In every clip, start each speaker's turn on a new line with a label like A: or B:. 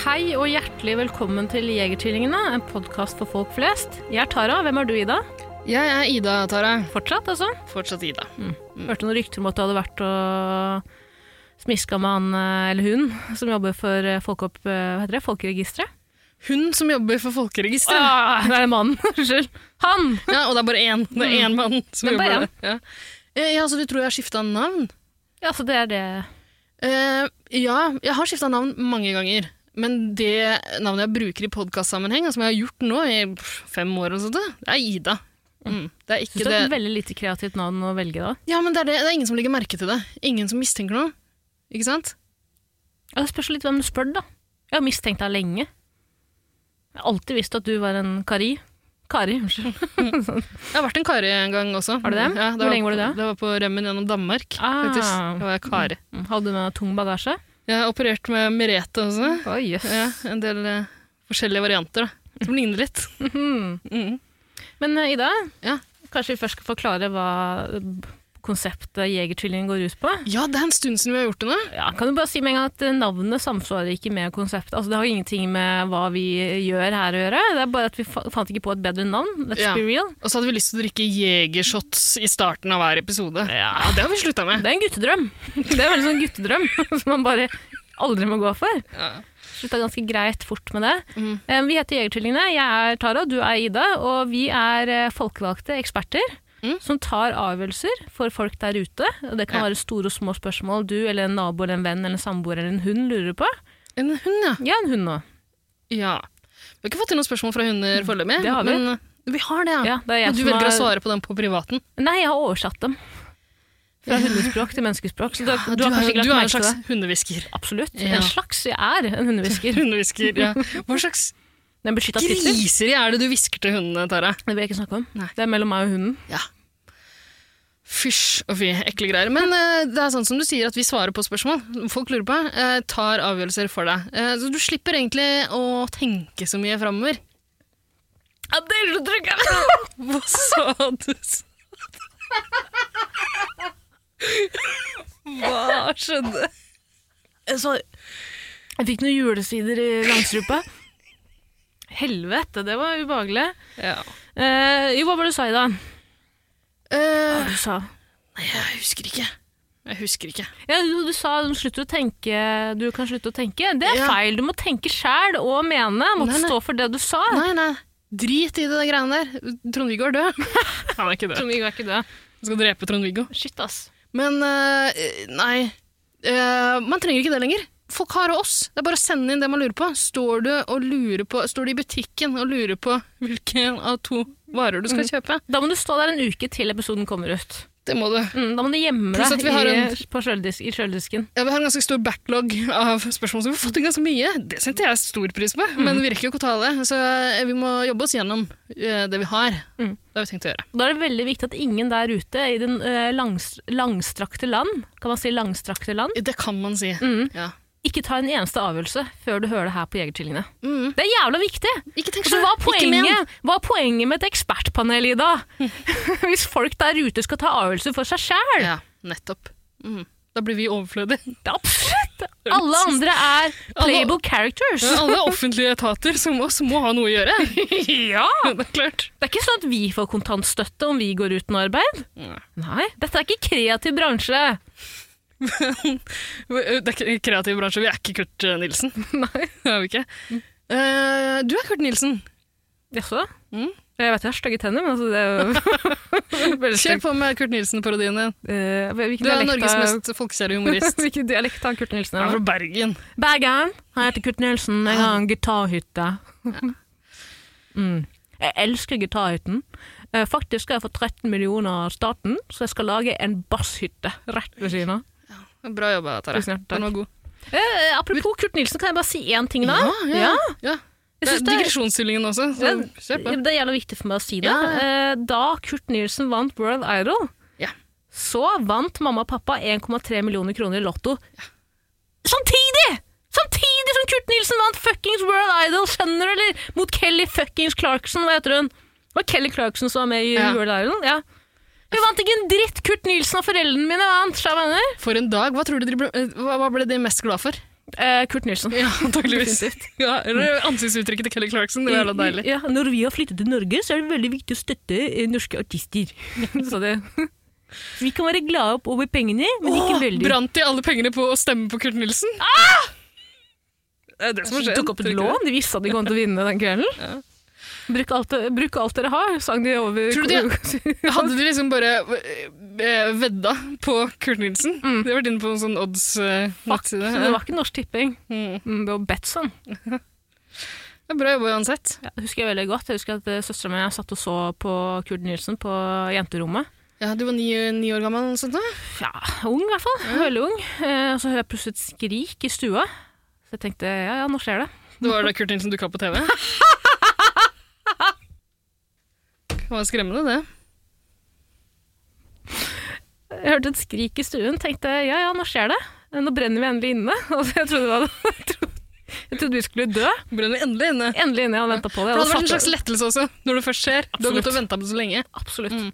A: Hei og hjertelig velkommen til Jegertvillingene, en podkast for folk flest. Jeg er Tara, hvem er du, Ida?
B: Jeg er Ida, Tara.
A: Fortsatt, altså?
B: Fortsatt Ida.
A: Hørte noen rykter om at du hadde vært og smiska med han eh, eller hun som jobber for eh, folkeopp... eh, Hva heter det? Folkeregisteret?
B: Hun som jobber for Folkeregisteret.
A: Ah, nei, mannen. Unnskyld. Han!
B: Ja, og det er bare én. Det er én mann som
A: Det er Ah. Mm. bare
B: jobber der. Ja. Eh, ja, så du tror jeg har skifta navn?
A: Ja, så det er det.
B: Eh, ja, jeg har skifta navn mange ganger. Men det navnet jeg bruker i podkastsammenheng, og som jeg har gjort nå i pff, fem år, og sånt, det er Ida. Mm. Det er
A: Syns
B: ikke
A: du det
B: det
A: er et veldig lite kreativt navn å velge, da?
B: Ja, men det er, det. det er ingen som legger merke til det. Ingen som mistenker noe. Ikke sant?
A: Ja, Det spørs litt hvem du spør, da. Jeg har mistenkt deg lenge. Jeg har alltid visst at du var en Kari. Kari, unnskyld.
B: Jeg har vært en kare en gang også.
A: Har du det?
B: Ja,
A: Hvor lenge var du det?
B: Det var på rømmen gjennom Danmark,
A: Ah.
B: faktisk. Da var jeg kare.
A: Mm, Hadde du med tung bagasje?
B: Jeg har operert med Merete også.
A: Oi, jøss.
B: Ja, en del eh, forskjellige varianter da, som ligner litt. Mm.
A: Men eh, Ida,
B: Ja.
A: kanskje vi først skal forklare hva eh, konseptet Jegertvillingen går ut på?
B: Ja, det er en stund siden vi har gjort det nå.
A: Ja, kan du bare si med en gang at eh, navnet samsvarer ikke med konseptet? Altså, det har ingenting med hva vi eh, gjør her å gjøre, det er bare at vi fa fant ikke på et bedre navn. Let's
B: Ja.
A: be real.
B: Og så hadde vi lyst til å drikke jegershots i starten av hver episode. Ja, det har vi slutta med.
A: Det er en guttedrøm. Det er en veldig sånn guttedrøm som man bare aldri må gå for.
B: Ja.
A: Slutta ganske greit fort med det.
B: Mhm.
A: Eh, Vi heter Jegertvillingene. Jeg er Tara, du er Ida. Og vi er eh, folkevalgte eksperter
B: Mhm.
A: som tar avgjørelser for folk der ute. Og det kan
B: Ja.
A: være store og små spørsmål du eller en nabo eller en venn eller en samboer eller en hund lurer på.
B: En hund, ja.
A: Ja, en hund nå.
B: ja. Vi har ikke fått inn noen spørsmål fra hunder foreløpig.
A: Det har vi.
B: Men eh, vi har det, ja.
A: Ja, det er jeg
B: Ah. Men du
A: som
B: velger
A: har-
B: å svare på den på privaten.
A: Nei, jeg har oversatt dem. Fra hundespråk til menneskespråk. Så du, har- du har kanskje ikke lagt
B: du er en
A: merke til
B: slags
A: det.
B: hundehvisker.
A: Absolutt.
B: Ja.
A: En slags. Jeg er en hundehvisker.
B: Hundehvisker, ja. Hva slags
A: Den beskytta tittel.
B: griseri er det du hvisker til hundene, Tara?
A: Det vil jeg ikke snakke om.
B: Nei.
A: Det er mellom meg og hunden.
B: Ja. Fysj og fy, ekle greier. Men eh, det er sånn som du sier at vi svarer på spørsmål folk lurer på, eh, tar avgjørelser for deg. Eh, så du slipper egentlig å tenke så mye framover.
A: Ja, det er så trykk!
B: Hva sa du? Hva skjedde?
A: Jeg sa- Jeg fikk noen julesider i langstrupa. Helvete, det var ubehagelig.
B: Ja.
A: Eh, jo, hva var det du sa, Ida?
B: Eh,
A: Du sa,
B: nei, jeg husker ikke. Eh, Jeg husker ikke.
A: ja, jo, du sa du, må slutte å tenke, du kan slutte å tenke. Det er
B: Ja.
A: feil. Du må tenke sjæl og mene. Måtte
B: Nei, nei.
A: stå for det du sa.
B: Nei, nei. Drit i det der greiene der. Trond-Viggo er død. Han er ikke
A: Trond-Viggo er ikke død.
B: Han skal drepe Trond-Viggo.
A: Shit, ass.
B: Men eh, nei, Eh, man trenger ikke det lenger. Folk har oss. Det er bare å sende inn det man lurer på. Står du, og lurer på, står du i butikken og lurer på hvilken av to varer du skal
A: Mm.
B: kjøpe?
A: Da må du stå der en uke til episoden kommer ut.
B: Det må du.
A: Mm, da må du gjemme
B: Pluss
A: deg
B: at vi har
A: i,
B: en-
A: på kjøledis, i kjøledisken.
B: Ja, vi har en ganske stor backlog av spørsmål, så vi har fått inn ganske mye. Det setter jeg stor pris på,
A: Mm.
B: men vi rekker jo ikke å ta det. Så eh, vi må jobbe oss gjennom eh, det vi har.
A: Mm.
B: Det har vi tenkt å gjøre.
A: Da er det veldig viktig at ingen der ute i den eh, langs, langstrakte land, kan man si langstrakte land,
B: Det kan man si.
A: mm,
B: Ja.
A: ikke ta en eneste avgjørelse før du hører det her på Jegertvillingene.
B: Mm.
A: Det er jævla viktig!
B: Ikke tenk
A: Altså, hva, er
B: selv. Ikke men.
A: poenget, hva er poenget med et ekspertpanel, Ida? Hvis folk der ute skal ta avgjørelser for seg sjæl?
B: Ja, nettopp. Mm. Da blir vi overflødige.
A: Absolutt! Alle andre er playable characters.
B: Ja, alle offentlige etater som oss må ha noe å gjøre. ja, det er klart.
A: Det er ikke sånn at vi får kontantstøtte om vi går uten arbeid. Nei, dette er ikke kreativ bransje.
B: Det er ikke en kreativ bransje. Vi er ikke Kurt Nilsen. Nei, Mm. det er vi ikke. Eh, du er Kurt Nilsen.
A: Jaså?
B: Mm.
A: Jeg vet jeg har stygge tenner, men altså det er jo veldig
B: Kjør
A: stygt.
B: på med Kurt Nilsen-parodien din.
A: Eh, hvilken
B: Du er
A: dialekt
B: Norges
A: har-
B: mest folkekjære humorist.
A: Hvilken dialekt har Kurt Nilsen?
B: Du er
A: da?
B: fra Bergen.
A: Bergen. Han heter Kurt Nilsen. Jeg har en gitarhytte. Mm. Jeg elsker gitarhytten. Eh, Faktisk skal jeg få 13 millioner av staten, så jeg skal lage en basshytte rett ved siden av.
B: Bra jobba, Tara.
A: Tusen hjertelig
B: Den var god.
A: Eh, apropos Kurt Nilsen, kan jeg bare si én ting da?
B: ja. ja.
A: Jeg
B: Det er
A: synes det er-
B: digresjonshyllingen også. Så
A: Men-
B: kjør på.
A: Det gjelder viktig for meg å si det.
B: Ja, ja.
A: Eh, Da Kurt Nielsen vant World Idol,
B: Ja.
A: så vant mamma og pappa 1,3 millioner kroner i lotto. Samtidig! Samtidig som Kurt Nielsen vant fuckings World Idol, skjønner du, eller? Mot Kelly fuckings Clarkson, hva heter hun? Det var Kelly Clarkson som var med i
B: Ja.
A: World Idol? Ja. Hun vant ikke en dritt! Kurt Nielsen og foreldrene mine vant, sa jeg mener.
B: For en dag. Hva, tror du de ble, eh, hva hva ble de mest glad for?
A: Eh, Kurt Nielsen.
B: Ja, antakeligvis. Ja, eller ansiktsuttrykket til Kelly Clarkson. Det var jævla deilig.
A: Ja, når vi har flyttet til Norge, så er det veldig viktig å støtte eh, norske artister. Så det. Så vi kan være glade opp over pengene, men ikke
B: Åh,
A: veldig.
B: Brant de alle pengene på å stemme på Kurt Nilsen? Det er det som har
A: De
B: skjedd.
A: tok opp et
B: tror du ikke
A: lån, de visste at de kom til å vinne den kvelden. Bruk, alt, bruk alt dere har, sang de over
B: Tror du det? Hadde de liksom bare eh, vedda på Kurt Nilsen?
A: Mm.
B: De har vært inne på en sånn odds-nettside.
A: Så det var ikke Norsk Tipping,
B: Mm.
A: Mm, det var Betson.
B: Det er bra jobba uansett.
A: Ja, det husker jeg veldig godt. Jeg husker at eh, søsteren min satt og så på Kurt Nielsen på jenterommet.
B: Ja, Du var ni, ni år gammel? eller noe sånt da?
A: Ja, ung i hvert fall. Veldig ung. Eh, og så hører jeg plutselig et skrik i stua. Så jeg tenkte, ja, ja, nå skjer det.
B: Det var da Kurt Nilsen dukka opp på TV? Det var skremmende, det.
A: Jeg hørte et skrik i stuen, tenkte ja, ja, nå skjer det. Nå brenner vi endelig inne. Altså, jeg, trodde det var, jeg, trodde, jeg trodde vi skulle dø.
B: Brenner vi endelig inne.
A: Endelig inne, jeg hadde venta på det.
B: Det
A: Jeg
B: hadde
A: hadde
B: vært en
A: satt-
B: slags lettelse også, når det først skjer. Du har gått og venta på det så lenge.
A: Absolutt.
B: Mm.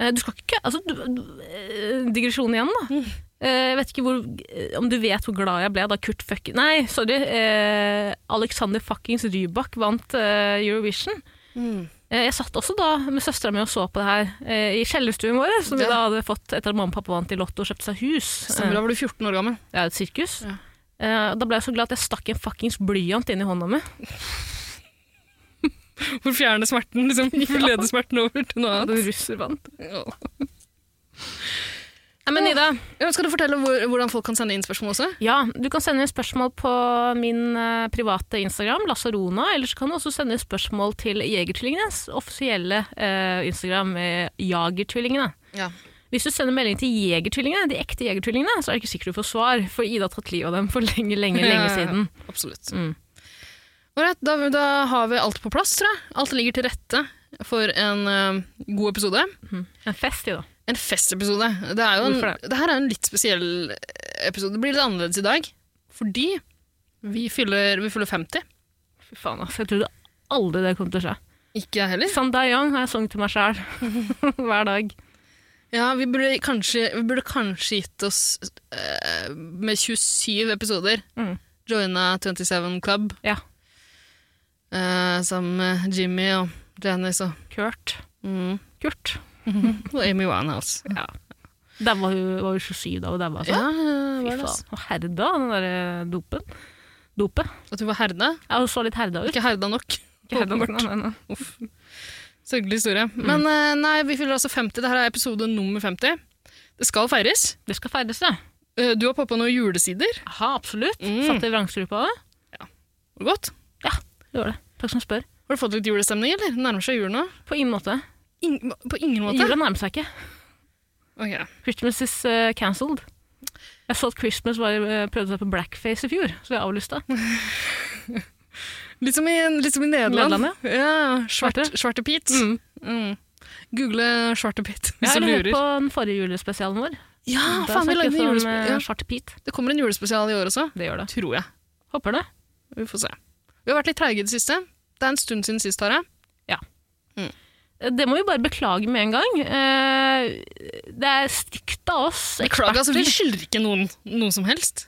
A: Eh, Du skal ikke altså, du, du, eh, Digresjon igjen, da.
B: Mm.
A: Eh, Jeg vet ikke hvor, eh, om du vet hvor glad jeg ble da Kurt fucking Nei, sorry. Eh, Alexander fuckings Rybak vant eh, Eurovision. Eh, Jeg satt også da med søstera mi og så på det her eh, i kjellerstuen vår, som vi
B: Ja.
A: da hadde fått etter at mamma og pappa vant i Lotto og kjøpte seg hus.
B: Stemmer, da var du 14 år gammel.
A: Ja, et sirkus.
B: Ja.
A: Eh, da ble jeg så glad at jeg stakk en fuckings blyant inn i hånda mi.
B: For å fjerne smerten, liksom. For å lede smerten over til noe
A: At
B: annet.
A: en russer vant.
B: Ja.
A: Nei, men Ida,
B: Ja, skal du fortelle hvor, hvordan folk kan sende inn spørsmål også?
A: ja, du kan sende inn spørsmål på min eh, private Instagram, Lasarona, eller så kan du også sende spørsmål til Jegertvillingenes offisielle eh, Instagram, eh, Jagertvillingene.
B: Ja.
A: Hvis du sender melding til Jegertvillingene, de ekte Jegertvillingene, så er det ikke sikkert du får svar, for Ida har tatt livet av dem for lenge, lenge, lenge
B: Ja, ja, ja.
A: siden.
B: Absolutt.
A: Mm.
B: Ålreit, da, da har vi alt på plass, tror jeg. Alt ligger til rette for en eh, god episode.
A: En fest, Ida.
B: En festepisode. Det, er jo en,
A: Hvorfor
B: det? her er en litt spesiell episode. Det blir litt annerledes i dag, fordi vi fyller, vi fyller 50.
A: Fy faen, altså. Jeg trodde aldri det kom til å skje.
B: Ikke jeg heller.
A: Sandai Young har jeg sunget til meg sjæl hver dag.
B: Ja, vi burde kanskje, vi burde kanskje gitt oss eh, med 27 episoder.
A: Mm.
B: Joina 27 Club
A: Ja.
B: eh, sammen med Jimmy og Janice og,
A: Kurt.
B: mm,
A: Kurt.
B: og Amy Winehouse.
A: Ja. Der var hun, var hun 27 da hun daua. Altså.
B: Ja, ja,
A: Fy
B: var det altså.
A: faen. Og herda, den derre dopen. Dopet.
B: At du var herda?
A: Ja, hun så litt herda ut.
B: Ikke herda nok.
A: Ikke herda nok,
B: åpenbart.
A: nei, Mm. nei.
B: Uff. Sørgelig historie. Men eh, nei, vi fyller altså 50. Dette er episode nummer 50. Det skal feires.
A: Det skal feires, det.
B: Eh, Du har pappa noen julesider.
A: Jaha, absolutt.
B: Mm.
A: Satt i vrangstrupa av det.
B: Var det godt?
A: Gjør det. Takk som spør.
B: Har du fått litt julestemning, eller? Nærmer seg jul nå?
A: På ingen måte.
B: Ing- på ingen måte.
A: Jula nærmer seg ikke.
B: Ok.
A: Christmas is eh, cancelled. Jeg så at Christmas var, eh, prøvde seg på blackface i fjor, så jeg avlysta.
B: Litt som i, litt som i Nederland.
A: Nederland,
B: ja. svarte, svarte Pete.
A: Mm.
B: Mm. Google Svarte Pete
A: Jeg
B: hvis
A: har
B: du
A: hørt
B: lurer.
A: på den forrige julespesialen vår.
B: Ja,
A: Da
B: faen, vi
A: snakket
B: lagde en
A: om,
B: julespesial.
A: eh,
B: Ja.
A: Svarte Pete.
B: Det kommer en julespesial i år også.
A: Det gjør det.
B: Tror jeg.
A: Håper det.
B: Vi får se. Vi har vært litt treige i det siste. Det er en stund siden sist, Tara.
A: Det må vi bare beklage med en gang. Eh, Det er stygt av oss
B: Beklager, altså, vi
A: eksperter.
B: skylder ikke noen noe som helst.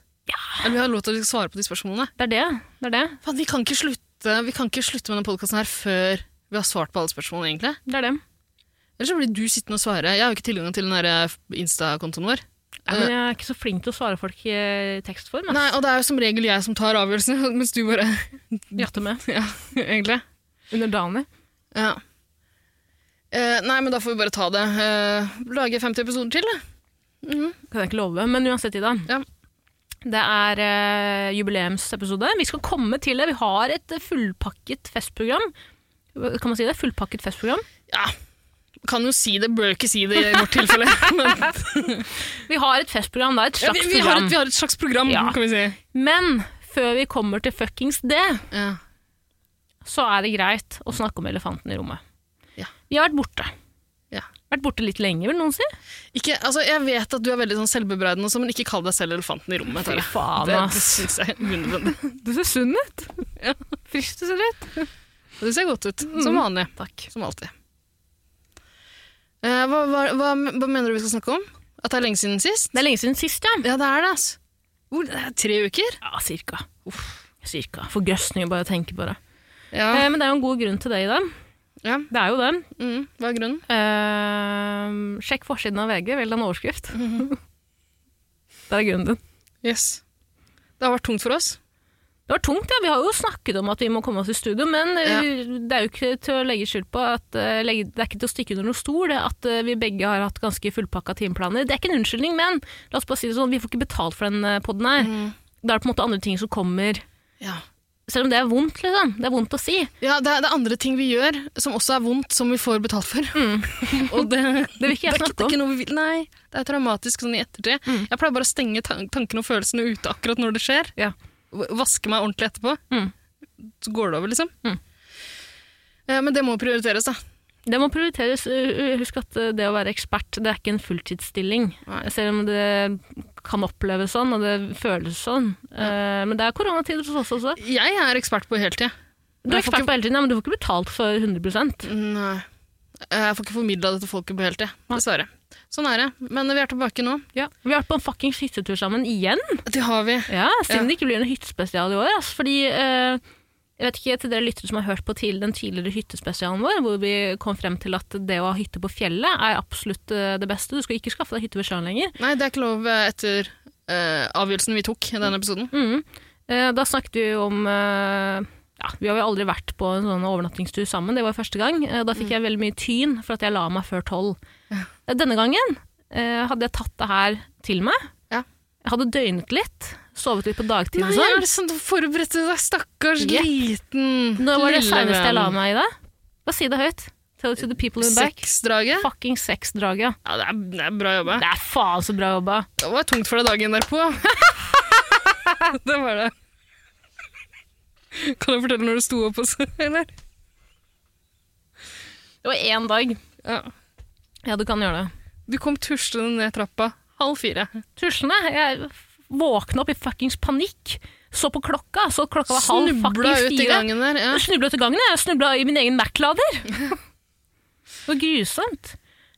B: Eller vi har lov til å svare på de spørsmålene.
A: Det er det. det er det.
B: Faen, vi, kan ikke slutte, vi kan ikke slutte med denne podkasten her før vi har svart på alle spørsmålene, egentlig.
A: det, er det.
B: Ellers så blir du sittende og svare. Jeg har jo ikke tilgang til den der eh, Insta-kontoen vår.
A: Nei, men jeg er ikke så flink til å svare folk i eh, tekstform.
B: Nei, og det er jo som regel jeg som tar avgjørelsene, mens du bare
A: Jatte med.
B: Ja, egentlig.
A: Underdanig.
B: Ja. Eh, nei, men da får vi bare ta det. Eh, lage 50 episoder til, da.
A: Kan jeg ikke love. Men uansett, Ida.
B: Ja.
A: Det er eh, jubileumsepisode. Vi skal komme til det. Vi har et eh, fullpakket festprogram. Kan man si det? Fullpakket festprogram.
B: Ja. Kan jo si det, bør ikke si det i vårt tilfelle. Men,
A: Vi har et festprogram, da. Et
B: ja,
A: slags
B: vi, vi, har
A: program.
B: et, vi har et slags program,
A: Ja.
B: kan vi si.
A: Men før vi kommer til fuckings det,
B: Ja.
A: så er det greit å snakke om elefanten i rommet.
B: Ja.
A: Vi har vært borte.
B: Ja.
A: Vært borte litt lenge, vil noen si.
B: Ikke, altså, jeg vet at du er veldig sånn selvbebreidende, og sånn, men ikke kall deg selv elefanten i rommet. Tara.
A: faen,
B: Det, det
A: ass.
B: syns jeg er unødvendig.
A: Du ser sunn ut. Ja. Frisk du ser ut.
B: Det ser godt ut. Som vanlig.
A: Mm. Takk.
B: Som alltid. Eh, hva, hva, hva, hva mener du vi skal snakke om? At det er lenge siden sist?
A: Det er lenge siden sist, ja.
B: Ja, det er det, altså. Hvor, det er tre uker?
A: Ja, cirka. Cirka. Forgrøsninger bare å tenke på det.
B: Ja.
A: Eh, men det er jo en god grunn til det i det.
B: ja.
A: Det er jo det.
B: Mm, hva er grunnen?
A: Eh, sjekk forsiden av VG, velg en overskrift.
B: Mhm.
A: det er grunnen din.
B: Yes. Det har vært tungt for oss.
A: Det var tungt, ja. Vi har jo snakket om at vi må komme oss i studio, men eh,
B: Ja.
A: det er jo ikke til å legge skyld på at, eh, legge, Det er ikke til å stikke under noen stol det at eh, vi begge har hatt ganske fullpakka timeplaner. Det er ikke en unnskyldning, men la oss bare si det sånn, vi får ikke betalt for den eh, podden her.
B: Mm.
A: Da er det på en måte andre ting som kommer.
B: Ja.
A: Selv om det er vondt, liksom. Det er vondt å si.
B: Ja, det er, det er andre ting vi gjør som også er vondt, som vi får betalt for. og det,
A: Mm. Det vil ikke jeg
B: det er
A: snakke
B: det er
A: om. Mm.
B: ikke noe vi vil. Nei, det er traumatisk sånn i ettertid. Jeg pleier bare å stenge tan tankene og følelsene ute akkurat når det skjer.
A: Ja.
B: V- Vaske meg ordentlig etterpå.
A: Mm.
B: Så går det over, liksom.
A: Mm.
B: Eh, men det må prioriteres, da.
A: Det må prioriteres. Uh, uh, Husk at uh, det å være ekspert, det er ikke en fulltidsstilling.
B: Nei.
A: Selv om det kan oppleves sånn, og det føles sånn. Uh, Men det er koronatider hos oss også.
B: Jeg er ekspert på heltid.
A: Du er
B: Jeg får
A: ekspert på hele tiden, ja, men du får ikke betalt for 100
B: Nei. Eh, Jeg får ikke formidla det til folket på heltid, dessverre. Sånn er det. Men vi er tilbake nå.
A: ja. Vi har vært på en fuckings hyttetur sammen igjen.
B: Det har vi.
A: Ja, Synd
B: Ja.
A: det ikke blir noe hyttespesial i år. ass. Fordi eh, jeg vet ikke til dere lyttere som har hørt på til, den tidligere hyttespesialen vår, hvor vi kom frem til at det å ha hytte på fjellet er absolutt eh, det beste. Du skal ikke skaffe deg hytte ved sjøen lenger.
B: Nei, det er ikke lov eh, etter eh, avgjørelsen vi tok i denne episoden.
A: Mm. Eh, da snakket vi om eh, ja, Vi har jo aldri vært på en sånn overnattingstur sammen, det var første gang. Eh, da
B: Mm.
A: fikk jeg veldig mye tyn for at jeg la meg før tolv. Eh, denne gangen eh, hadde jeg tatt det her til meg.
B: Ja.
A: Jeg hadde døgnet litt, sovet litt på dagtid
B: Nei,
A: og sånn.
B: er det sånn du forberedte deg, stakkars
A: Jepp.
B: liten
A: Når var det
B: lille
A: senest jeg la
B: venn.
A: meg i det? Bare si det høyt. Tell it to the people in the back.
B: Sexdraget?
A: Fucking sexdraget.
B: Ja, det er, det er bra jobba.
A: Det er faen så bra jobba.
B: Det var tungt for deg dagen derpå. det var det. Kan jeg fortelle når du sto opp også, eller?
A: Det var én dag.
B: Ja.
A: Ja, du kan gjøre det.
B: Du kom tuslende ned trappa halv fire.
A: Tuslene. Jeg våkna opp i fuckings panikk. Så på klokka, så klokka var halv
B: Snubla
A: fuckings
B: ut i
A: fire.
B: gangen der. Ja.
A: Jeg snubla ut i gangen, jeg. Jeg snubla i min egen Mac-lader. Det var grusomt.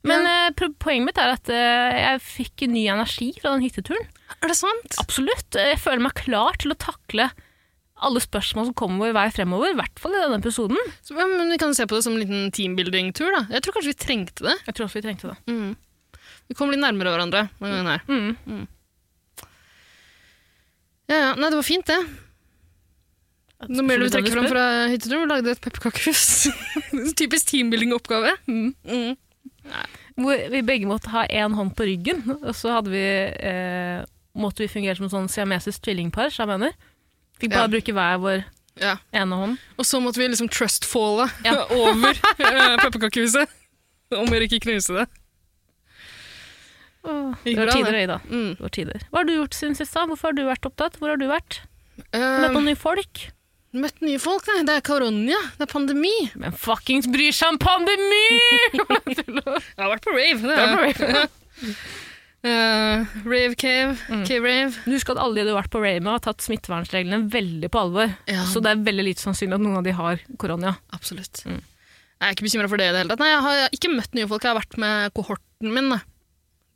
A: Men eh, pro- poenget mitt er at eh, jeg fikk ny energi fra den hytteturen.
B: Er det sant?
A: Absolutt. Eh, Jeg føler meg klar til å takle alle spørsmål som kommer vår vei fremover, i hvert fall i denne episoden.
B: Så, ja, men Vi kan jo se på det som en liten teambuilding-tur. da. Jeg tror kanskje vi trengte det.
A: Jeg tror også vi trengte det.
B: Mm. Vi kom litt nærmere hverandre denne gangen her. Mm. Ja, ja. Nei, det var fint, det. Noe mer du trekker fram fra hytteturen? Vi lagde et pepperkakehus. Typisk teambuilding-oppgave. Mm.
A: Hvor vi begge måtte ha én hånd på ryggen, og så hadde vi, eh, måtte vi fungere som sånn siamesisk tvillingpar, som jeg mener. Fikk bare
B: Ja.
A: bruke hver vår
B: Ja.
A: ene hånd.
B: Og så måtte vi liksom trustfalle
A: Ja.
B: over eh, pepperkakehuset. Om vi ikke knuse det.
A: Åh,
B: Gikk
A: Det var
B: bra,
A: tider,
B: det.
A: Øyda.
B: Mm.
A: Det var tider. Hva har du gjort siden sist? da? Hvorfor har du vært opptatt? Hvor har du vært? Møtt
B: Eh,
A: noen nye folk?
B: møtt nye folk, nei. Det er korona. Det er pandemi.
A: Men fuckings bryr seg om pandemi!
B: Jeg har vært på rave. Det har jeg.
A: Du
B: Eh, rave cave, cave rave.
A: husker at alle de du har vært på Rayma har tatt smittevernreglene veldig på alvor.
B: Ja.
A: Så det er veldig lite sannsynlig at noen av de har korona.
B: Absolutt. Mm. Jeg er ikke bekymra for det i det hele tatt. Nei, jeg har jeg har ikke møtt nye folk. Jeg har vært med kohorten min. Da.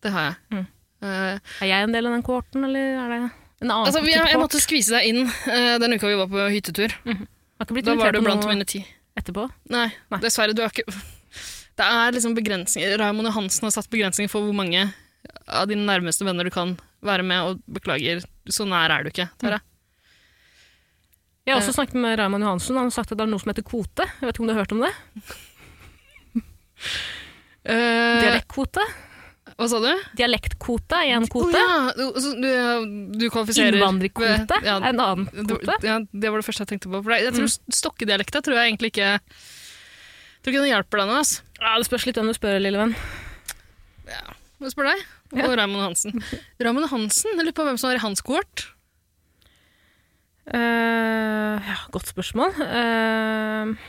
B: Det har jeg.
A: Mm.
B: Eh,
A: Er jeg en del av den kohorten, eller er det en annen
B: altså, vi,
A: type
B: jeg, jeg
A: kohort?
B: måtte skvise deg inn eh, den uka vi var på hyttetur.
A: Har ikke blitt
B: Da var
A: invitert
B: du
A: på
B: blant
A: noe
B: mine ti.
A: etterpå?
B: Nei,
A: Nei.
B: dessverre. Du har ikke Det er liksom begrensninger. Raymond Johansen har satt begrensninger for hvor mange av dine nærmeste venner du kan være med, og beklager, så nær er du ikke, Tara.
A: Jeg har også snakket med Raymond Johansen, han har sagt at det er noe som heter kvote. Jeg vet ikke om du har hørt om det? Mm.
B: Eh,
A: Dialektkvote?
B: hva sa du?
A: Dialektkvote er én
B: Å
A: kvote.
B: ja, du, så du, du kvalifiserer
A: Innvandrerkvote
B: Ja,
A: er en annen kvote. Mm.
B: det, ja, det var det første jeg tenkte på. For jeg tror Stokkedialekta tror jeg egentlig ikke jeg Tror ikke den hjelper deg nå. ass.
A: Ja, det spørs litt hvem du spør, lille venn.
B: Må jeg spørre deg. Og Raymond Hansen. Raymond Hansen, jeg lurer på hvem som var i hans kohort.
A: Eh, ja, godt spørsmål. Eh,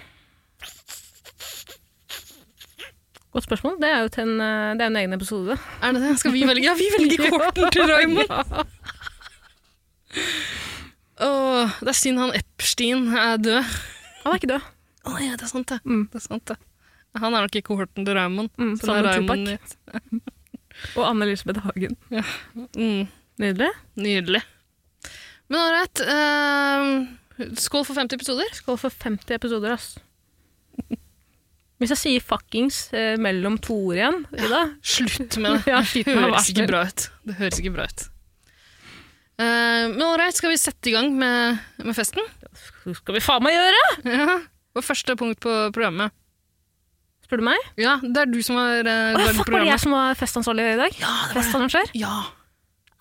A: godt spørsmål. Det er jo til en, eh, det er en egen episode.
B: Er det det? Skal vi velge? Ja, vi velger korten til Raymond. Åh, det er synd han Epstein er død.
A: Han er ikke død.
B: Å ja, det er sant det.
A: Mm.
B: det, er sant, det. Han er nok i kohorten til Raymond.
A: Mm,
B: så
A: sammen
B: det er
A: med
B: Raymond
A: Og Anne Elisabeth Hagen.
B: i- Mm,
A: Nydelig.
B: nydelig. Men ålreit. skål for 50 episoder.
A: Skål for 50 episoder, ass. Hvis jeg sier fuckings eh, mellom to ord igjen, Ida
B: Slutt med det.
A: Ja,
B: Det
A: med
B: høres
A: varsel.
B: ikke bra ut. Det høres ikke bra ut. Eh, men ålreit, skal vi sette i gang med, med festen?
A: Hva skal vi faen meg gjøre?
B: Ja. Vår første punkt på programmet.
A: Spør du meg?
B: Ja, det er du som har uh,
A: Å, ja, fuck,
B: lagd
A: var det jeg
B: programmet.
A: som var festansvarlig i dag?
B: Ja, det var det.
A: Festarrangør?
B: Ja.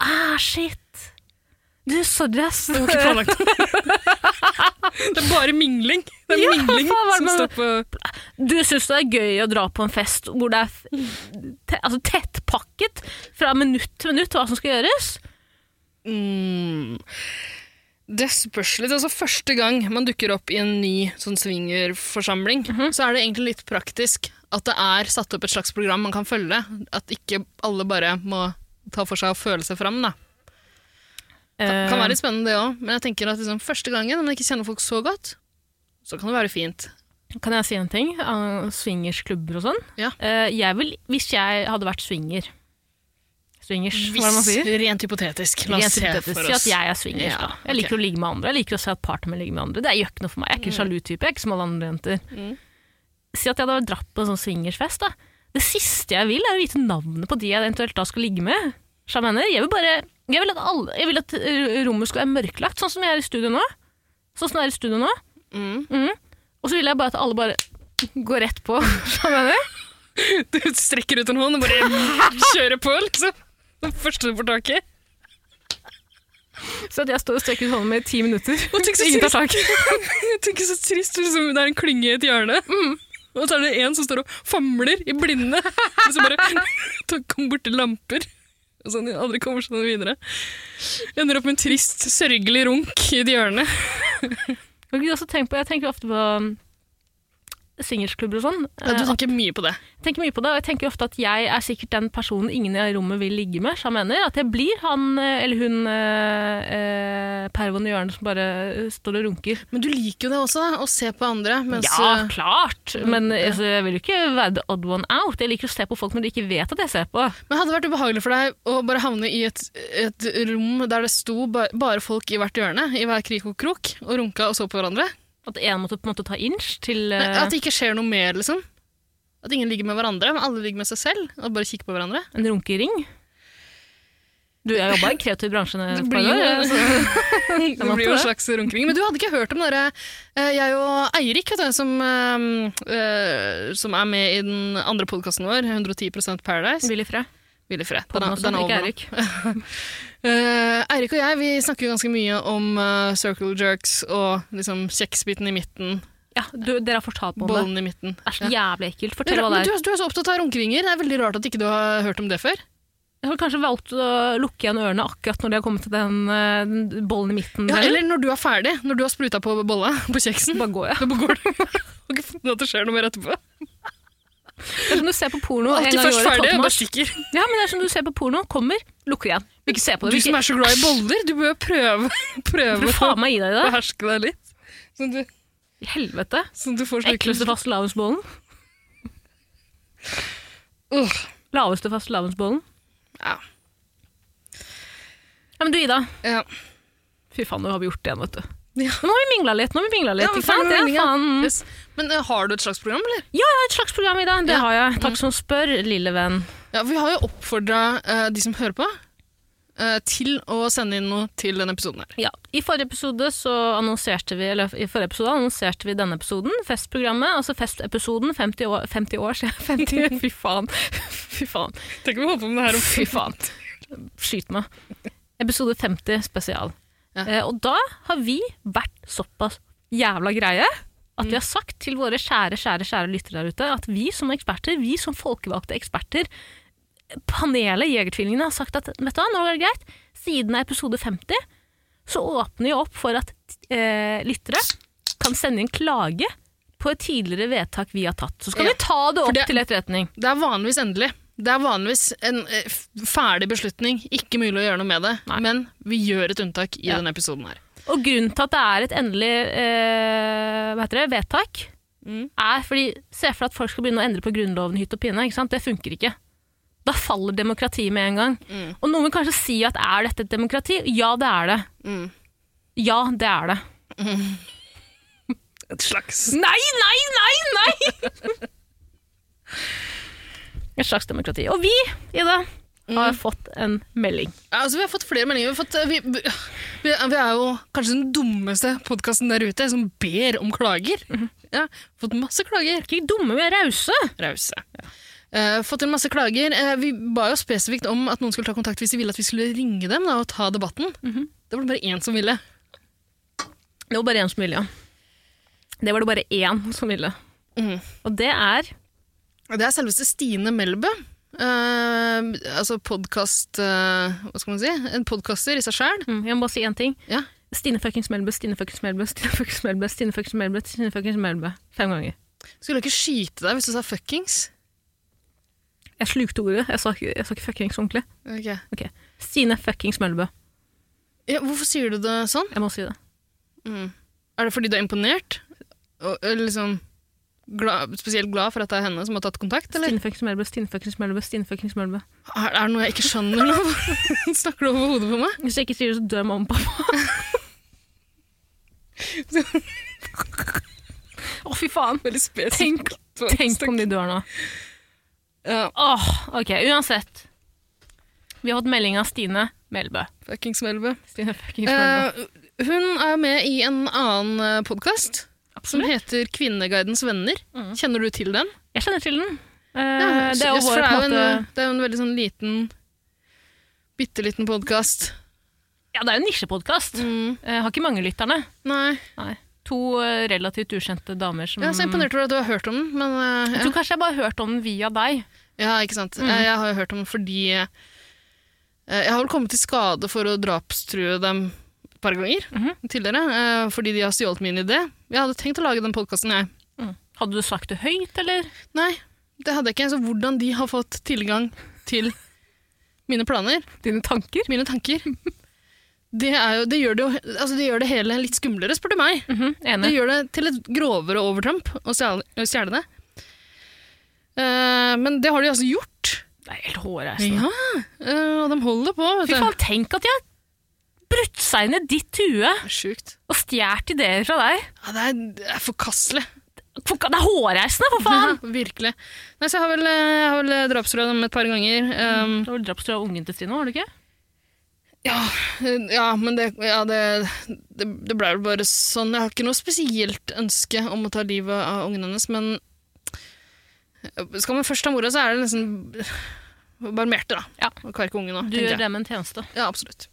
A: Ah, shit. Du, sorry, ass.
B: Det var ikke planlagt. det er bare mingling. Det er
A: Ja,
B: mingling
A: faen, hva er det
B: som
A: med-
B: står på
A: Du syns det er gøy å dra på en fest hvor det er f- te, altså tettpakket fra minutt til minutt hva som skal gjøres?
B: mm. Det spørs litt. Altså, første gang man dukker opp i en ny sånn swingerforsamling,
A: Mhm.
B: så er det egentlig litt praktisk at det er satt opp et slags program man kan følge. At ikke alle bare må ta for seg og føle seg fram. Da. Det
A: Eh.
B: kan være litt spennende, det òg. Men jeg tenker at liksom, første gangen, om man ikke kjenner folk så godt, så kan det være fint.
A: Kan jeg si en ting? Uh, Swingersklubber og sånn.
B: Ja.
A: Eh, jeg vil, hvis jeg hadde vært swinger Swingers, hva er det man
B: Hvis,
A: sier?
B: rent hypotetisk. La oss
A: Rent
B: se
A: hypotetisk,
B: for
A: Si
B: oss.
A: at jeg er swingers,
B: Ja,
A: da. Jeg
B: ok.
A: liker å ligge med andre. Jeg liker å se at partneren min ligger med andre. Det gjør ikke noe for meg. Jeg er ikke en sjalu type. Jeg er ikke som alle andre jenter.
B: Mm.
A: Si at jeg hadde dratt på en sånn swingersfest. da. Det siste jeg vil, er å vite navnet på de jeg eventuelt da skal ligge med. Så Jeg mener, jeg vil bare jeg vil, at alle, jeg vil at eh, rommet skal være mørklagt, sånn som jeg er i studio nå. Sånn som det er i studio nå.
B: Mm.
A: Og så vil jeg bare at alle bare går rett på. Så Jeg mener.
B: Du strekker ut en hånd og bare kjører på, liksom. Den første du får tak i.
A: Så at jeg står og strekker ut hånden min i ti minutter.
B: Og tenk så
A: Ingen tar
B: trist.
A: tak.
B: Jeg tenker så trist, liksom, det er en klynge i et hjørne. Og så er det en som står og famler i blinde. Og så bare tar- kommer borti lamper. Og sånn, aldri kommer seg noe videre. Jeg ender opp med en trist, sørgelig runk i et hjørne.
A: Har ikke du også tenkt på, jeg tenker ofte på um, singersklubber og sånn. Eh,
B: tenker mye på det.
A: Jeg tenker mye på det, og jeg tenker ofte at jeg er sikkert den personen ingen i rommet vil ligge med, så jeg mener at jeg blir han eh, eller hun eh, eh, pervoen i hjørnet som bare eh, står og runker.
B: Men du liker jo det også, da, å se på andre. Mens, eh,
A: ja, klart! Men altså, jeg vil jo ikke være the odd one out. Jeg liker å se på folk når de ikke vet at jeg ser på.
B: eh, Men hadde det vært ubehagelig for deg å bare havne i et, et rom der det sto ba bare folk i hvert hjørne, i hver krik og krok, og runka og så på hverandre?
A: At én måtte på en måte ta inch til
B: Nei,
A: eh,
B: At det ikke skjer noe mer, liksom? At ingen ligger med hverandre, men alle ligger med seg selv og bare kikker på hverandre?
A: en runkering. Du, jeg jobba i en kreativ bransje et
B: Det
A: par
B: blir jo,
A: år. jeg, så- måtte
B: det blir jo en
A: altså. det.
B: slags runkering. Men du hadde ikke hørt om dere eh, Jeg og Eirik, vet du, som, eh, eh, som er med i den andre podkasten vår, 110 Paradise.
A: Willy Frø.
B: Ville Fred.
A: På den også, ikke
B: nå.
A: Eirik.
B: Eh, Eirik og jeg vi snakker jo ganske mye om eh, circle jerks og liksom kjeksbiten i midten,
A: Ja, du, dere har fortalt meg om det.
B: bollen i midten.
A: Det er så jævlig ekkelt.
B: Men
A: Fortell hva det
B: du,
A: er.
B: du er så opptatt av runkeringer. Det er veldig rart at ikke du har hørt om det før.
A: Jeg har kanskje valgt å lukke igjen ørene akkurat når de har kommet til den, eh, den bollen i midten.
B: Ja,
A: der.
B: eller når du er ferdig, når du har spruta på bolla på kjeksen.
A: Bare gå, ja.
B: Da går du og ikke funnet at det skjer noe mer etterpå.
A: Det er som du ser på porno en
B: Alltid
A: gang i
B: først
A: året. 12.
B: ferdig, og bare
A: mars.
B: stikker.
A: Ja, men det er som du ser på porno. Kommer, lukker igjen. Vil ikke se på
B: Du
A: det. Vil
B: som
A: ikke...
B: er så glad i boller, du bør prøve,
A: Vil
B: prøve
A: du faen meg gi deg i
B: å
A: det?
B: beherske deg litt. Sånn at du,
A: I Helvete.
B: sånn at du får
A: Ekleste
B: slike
A: fastelavnsbollen.
B: Ugh.
A: Laveste fastelavnsbollen.
B: Ja.
A: Ja, men du, Ida.
B: Ja.
A: Fy faen, nå har vi gjort det igjen, vet du.
B: Ja.
A: Nå har vi mingla litt. nå har vi minglet litt,
B: Ja, men
A: ikke sant?
B: faen,
A: Ja,
B: mingla.
A: faen.
B: Yes. Men eh, har du et slags program, eller?
A: Jeg har et slags program, Ida. Det har jeg. Takk som spør, lille venn.
B: Ja, vi har jo oppfordra de som hører på, eh, til å sende inn noe til denne episoden her.
A: Ja, I forrige episode så annonserte vi, eller i forrige episode annonserte vi denne episoden, Festprogrammet. Altså Festepisoden. 50 år, 50 år siden. 50, fy faen. Fy faen.
B: Tenk om vi holder på med det her om
A: Fy faen. Skyt meg. Episode 50 spesial.
B: Ja.
A: Eh, og da har vi vært såpass jævla greie at
B: Mm.
A: vi har sagt til våre kjære, kjære, kjære lyttere der ute at vi som eksperter, vi som folkevalgte eksperter, panelet Jegertvillingene har sagt at vet du hva, nå er det greit, siden det er episode 50, så åpner jeg opp for at eh, lyttere kan sende inn klage på et tidligere vedtak vi har tatt. Så skal
B: Ja.
A: vi ta det
B: For
A: opp
B: det-
A: til etterretning.
B: Det er vanligvis endelig. Det er vanligvis en eh, f- ferdig beslutning. Ikke mulig å gjøre noe med det. Men vi gjør et unntak i
A: Ja.
B: denne episoden her.
A: Og grunnen til at det er et endelig eh, hva heter det, vedtak,
B: Mm.
A: er fordi Se for deg at folk skal begynne å endre på Grunnloven i hytt og pine. ikke sant? Det funker ikke. Da faller demokratiet med en gang.
B: Mm.
A: Og noen vil kanskje si at er dette et demokrati? Ja, det er det.
B: Mm.
A: Ja, det er det.
B: Et slags
A: Nei, nei, nei, nei! et slags demokrati. Og vi, Ida,
B: Mm.
A: har fått en melding.
B: Ja, altså, vi har fått flere meldinger. Vi, har fått, eh, vi, vi, vi er jo kanskje den dummeste podkasten der ute som ber om klager. Ja, fått masse klager.
A: Ikke dumme, vi er rause.
B: Rause. Eh, fått inn masse klager. Eh, vi ba jo spesifikt om at noen skulle ta kontakt hvis de ville at vi skulle ringe dem da, og ta debatten. Det var det bare én som ville.
A: Det var bare én som ville, ja. Det var det bare én som ville.
B: Mhm.
A: Og det er
B: Og Det er selveste Stine Melbø. Eh, altså podkast Hva skal man si? En podkaster i seg sjæl.
A: mm, Jeg må bare si én ting.
B: Ja.
A: Stine fuckings Melbø, Stine fuckings Melbø, Stine fuckings Melbø, Stine fuckings Melbø, Stine fuckings Melbø. Fem ganger.
B: Skulle ikke skyte deg hvis du sa fuckings.
A: Jeg slukte ordet. Jeg sa, ikke- jeg sa ikke fuckings ordentlig.
B: Ok.
A: Ok. Stine fuckings Melbø.
B: Ja, hvorfor sier du det sånn?
A: Jeg må si det.
B: Mm. Er det fordi du er imponert? Og, eller liksom glad, spesielt glad for at det er henne som har tatt kontakt? Eller?
A: Stine fuckings Melbø, Stine fuckings Melbø, Stine fuckings Melbø.
B: Er, er det noe jeg ikke skjønner nå? Snakker du over hodet på meg?
A: Hvis jeg ikke sier det, så dør mamma og pappa. Å, fy faen.
B: Veldig
A: Tenk, tenk om de dør nå.
B: Ja,
A: Åh, ok, uansett. Vi har fått melding av Stine Melbø.
B: fuckings Melbø.
A: Stine fucking Melbø.
B: Eh, hun er med i en annen eh, podkast som heter Kvinneguidens venner.
A: Mm.
B: Kjenner du til den?
A: Jeg kjenner til den. Eh,
B: Ja,
A: det er eh, jo
B: så-
A: vår
B: for
A: på en
B: det er jo
A: måte...
B: en, det er jo en veldig sånn liten Bitte liten podkast.
A: Ja, det er jo en nisjepodkast.
B: Mm.
A: Eh, har ikke mange lytterne.
B: Nei.
A: Nei. To eh, relativt ukjente damer som
B: Jeg er så imponert over at du har hørt om den, men eh,
A: Mm. Jeg
B: ja.
A: tror Mm. kanskje jeg bare har hørt om den via deg.
B: Ja, ikke sant. Jeg, jeg har jo hørt om den fordi eh, Jeg har vel kommet i skade for å drapstrue dem et par ganger
A: Mhm.
B: tidligere. eh, fordi de har stjålet min idé. Jeg hadde tenkt å lage den podkasten, jeg.
A: Hadde du sagt det høyt, eller?
B: Nei, det hadde jeg ikke. Så hvordan de har fått tilgang til mine planer,
A: Dine tanker?
B: mine tanker det, er jo, det, gjør det, jo, altså det gjør det hele litt skumlere, spør du meg. Det
A: Mhm, Enig.
B: gjør det til et grovere overtramp å stjele å stjele det. Eh, men det har de altså gjort.
A: Det er helt hårreisende.
B: Ja, eh, og de holder på. Vet
A: Fy
B: du.
A: faen, tenk at de har brutt seg inn i ditt hue
B: Det er sjukt.
A: og stjålet ideer fra deg.
B: Ja, det, er, det er forkastelig.
A: For- Det er hårreisende, for faen!
B: Virkelig. Nei, så jeg har vel, eh, jeg har vel drapstrua dem et par ganger.
A: Mm.
B: Um,
A: Det var vel drapstrua av ungen til Stine, var det ikke?
B: ja, ja, men det, ja, det, det, det ble vel bare sånn. Jeg har ikke noe spesielt ønske om å ta livet av ungen hennes, men skal man først ta mora, så er det nesten barmerte, da.
A: Ja.
B: Og kverke ungen nå,
A: Du
B: tenker jeg.
A: gjør dem en tjeneste.
B: Ja, absolutt.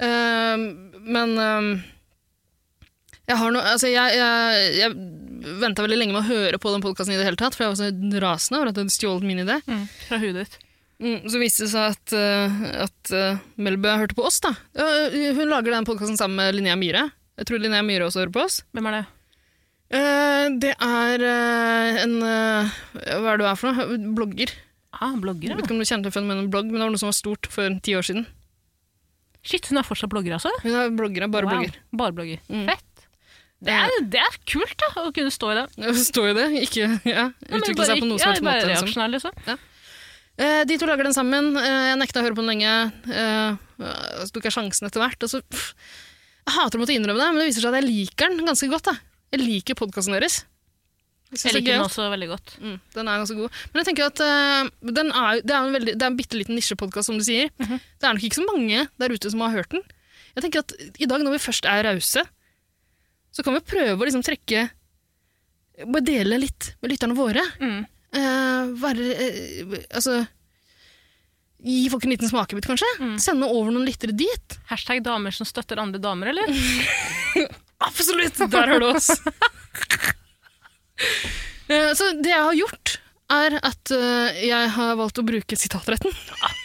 B: Ehm, men ehm, jeg har noe Altså, jeg, jeg, jeg venta veldig lenge med å høre på den podkasten i det hele tatt, for jeg var så rasende over at du hadde stjålet min idé.
A: Fra huet ditt.
B: Mm, så viste det seg at, eh, at eh, Melbø hørte på oss, da. Ja, eh, hun lager den podkasten sammen med Linnea Myhre. Jeg tror Linnea Myhre også hører på oss.
A: Hvem er det?
B: Eh, det er eh, en eh, Hva er det du er for noe? Blogger.
A: Ah, blogger,
B: Jeg vet
A: ja.
B: ikke om du kjenner til fenomenet blogg, men det var noe som var stort for ti år siden.
A: Shit, hun er fortsatt blogger, altså?
B: Hun er blogger, bare
A: Wow,
B: blogger.
A: Bare blogger.
B: Mm.
A: Fett. Det er, det er kult da, å kunne stå i det.
B: Ja, så står jo det. Ikke ja,
A: Ja, men
B: utvikle
A: bare
B: seg på
A: ikke-
B: noe som helst
A: ja, bare
B: måte. Liksom.
A: reaksjonær, liksom.
B: Eh, de to lager den sammen. Eh, jeg nekta å høre på den lenge. Eh, eh, så tok jeg sjansen etter hvert. Og så, pff, jeg hater å måtte innrømme det, men det viser seg at jeg liker den ganske godt. Da. Jeg liker podkasten deres.
A: Jeg
B: synes det er
A: liker den
B: gøy.
A: også veldig godt.
B: Mm, den er ganske god. Men jeg tenker at eh, den er, jo- det er jo en, veldig, det er en bitte liten nisjepodkast, som du sier.
A: Mhm.
B: Det er nok ikke så mange der ute som har hørt den. Jeg tenker at i dag, når vi først er rause, så kan vi prøve å liksom trekke Bare dele litt med lytterne våre.
A: Mm.
B: Eh, være eh, Altså Gi folk en liten smakebit, kanskje. Sende over noen lyttere dit.
A: Hashtag damer som støtter andre damer, eller?
B: Absolutt! Der har du oss. Eh, Så det jeg har gjort, er at eh, jeg har valgt å bruke sitatretten.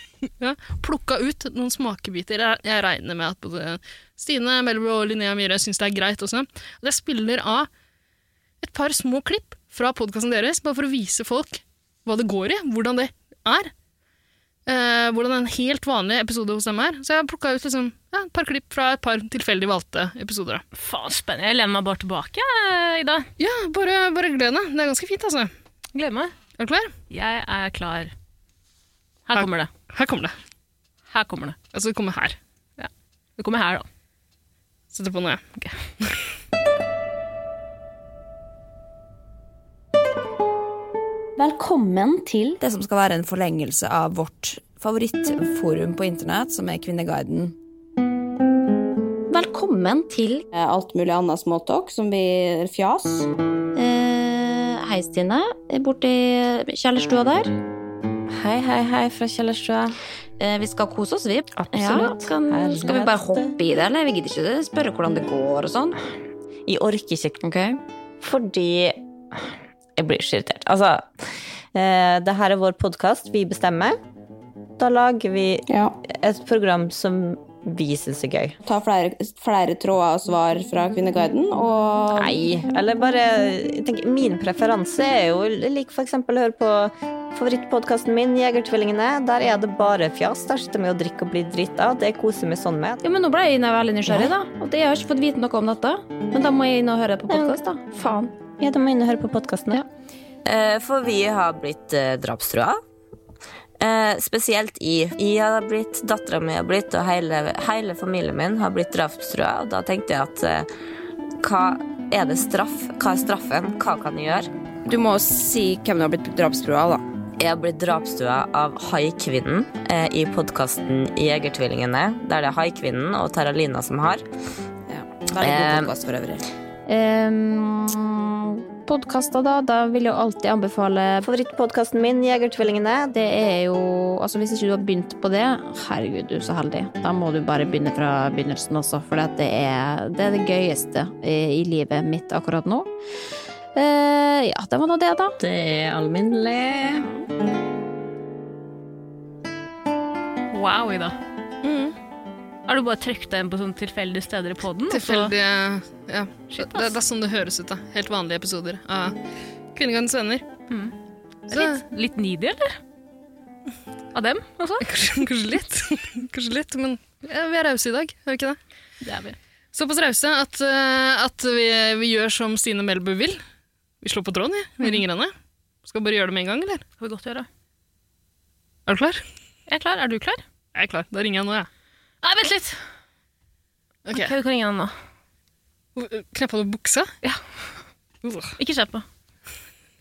B: Ja, plukka ut noen smakebiter. Jeg, jeg regner med at både Stine Melbro og Linnea Myhre syns det er greit også. At jeg spiller av et par små klipp fra podkasten deres, bare for å vise folk hva det går i, hvordan det er. Eh, hvordan en helt vanlig episode hos dem er. Så jeg har plukka ut liksom, ja, et par klipp fra et par tilfeldig valgte episoder. da.
A: Faen, spennende. Jeg lener meg bare tilbake, eh, Ida.
B: Ja, bare, bare gled deg. Det er ganske fint, altså.
A: Gleder meg.
B: Er du klar?
A: Jeg er klar. Her
B: Her-
A: kommer det.
B: Her kommer det.
A: Her kommer det.
B: Altså, det kommer her.
A: Det kommer her, da.
B: Setter på noe, jeg.
C: Velkommen til
D: det som skal være en forlengelse av vårt favorittforum på internett, som er Kvinneguiden.
C: Velkommen til
E: Eh, alt mulig annet småtalk som blir fjas.
C: eh, Hei, Stine. Borti kjellerstua der.
F: Hei, hei, hei fra kjellerstua.
C: Eh, vi skal kose oss, vi.
F: Absolutt.
C: Ja, kan,
F: Herlighet.
C: skal vi bare hoppe i det, eller? Vi gidder ikke spørre hvordan det går og sånn.
F: Jeg orker ikke
C: Ok?
F: fordi Jeg blir så irritert. Altså, eh, det her er vår podkast. Vi bestemmer. Da lager vi
E: Ja.
F: et program som vi syns er gøy.
E: Ta flere, flere tråder og svar fra Kvinneguiden, og
F: Nei, eller bare jeg tenker, Min preferanse er jo jeg liker f.eks. å høre på favorittpodkasten min, Jegertvillingene. Der er det bare fjas. Der sitter vi og drikker og blir drita. Det koser vi sånn med.
C: Ja, men nå ble jeg inne veldig nysgjerrig, da. Og det, jeg har ikke fått vite noe om dette. Men da må jeg inn og høre på podkast, da. Faen.
F: Ja, da må jeg inn og høre på podkasten. Ja.
G: Eh, For vi har blitt eh, drapstrua. Eh, spesielt i. Jeg har blitt, dattera mi har blitt, og hele, hele familien min har blitt drapstrua. Og da tenkte jeg at eh, hva er det straff? Hva er straffen? Hva kan jeg gjøre?
D: Du må si hvem du har blitt drapstrua av, da.
G: Jeg har blitt drapstrua av Haikvinnen eh, i podkasten Jegertvillingene. Der det er Haikvinnen og Taralina som har.
D: Veldig god
G: Eh,
D: podcast for øvrig.
C: Podkaster, da. Da vil jeg jo alltid anbefale
F: Favorittpodkasten min, Jegertvillingene.
C: Det er jo Altså, hvis ikke du har begynt på det, herregud, du er så heldig. Da må du bare begynne fra begynnelsen også, for det, er- det er det gøyeste i, i livet mitt akkurat nå. Eh, ja, det var nå det, da.
F: Det er alminnelig.
A: Wow, Ida.
B: Mm.
A: Har du bare trykt deg inn på sånne tilfeldige steder i poden?
B: Tilfeldige Ja.
A: Shit,
B: det, det er sånn det høres ut, da. Helt vanlige episoder av Kvinneguidens venner.
A: Mm.
B: Så,
A: Litt, litt needy, eller? Av dem, altså?
B: kanskje, kanskje litt. kanskje litt, men ja, vi er rause i dag, er vi ikke det?
A: Det er vi.
B: Såpass rause at, eh, at vi, vi gjør som Stine Melbu vil. Vi slår på tråden, vi.
A: Mm.
B: Vi ringer henne. Skal vi bare gjøre det med en gang, eller?
A: Skal vi godt gjøre.
B: Er du klar?
A: Jeg er klar. Er du klar?
B: Jeg er klar. Da ringer jeg nå, jeg.
A: Nei, vent litt! Ok,
B: Ja.
A: vi kan ringe han nå.
B: Okay. Kneppa du eh, buksa?
A: Ja.
B: Uh,
A: Ikke se på.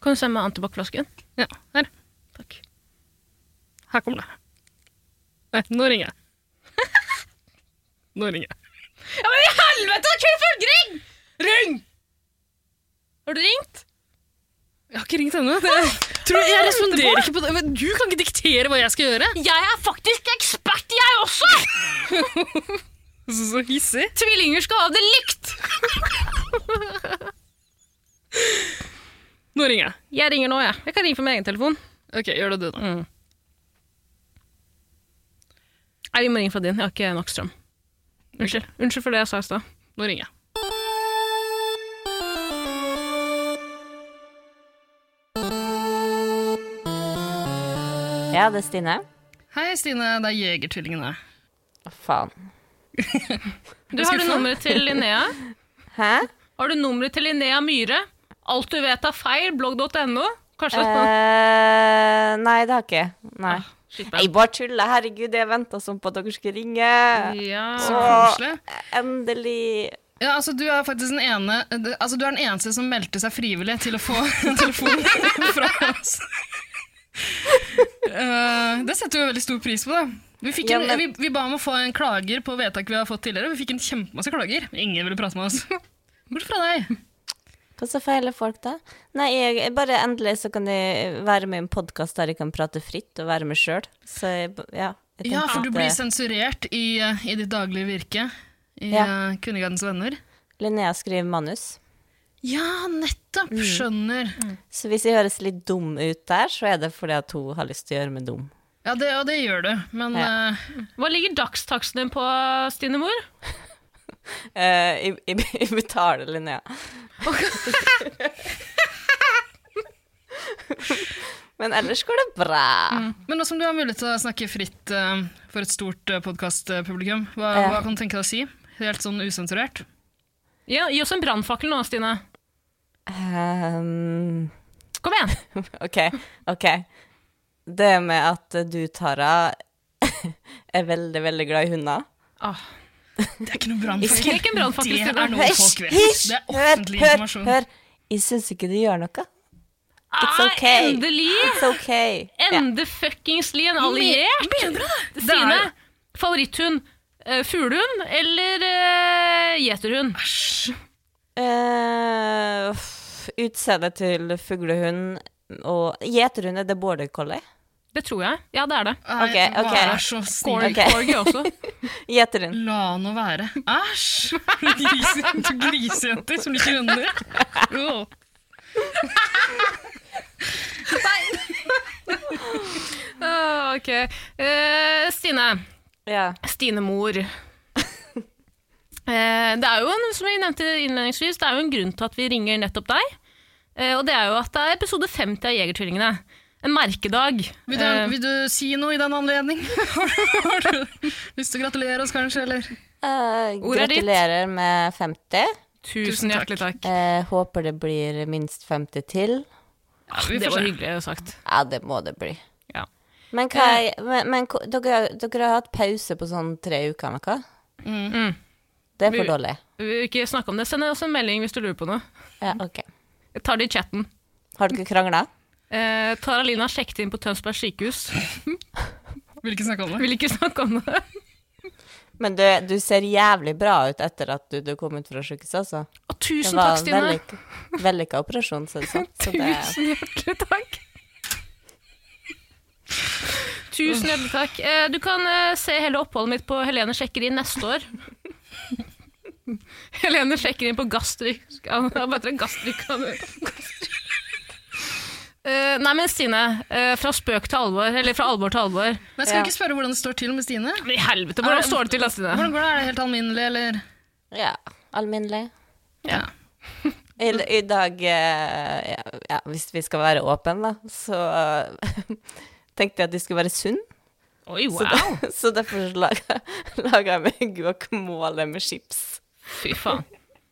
A: Kan du se med antibac-flasken?
B: Ja, her.
A: Takk.
B: Her kommer det. Nei, nå ringer jeg. nå ringer jeg.
A: Ja, men i helvete! da kunne folk ringe! Ring! Har du ringt?
B: Jeg har ikke ringt ennå. Det- Jeg tror- jeg responderer ikke på det. Men Du kan ikke diktere hva jeg skal gjøre.
A: Jeg er faktisk ekspert, jeg også!
B: Så, så hissig.
A: Tvillinger skal ha det likt!
B: Nå ringer jeg.
A: Jeg ringer nå, jeg. Jeg kan ringe fra min egen telefon.
B: Ok, gjør det du, da.
A: Nei, vi må ringe fra din. Jeg har ikke nok strøm. Unnskyld. Unnskyld for det jeg sa i stad.
B: Nå ringer jeg.
F: Ja, det er Stine.
B: Hei, Stine. Det er Jegertvillingene.
F: Å, faen.
A: Du, har du nummeret til Linnea?
F: Hæ?
A: Har du nummeret til Linnea Myhre? Alt du vet er feil, blogg.no? Kanskje
F: Eh, nei, det har jeg ikke. Eh, Nei.
B: Ah,
A: Shit,
F: Jeg bare tuller. Herregud, jeg venta sånn på at dere skulle ringe.
A: Ja.
B: Så
F: Åh.
B: Mm, koselig.
F: Endelig.
B: Ja, altså, du er faktisk den ene Altså, du er den eneste som meldte seg frivillig til å få en telefon fra oss. Eh, det setter vi veldig stor pris på, da. Vi, fikk
F: Ja,
B: en,
F: men-
B: vi, vi ba om å få en klager på vedtak vi har fått tidligere. Vi fikk en kjempemasse klager. Ingen ville prate med oss. Bortsett fra deg.
F: Hva så feiler folk, da? Nei, jeg, jeg bare endelig så kan jeg være med i en podkast der jeg kan prate fritt og være meg sjøl. Så jeg, b- ja. Jeg
B: Ja,
F: tenkte
B: for du
F: at,
B: blir
F: eh,
B: sensurert i, eh, i ditt daglige virke i
F: Ja.
B: eh, Kvinnegardens venner.
F: Linnea skriver manus.
B: Ja, nettopp!
F: Mm.
B: Skjønner.
F: Så hvis jeg høres litt dum ut der, så er det fordi at hun har lyst til å gjøre meg dum.
B: Ja, det, og det gjør du, men eh,
A: Hva ligger dagstaksten din på, Stine mor?
F: Eh, I i, i betalelinja. Men ellers går det bra.
B: Men nå som du har mulighet til å snakke fritt eh, for et stort uh, podkastpublikum, hva,
F: Ja.
B: hva kan du tenke deg å si? Helt sånn usensurert?
A: Ja, Gi oss en brannfakkel nå, Stine.
F: Ehm,
A: Kom igjen!
F: ok, ok. Det med at du, Tara, er veldig, veldig glad i hunder.
A: Åh,
B: Det er ikke noe brannfakkel.
A: Ikke en brannfakkel,
B: Det
A: Stine.
B: er noe folk vet. Det er offentlig
F: hør,
B: informasjon.
F: hør. Jeg syns ikke du gjør noe. It's
A: Ah,
F: okay.
A: Endelig!
F: It's ok. Ja.
A: Ende fuckingsly en alliert! Stine,
B: Det
A: favoritthund? eh, Fuglehund eller eh, gjeterhund?
F: Eh, f- Utseendet til fuglehund og Gjeterhund, er det border collie?
A: Det tror jeg. Ja, det er det.
B: Nei,
F: Ok, ok.
B: Vær så snill.
F: Ok.
A: Corgi også.
F: Gjeterhund.
B: La nå være. Æsj! Grise- to Grisejenter som liker hunder. Åh.
A: Ah, ok. Eh, Stine.
F: Ja.
A: Stine Mor. Eh, det er jo en, som jeg nevnte innledningsvis, det er jo en grunn til at vi ringer nettopp deg. Eh, og det er jo at det er episode 50 av Jegertvillingene. En merkedag.
B: Vil, du,
A: Eh,
B: vil du si noe i den anledning? Har du, har du lyst til å gratulere oss, kanskje? Eller?
A: Ordet
F: Eh,
A: er ditt.
F: gratulerer med 50.
A: tusen
B: takk.
A: hjertelig takk.
F: Eh, håper det blir minst 50 til.
A: Ah,
B: vi
A: det
B: får
A: var
B: se.
A: hyggelig sagt.
F: Ja, det må det bli.
A: Ja.
F: Men, hva, er- men, men ko- dere, dere har hatt pause på sånn tre uker eller noe?
A: Mm.
F: Det er
A: Vi-
F: for dårlig.
A: Vi vil ikke snakke om det. Send oss en melding hvis du lurer på noe.
F: Ja,
A: Mm.
F: ok.
A: Jeg tar det i chatten.
F: Har dere krangla?
A: Eh, Tara Lina sjekket inn på Tønsberg sykehus.
B: Vil ikke snakke om det?
A: Vil ikke snakke om det.
F: Men du, du ser jævlig bra ut etter at du, du kom ut fra sykehuset, altså.
A: Og tusen takk, Stine.
F: vellykka vellykka operasjon, ser det ut som. Så det-
A: Tusen hjertelig takk. Tusen hjertelig takk. Eh, Du kan eh, se hele oppholdet mitt på Helene sjekker inn neste år. Helene sjekker inn på gastrik... Hva heter det? Gastrik... Eh, nei, men Stine. eh, fra spøk til alvor. Eller fra alvor til alvor.
B: Men jeg skal ikke spørre hvordan det står til med Stine.
A: Men I helvete,
F: Eh,
A: hvordan står det til da, Stine?
B: Hvordan går det? Er det helt alminnelig, eller?
F: ja, alminnelig.
B: Ja.
F: I, I dag, eh, ja, ja, hvis vi skal være åpne, da, så eh, tenkte jeg at de skulle være sunn.
A: Oi,
F: Så,
A: wow.
F: de, så derfor så laga, laga jeg meg guacamole med chips.
A: Fy faen.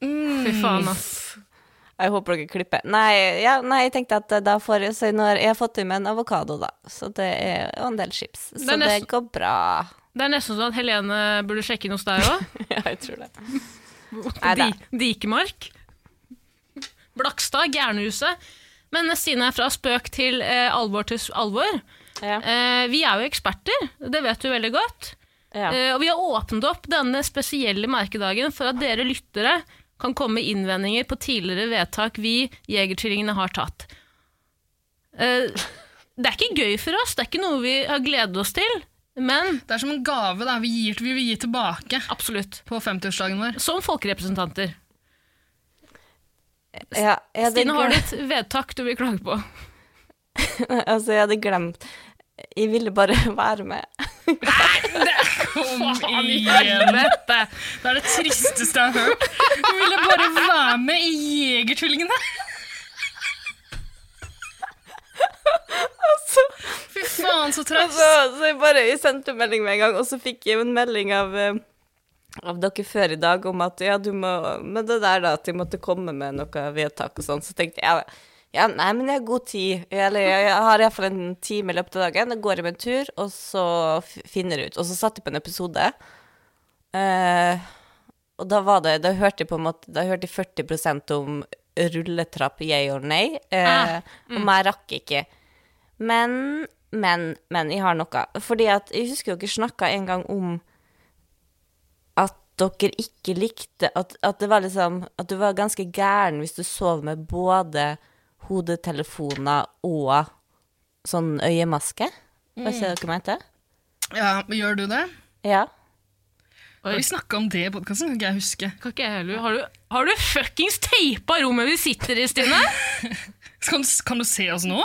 F: Mm.
A: Fy faen, ass.
F: Jeg håper dere klipper. Nei, ja, nei jeg tenkte at eh, da får jeg, så når jeg har fått i meg en avokado, da. Så det er og en del chips. Så
A: er
F: det,
A: nesten-
F: går bra.
A: Det er nesten sånn at Helene burde sjekke inn hos deg òg.
F: Ja, jeg tror det.
A: Di
F: Neida.
A: Dikemark. Blakstad, Gærnehuset. Men Stine, fra spøk til eh, alvor til s- alvor.
F: Ja.
A: Eh, vi er jo eksperter, det vet du veldig godt.
F: Ja.
A: Eh, og vi har åpnet opp denne spesielle merkedagen for at dere lyttere kan komme med innvendinger på tidligere vedtak vi Jegertvillingene har tatt. Eh, det er ikke gøy for oss, det er ikke noe vi har gledet oss til, men
B: Det er som en gave da. vi gir, vi vil gi tilbake
A: absolutt.
B: på 50-årsdagen vår.
A: Som folkerepresentanter.
F: Ja, jeg hadde
A: Stine, har du
F: glem-
A: et vedtak du vil klage på?
F: Altså, jeg hadde glemt. Jeg ville bare være med.
B: Kom igjen!
A: Helvete!
B: Det er det tristeste jeg har hørt. Hun ville bare være med i Jegertvillingene. Fy faen, så traust.
F: Så, så jeg bare jeg sendte melding med en gang, og så fikk jeg en melding av, eh, av dere før i dag om at ja, du må Men det der, da, at de måtte komme med noe vedtak og sånn, så tenkte jeg ja, nei, men jeg har god tid. Eller jeg, jeg har iallfall en time i løpet av dagen. Da går jeg med en tur, og så f- finner jeg ut. Og så satte jeg på en episode. eh, og da var det Da hørte jeg på en måte Da hørte jeg 40 om rulletrapp, yay or nay. eh, Og meg rakk ikke. Men, men, men jeg har noe. Fordi at jeg husker dere snakka en gang om at dere ikke likte at, at det var liksom At du var ganske gæren hvis du sov med både hodetelefoner og sånn øyemaske. Hva ser dere mente?
B: Ja, men Gjør du det?
F: Ja.
B: Har vi snakka om det i podkasten? Kan ikke jeg huske.
A: Kan ikke jeg heller. Har du, har du fuckings teipa rommet vi sitter i, Stine?
B: Kan du, kan du se oss nå?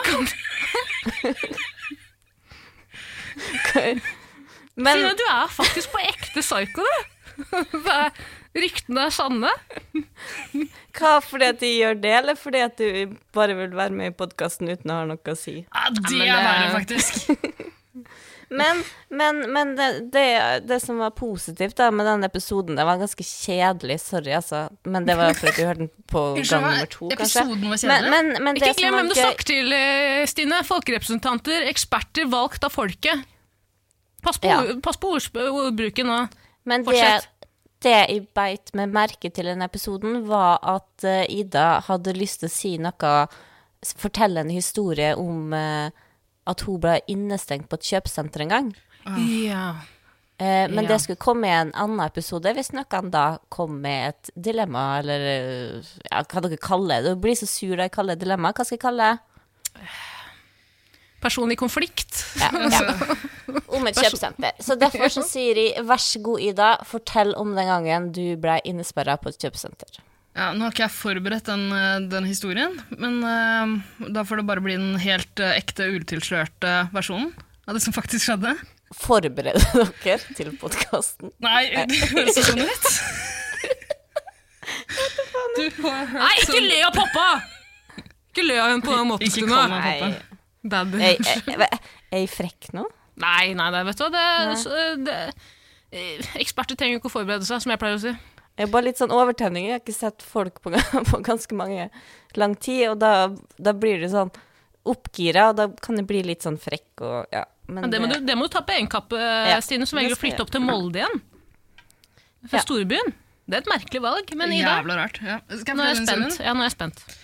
F: Hva- Men
A: Sina, du er faktisk på ekte psyko, du. Bare Ryktene er sanne.
F: hva fordi at de gjør det, eller fordi at du bare vil være med i podkasten uten å ha noe å si?
B: Ja, det
A: men
B: er verre,
A: det-
B: faktisk.
F: Men, men, men det, det, det som var positivt da, med den episoden, det var ganske kjjedelig, sorry, altså. Men det var fordi du hørte den på
B: Unnskyld
F: gang
B: meg,
F: nummer to, kanskje.
B: episoden var
F: Men,
B: kjedelig.
F: men, men det
A: Ikke glem hvem du snakker til, eh, Stine. Folkerepresentanter, eksperter valgt av folket. Pass på,
F: Ja.
A: ord- pass på ordsp- ordbruken nå.
F: Men det,
A: Fortsett.
F: det jeg beit meg merke til i den episoden, var at eh, Ida hadde lyst til å si noe s- Fortelle en historie om eh, at hun ble innestengt på et kjøpesenter en gang.
B: Ah.
A: Ja.
F: Eh, men
A: Ja.
F: det skulle komme i en annen episode hvis noen da kom med et dilemma, eller eh, ja, hva dere kaller det. Du blir så sur da jeg kaller det dilemma. Hva skal jeg kalle det?
A: Person i konflikt.
F: Ja, ja. Om et kjøpesenter. Så derfor så sier de vær så god, Ida, fortell om den gangen du ble innesperra på et kjøpesenter.
B: Ja, nå har ikke jeg forberedt den, eh, den historien, men eh, da får det bare bli den helt eh, ekte, utilslørte versjonen av det som faktisk skjedde.
F: forberede dere til podkasten.
B: Nei, det høres jo sånn ut. Du har hørt
A: Nei, ikke le av pappa! Ikke le av henne på den måten,
B: Ikke kall
A: Stine.
B: meg pappa.
A: Baby.
F: Er jeg- jeg- er jeg frekk nå?
A: Nei, nei, nei, vet du hva. Det, så, det, eh, eksperter trenger jo ikke å forberede seg, som jeg pleier å si.
F: Jeg er bare litt sånn overtenning. Jeg har ikke sett folk på, på ganske mange lang tid, og da, da blir du sånn oppgira, og da kan jeg bli litt sånn frekk og ja.
A: Men det må du, det må du ta på egen kappe,
F: Ja,
A: Stine, som
F: det
A: velger å
F: skal jeg
A: flytte opp til Molde igjen. Fra
F: Ja.
A: storbyen. Det er et merkelig valg, men Ida,
B: Jævla rart. Ja. Skal
A: nå er jeg
B: fortelle den
A: spent.
B: historien?
A: Ja, nå er jeg spent.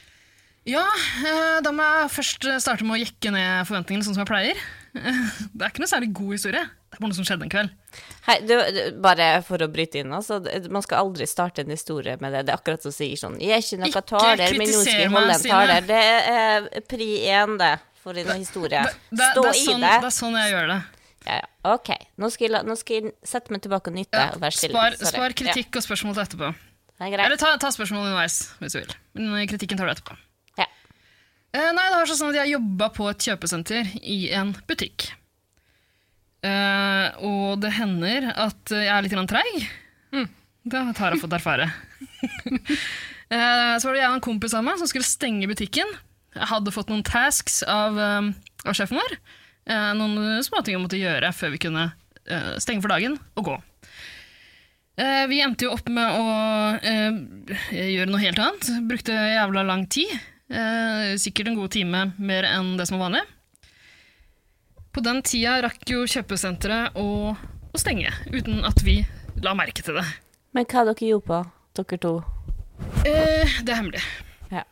B: Ja, eh, da må jeg først eh, starte med å jekke ned forventningene sånn som jeg pleier. Det er ikke noe særlig god historie. Det er bare noe som skjedde en kveld.
F: Hei, du, du, bare for å bryte inn, altså. det- Man skal aldri starte en historie med det. Det er akkurat som å si sånn Jeg er ikke noe
B: Ikke
F: taler, men nå skal
B: kritiser
F: jeg
B: meg,
F: holde en
B: Stine.
F: taler. Det er eh, pri én, det, for en historie.
B: Det, det,
F: Stå
B: det, er
F: i
B: sånn,
F: det.
B: det er sånn jeg gjør det.
F: Ja, ja. OK. Nå skal, jeg, la- nå skal jeg sette meg tilbake og nyte og være stille.
B: Spar,
F: Sorry.
B: spar
F: Ja.
B: kritikk og spørsmål til etterpå.
F: Det er greit.
B: Eller ta, ta spørsmål underveis, hvis du vil. Men eh, kritikken tar du etterpå.
F: Ja.
B: Eh, nei, det var sånn at jeg jobba på et kjøpesenter i en butikk. Eh, og det hender at jeg er litt grann treig.
F: Mm.
B: Det har jeg fått erfare. eh, så var det jeg og en kompis av meg som skulle stenge butikken. Jeg hadde fått noen tasks av, eh, av sjefen vår. Eh, noen eh, småting jeg måtte gjøre før vi kunne eh, stenge for dagen og gå. Eh, vi endte jo opp med å eh, gjøre noe helt annet. Brukte jævla lang tid. Eh, sikkert en god time mer enn det som var vanlig. På den tida rakk jo kjøpesenteret å, å stenge, uten at vi la merke til det.
F: Men hva dere gjorde på, dere to?
B: Eh, det er hemmelig.
F: Ja.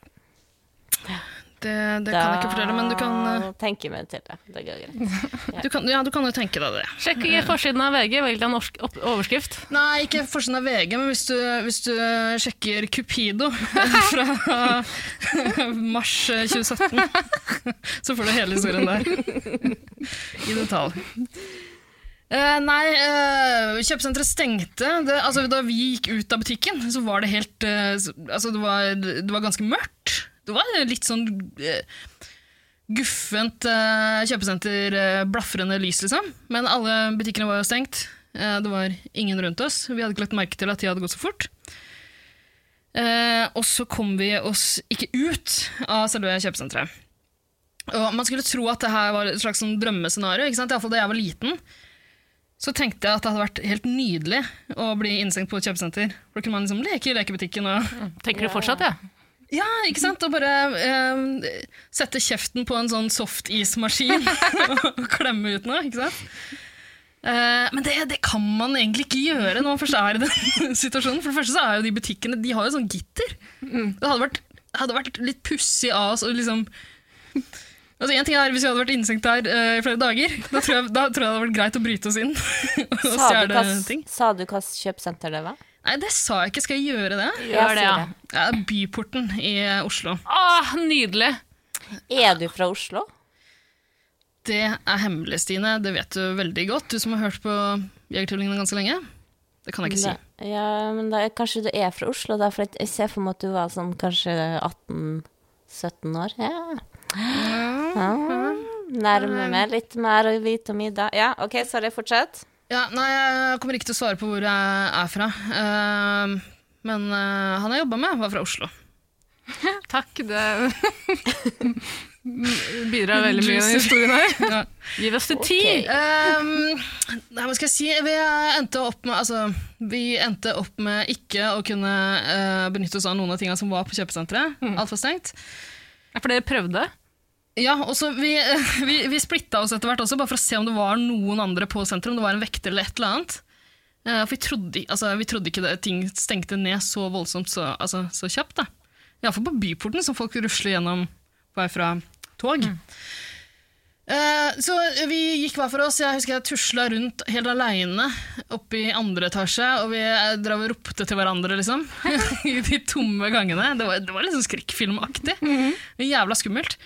B: Det, det kan jeg ikke fortelle, men du kan, eh,
F: Tenke meg til det. Det går greit.
B: du kan, ja, du kan jo tenke deg det.
A: Sjekk i forsiden av VG, velg deg en orsk- opp- overskrift.
B: Nei, ikke forsiden av VG, men hvis du, hvis du sjekker Cupido fra mars 2017, så får du hele historien der. I detalj. Eh, nei, eh, kjøpesenteret stengte. Det, altså, da vi gikk ut av butikken, så var det helt eh, så- Altså, det var, det var ganske mørkt. Det var litt sånn eh, guffent eh, kjøpesenter, eh, blafrende lys, liksom. Men alle butikkene var jo stengt. Eh, det var ingen rundt oss. Vi hadde ikke lagt merke til at de hadde gått så fort. Eh, og så kom vi oss ikke ut av selve kjøpesenteret. Og man skulle tro at det her var et slags sånn drømmescenario, ikke sant? iallfall da jeg var liten. Så tenkte jeg at det hadde vært helt nydelig å bli innsengt på et kjøpesenter. For da kunne man liksom leke i lekebutikken og
A: Tenker du fortsatt, ja?
B: ja, ikke sant? Og bare eh, sette kjeften på en sånn softismaskin og klemme ut noe, ikke sant? Eh, men det, det kan man egentlig ikke gjøre når man først er i den situasjonen. For det første så er jo de butikkene, de har jo sånn gitter. Det hadde vært, hadde vært litt pussig av oss å liksom Altså en ting er Hvis vi hadde vært innsenkt der eh, i flere dager, da tror, jeg, da tror jeg det hadde vært greit å bryte oss inn. og
F: Sa du hva,
B: stjele ting.
F: sa du hva kjøpesenter det var?
B: Nei, det sa jeg ikke. Skal jeg gjøre det?
A: Gjør det, ja.
F: sier
B: Ja, byporten i Oslo.
A: Åh, nydelig!
F: Er du fra Oslo?
B: Det er hemmelig, Stine. Det vet du veldig godt. Du som har hørt på Jegertvillingene ganske lenge. Det kan jeg ikke si.
F: Ne- Ja, men da, kanskje du er fra Oslo, da, for jeg ser for meg at du var sånn kanskje 18-17 år. Ja. Nærme meg litt mer og vite om Ida. Ja, OK, sorry, fortsett.
B: Ja, nei, jeg kommer ikke til å svare på hvor jeg er fra. Eh, men eh, han jeg jobba med, var fra Oslo.
H: Takk, det bidrar veldig mye i historien her.
B: Ja.
A: Gi oss til ti!
B: Ehm, nei, hva skal jeg si? Vi endte opp med, altså, vi endte opp med ikke å kunne eh, benytte oss av noen av tingene som var på kjøpesenteret. Alt var stengt.
H: Ja, For dere prøvde?
B: Ja, og så vi, vi, vi splitta oss etter hvert også, bare for å se om det var noen andre på senteret, om det var en vekter eller et eller annet. Eh, for vi trodde, altså, vi trodde ikke det, ting stengte ned så voldsomt så, altså, så kjapt. da. Iallfall på Byporten, som folk rusler gjennom på vei fra tog. Eh, så vi gikk hver for oss. Jeg husker jeg tusla rundt helt aleine oppe i andre etasje, og vi eh, drev og ropte til hverandre, liksom. I de tomme gangene. Det var, det var liksom skrekkfilmaktig. Jævla skummelt.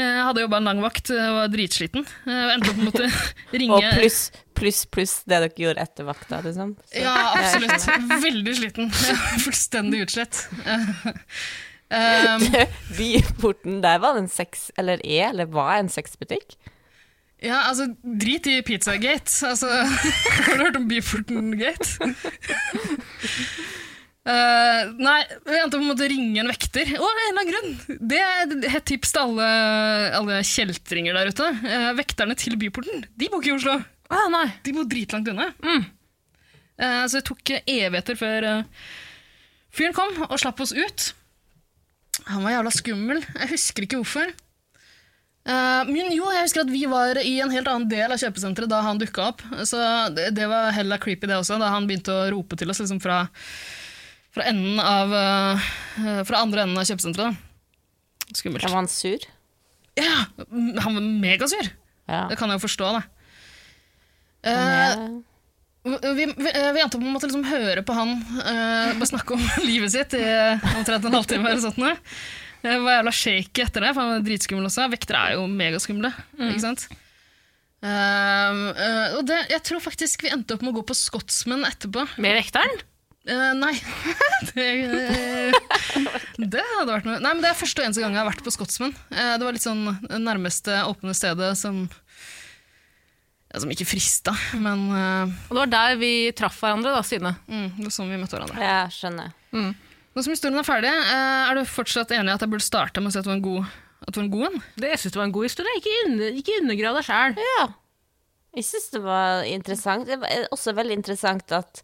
B: Eh, Jeg hadde jobba en lang vakt, eh, var dritsliten. Eh, og Endte opp med å måtte ringe
F: Og pluss, pluss, pluss det dere gjorde etter vakta, liksom. Så.
B: Ja, absolutt. Veldig sliten. Fullstendig utslett. Eh, um,
F: Byporten der var det en sex... Eller er, eller var en sexbutikk?
B: Ja, altså, drit i Pizzagate. Altså, har du hørt om Byforten-gate? Eh, nei, vi endte opp med å måtte ringe en vekter. Å, av en eller annen grunn! Det er et tips til alle, alle kjeltringer der ute. Eh, vekterne til Byporten, de bor ikke i Oslo.
A: Ah, nei.
B: De bor dritlangt unna. Mm. Eh, så det tok evigheter før eh, fyren kom og slapp oss ut. Han var jævla skummel. Jeg husker ikke hvorfor. Eh, men jo, jeg husker at vi var i en helt annen del av kjøpesenteret da han dukka opp. Så det, det var hella creepy, det også, da han begynte å rope til oss liksom fra, fra, enden av, eh, fra andre enden av kjøpesenteret. da. Skummelt.
F: Da var han sur.
B: Ja, han var megasur.
F: Ja.
B: Det kan jeg jo forstå, da. Eh,
F: Men, eh,
B: vi, vi, vi endte opp med å måtte liksom høre på han eh, bare snakke om livet sitt i eh, omtrent en halvtime. eller sånt nå. Jeg var jævla shaky etter det, for han var dritskummel også. Vektere er jo megaskumle. ikke sant? Ehm, eh, og det, jeg tror faktisk vi endte opp med å gå på Scotsman etterpå.
A: Med vekteren?
B: Eh, nei. det, eh, det hadde vært noe. Nei, men det er første og eneste gang jeg har vært på Scotsman. Eh, det var litt sånn det nærmeste åpne stedet som ja, Som ikke frista, men eh,
A: Og det var der vi traff hverandre, da, Stine.
B: mm, det var sånn vi møtte hverandre.
F: ja, skjønner.
B: Nå som historien er ferdig, eh, er du fortsatt enig i at jeg burde starte med å si at det var en god at det var en god en?
A: Det jeg synes det var en god historie. Ikke, under, ikke undergrav deg sjæl.
F: Ja. Jeg syns det var interessant. Det var også veldig interessant at,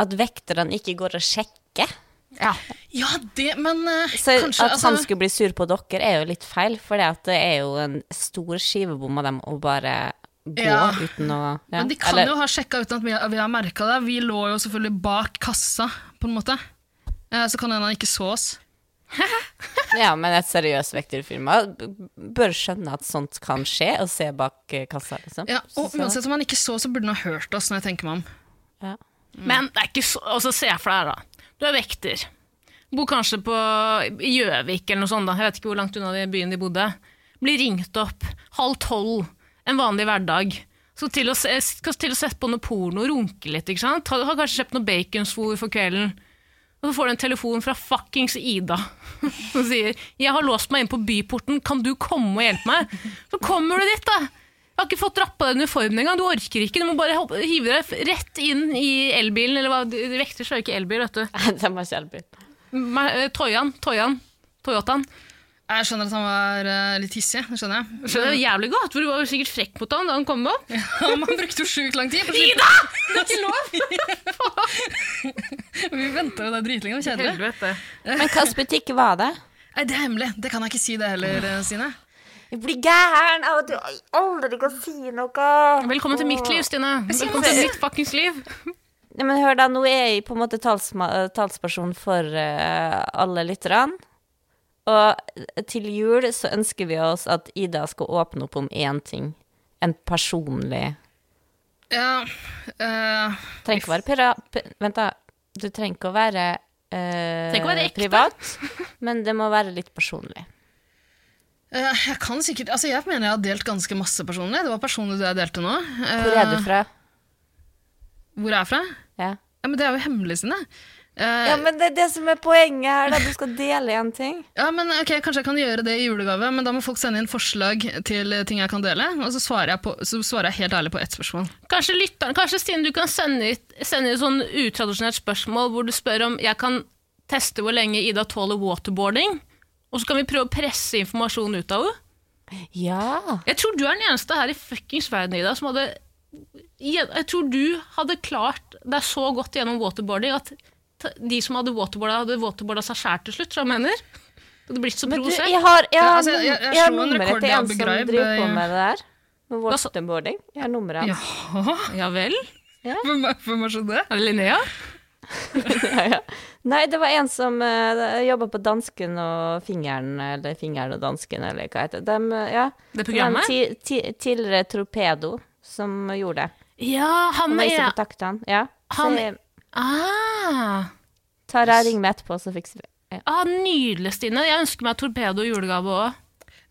F: at vekterne ikke går og sjekker.
B: Ja, det, men eh,
F: Så
B: kanskje
F: at han skulle bli sur på dere, er jo litt feil, for det er jo en stor skivebom av dem å bare gå
B: Ja.
F: uten å ja.
B: Men de kan
F: Eller-
B: jo ha sjekka uten at vi, vi har merka det. Vi lå jo selvfølgelig bak kassa, på en måte. Eh, så kan det hende han ikke så oss.
F: Ja, men et seriøst vekterfirma b- bør skjønne at sånt kan skje, og se bak eh, kassa, liksom.
B: Ja, og
F: Så-
B: uansett om han ikke så, så burde han ha hørt oss, når jeg tenker meg om.
F: ja.
A: Mm. Men det er ikke så Og så ser jeg for deg, da. Du er vekter. Bor kanskje på i Gjøvik eller noe sånt. da. Jeg vet ikke hvor langt unna de byen de bodde. Blir ringt opp halv tolv en vanlig hverdag. Så til å, se, skal til å sette på noe porno og runke litt. ikke sant? Har har kanskje kjøpt noe baconsvor for kvelden. Og så får du en telefon fra fuckings Ida som sier 'Jeg har låst meg inn på byporten, kan du komme og hjelpe meg?' Så kommer du dit, da. Jeg har ikke fått dratt på deg uniformen engang. Du orker ikke. Du må bare hoppe- hive deg f- rett inn i elbilen, eller hva de de vekter seg jo ikke elbil, vet du.
F: De har ikke elbil.
A: Ma- eh, Toyan, Toyan, Toyotaen.
B: Jeg skjønner at han var eh, litt hissig. det skjønner jeg.
A: Skjønner du, jævlig godt, for du var jo sikkert frekk mot han da han kom opp.
B: Ja, men han brukte jo sjukt lang tid. Ida! Det er ikke lov! vi venta jo der dritlenge. det var Kjedelig.
A: Helvete.
F: Men hvilken butikk var det?
B: Nei, det er hemmelig. Det kan jeg ikke si det heller, eh, Stine.
G: Jeg blir gæren av at du aldri kan si noe.
A: Velkommen til mitt liv, Stine. Velkommen til mitt fuckings liv.
F: Nei, men hør da, nå er jeg på en måte talsma, eh, talsperson for eh, alle lytterne. Og til jul så ønsker vi oss at Ida skal åpne opp om én ting. En personlig
B: Ja, eh,
F: Trenger ikke å være pira... p- Vent, da. Du trenger ikke å være eh,
A: Trenger ikke å være ekte.
F: privat, men det må være litt personlig.
B: eh, jeg kan sikkert Altså, jeg mener jeg har delt ganske masse personlig. Det var personlig det jeg delte nå. Eh,
F: Hvor er du fra?
B: Hvor er jeg fra?
F: Ja.
B: Ja, men det er jo hemmelig, Stine. Eh,
F: Ja, men det er det som er poenget her, da. Du skal dele en ting.
B: Ja, men ok, Kanskje jeg kan gjøre det i julegave, men da må folk sende inn forslag til eh, ting jeg kan dele. Og så svarer jeg, på, så svarer jeg helt ærlig på ett spørsmål.
A: Kanskje lytteren, kanskje Stine, du kan sende ut, sende ut sånn utradisjonelt spørsmål hvor du spør om jeg kan teste hvor lenge Ida tåler waterboarding, og så kan vi prøve å presse informasjon ut av henne.
F: Ja.
A: Jeg tror du er den eneste her i fuckings verden, Ida, som hadde Jeg tror du hadde klart deg så godt gjennom waterboarding at t- de som hadde waterboarda, hadde waterboarda seg sjæl til slutt, tror jeg mener. Det hadde blitt så
F: Men du,
A: provosert.
F: jeg har, jeg
B: Ja,
F: har,
B: altså, jeg- jeg
F: num- jeg har
B: slo en
F: nummeret
B: rekord
F: til
B: i
F: en
B: Abu
F: som
B: Ghraib,
F: driver på
B: eh,
F: med det der. Med
A: Hva sa-
F: waterboarding. Jeg har nummeret hans.
B: Jaha,
A: Ja vel?
B: hvem, er- hvem er så det?
A: Er det Linnea?
F: Ja, ja. Nei, det var en som uh, jobba på Dansken og Fingeren, eller Fingeren og Dansken, eller hva heter det. Dem, eh, ja.
A: Det
F: Det var en
A: programmet?
F: ti, ti, tidligere torpedo som gjorde det.
A: Ja, han
F: Han var ikke
A: er
F: kontakta han. Ja.
A: Han-
F: Så jeg,
A: ah.
F: Tara, ring meg etterpå, så fikser vi det. Ja.
A: ah, Nydelig, Stine. Jeg ønsker meg torpedo i julegave òg.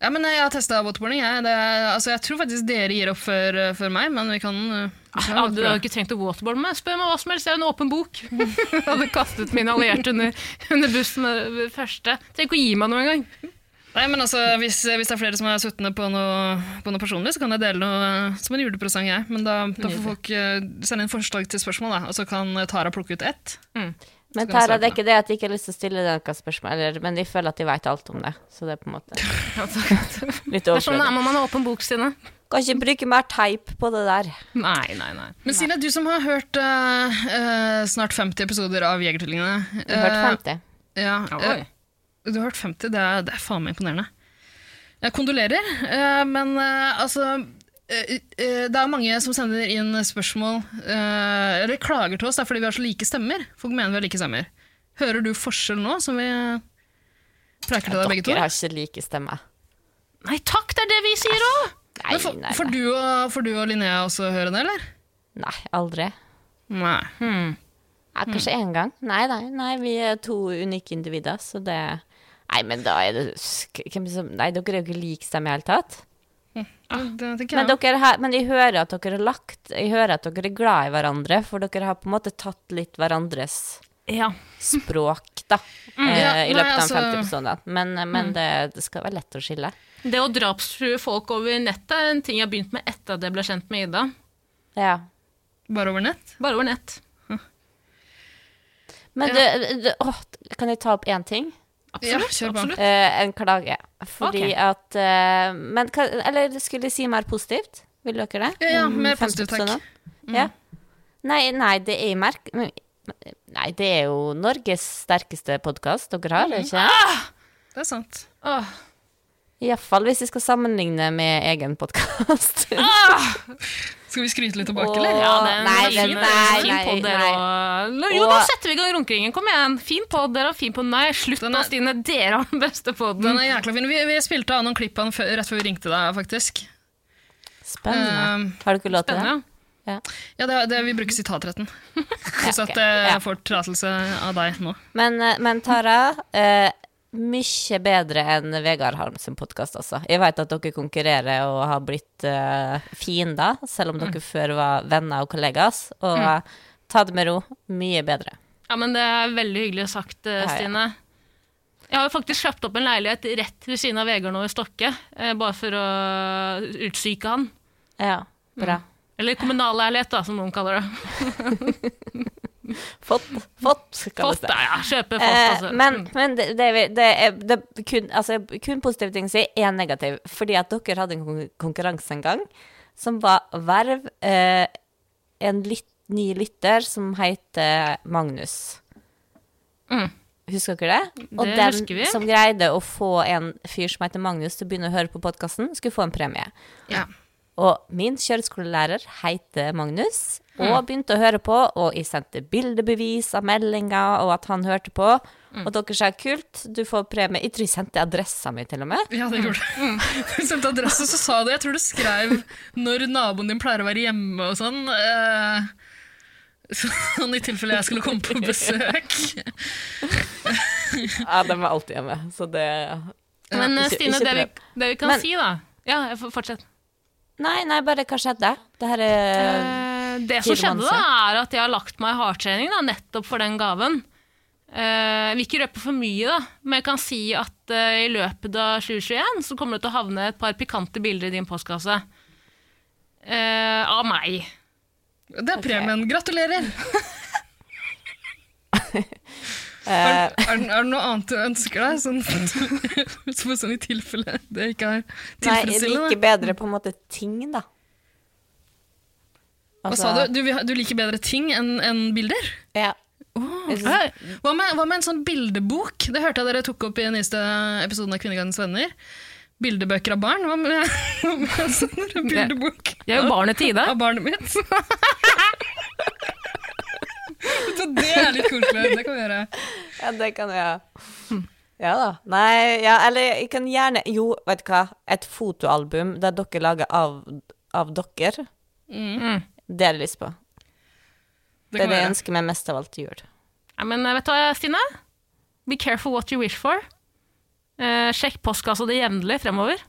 B: Ja, men eh, Jeg har testa waterboarding. Jeg, det, er- altså, jeg tror faktisk dere gir opp før, eh, før meg, men vi kan, eh, vi kan
A: Ja,
B: godt
A: du
B: prøve.
A: har ikke trengt å waterboarde meg. Spør meg hva som helst, jeg er en åpen bok. Jeg hadde kastet mine allierte under, under bussen med det første. Trenger ikke å gi meg noe engang.
B: Nei, men altså, hvis, hvis det er flere som er suttende på noe, på noe personlig, så kan jeg dele noe eh, som en julepresang, jeg. Men da, da får folk eh, sende inn forslag til spørsmål, da. Og så kan eh, Tara plukke ut ett.
F: Men
B: Så kan jeg
F: Tara,
B: svare på
F: det er ikke det at de ikke har lyst til å stille deg noen spørsmål, eller, men de føler at de veit alt om det. Så det er på en måte litt
A: Det er sånn det
F: overflødig.
A: er når man har åpen bok, Stine.
F: Kan ikke bruke mer teip på det der.
A: Nei, nei, nei.
B: Men Stine, du som har hørt eh, eh, snart 50 episoder av Jegertvillingene
F: Du hørte
B: eh,
F: 50.
B: Ja,
A: Oi.
B: eh, du har hørt 50, det er, det er faen meg imponerende. Jeg kondolerer, eh, men eh, altså eh, eh, det er mange som sender inn spørsmål eh, eller klager til oss. Det er fordi vi har så like stemmer. Folk mener vi har like stemmer. Hører du forskjell nå, som vi preiker til deg begge to?
F: Dere har ikke like stemme.
A: Nei takk, det er det vi sier òg!
F: Nei,
B: Men får-
F: nei,
B: Får
F: nei.
B: du, og, får du og Linnea også høre det, eller?
F: nei aldri.
B: Nei.
F: Ja, kanskje
B: Mm.
F: én gang. Nei, nei, nei, vi er to unike individer, så det Nei, men da er det sk- hvem som, Nei, dere er jo ikke like stemme i det hele tatt.
B: Det tenker
F: Men,
B: jeg.
F: dere har, men jeg hører at dere har lagt Jeg hører at dere er glad i hverandre, for dere har på en måte tatt litt hverandres
A: Ja.
F: språk, da, eh,
B: Ja,
F: i løpet
B: nei,
F: av
B: altså- Mm.
F: 50 episoder. Men, eh, men det, det skal være lett å skille.
A: Det å drapstrue folk over nettet er en ting jeg har begynt med etter at jeg ble kjent med Ida.
F: Ja.
B: Bare over nett?
A: Bare over nett.
F: Men du, du åh, kan jeg ta opp én ting?
B: Ja,
A: Absolutt.
B: kjør på.
A: absolutt.
F: Eh, en klage. Fordi
A: Ok.
F: at eh, Men hva- eller skulle jeg si mer positivt? Vil dere det?
B: Ja, ja,
F: Om
B: mer
F: 50
B: positivt, takk. Mm.
F: episoder? Ja. Nei, nei, det er jo merk... Nei, det er jo Norges sterkeste podkast dere har, er det ikke?
B: Mm. Det er sant.
A: Åh,
F: Iallfall hvis vi skal sammenligne med egen podkast.
B: Skal vi skryte litt tilbake,
F: Åh.
B: eller?
A: ja, det er en
F: Nei,
A: fin,
F: den- nei,
A: fin
F: nei,
A: podd, dere
F: nei.
A: òg. Nå- Jo,
F: Og-
A: nå setter vi i gang runkeringen. Kom igjen. Fin podd, dere har fin podd. Nei, slutt
B: Den
A: nå,
B: er-
A: Stine. Dere har den beste podden.
B: Den er jækla fin. Vi, vi spilte av noen klipp av den før, rett før vi ringte deg, faktisk.
F: Spennende.
B: Um,
F: Har dere lov til det?
A: Spennende.
B: ja, det, er- det, vi bruker sitatretten. Pluss at
F: ok.
B: eh,
F: Ja.
B: jeg får tillatelse av deg nå.
F: Men, eh, men Tara, eh, mye bedre enn Vegard Harm sin podkast, altså. Jeg vet at dere konkurrerer og har blitt eh, fiender, selv om dere før var venner og kollegas. Og eh, ta det med ro. Mye bedre.
A: Ja, men det er veldig hyggelig sagt, eh,
F: Ja, ja.
A: Stine. Jeg har jo faktisk kjøpt opp en leilighet rett ved siden av Vegard nå i Stokke, eh, bare for å utsyke han.
F: Ja, bra.
A: Eller kommunalleilighet, da, som noen kaller det.
F: Fått, fått, kalles
A: Fast,
F: det.
A: ja, ja, kjøpe fast,
F: Eh,
A: altså.
F: men men det, det, er- det er, det er kun, altså, kun positive ting å si, én negativ. Fordi at dere hadde en kon- konkurranse en gang som var verv eh, en lytt, ny lytter som heter Magnus.
A: Mm.
F: Husker dere det? Og
A: Det
F: den
A: husker vi.
F: som greide å få en fyr som heter Magnus til å begynne å høre på podkasten, skulle få en premie.
B: Ja.
F: Og min kjøreskolelærer heter Magnus, og
A: Mm.
F: begynte å høre på, og jeg sendte bildebevis av meldinga, og at han hørte på.
A: Mm.
F: Og dere sa kult, du får premie. Jeg tror jeg sendte adressa mi, til og med.
B: Ja, det gjorde du. Du sendte adresse, så sa du Jeg tror du skrev når naboen din pleier å være hjemme og sånn. eh, Sånn i tilfelle jeg skulle komme på besøk.
F: Ja, den var alltid hjemme, så det
A: men eh,
F: ikke-
A: Stine,
F: ikke
A: det vi,
F: prøv.
A: det vi kan
F: Men-
A: si, da Ja, jeg får fortsette.
F: Nei, nei, bare hva skjedde? Det her er
A: Eh, det som skjedde, da, er at jeg har lagt meg i hardtrening da, nettopp for den gaven. Eh, jeg vil ikke røpe for mye, da, men jeg kan si at eh, i løpet av 2021 så kommer det til å havne et par pikante bilder i din postkasse. Eh, av meg.
B: Det er premien. Gratulerer!
F: Eh,
B: Er, er, det- er det noe annet du ønsker deg? Sånn, så for sånn i tilfelle det ikke er
F: nei,
B: tilfredsstillende.
F: like bedre på en måte ting, da. Altså,
B: Hva sa du? Du, vil ha- du liker bedre ting enn enn bilder?
F: Ja. Jeg synes-
B: Hei, Hva med, hva med en sånn bildebok? Det hørte jeg dere tok opp i den nyeste episoden av Kvinnegardens venner. Bildebøker av barn. Hva med, hva med en sånn bildebok
I: Jeg er jo barnet til Ida.
B: av barnet mitt? Så det er litt koselig. Det kan vi gjøre.
F: Ja, det kan jeg. Ja da. Nei, ja, eller jeg kan gjerne Jo, vet du hva. Et fotoalbum der dere lager av, av dere. Det har jeg lyst på.
B: Mm. Det kan vi
F: Det er det jeg
B: gjøre.
F: ønsker meg mest av alt til jul.
A: Nei, men eh, vet du hva, Stine? Be careful what you wish for. Eh, sjekk postkassa di jevnlig fremover.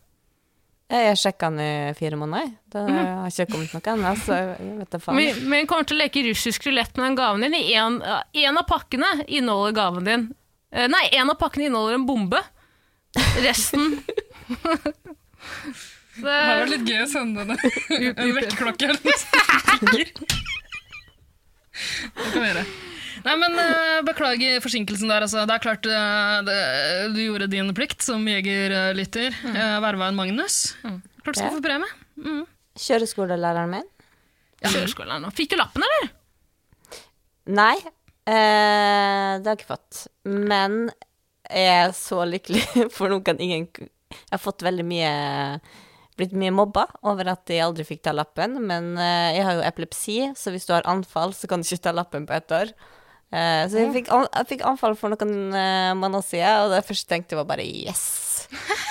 F: Jeg har sjekka den i fire måneder. jeg. Det
B: Mhm.
F: har ikke kommet noe annet, så jeg vet da faen.
A: Vi, vi kommer til å leke russisk rulett med den gaven din. I en, en av pakkene inneholder gaven din. Eh, nei, en av pakkene inneholder en bombe. Resten
B: Det hadde vært litt gøy å sende henne en vekkerklokke eller noe sånt. Det kan vi gjøre. Nei, men eh, Beklager forsinkelsen der. Altså. Det er klart eh, det, Du gjorde din plikt som jegerlytter. Mm. Verva en Magnus.
A: Mm.
B: Klart du skal få premie.
F: Kjøreskolelæreren min?
A: kjøreskolen er nå. Fikk du lappen, eller?
F: Nei, eh, det har jeg ikke fått. Men jeg er så lykkelig, for nå kan ingen Jeg har fått veldig mye blitt mye mobba over at jeg aldri fikk ta lappen, men eh, jeg har jo epilepsi, så hvis du har anfall, så kan du ikke ta lappen på ett år. Eh, så jeg fikk, an, jeg fikk anfall for noen eh, måneder siden, og det første jeg tenkte var bare yes!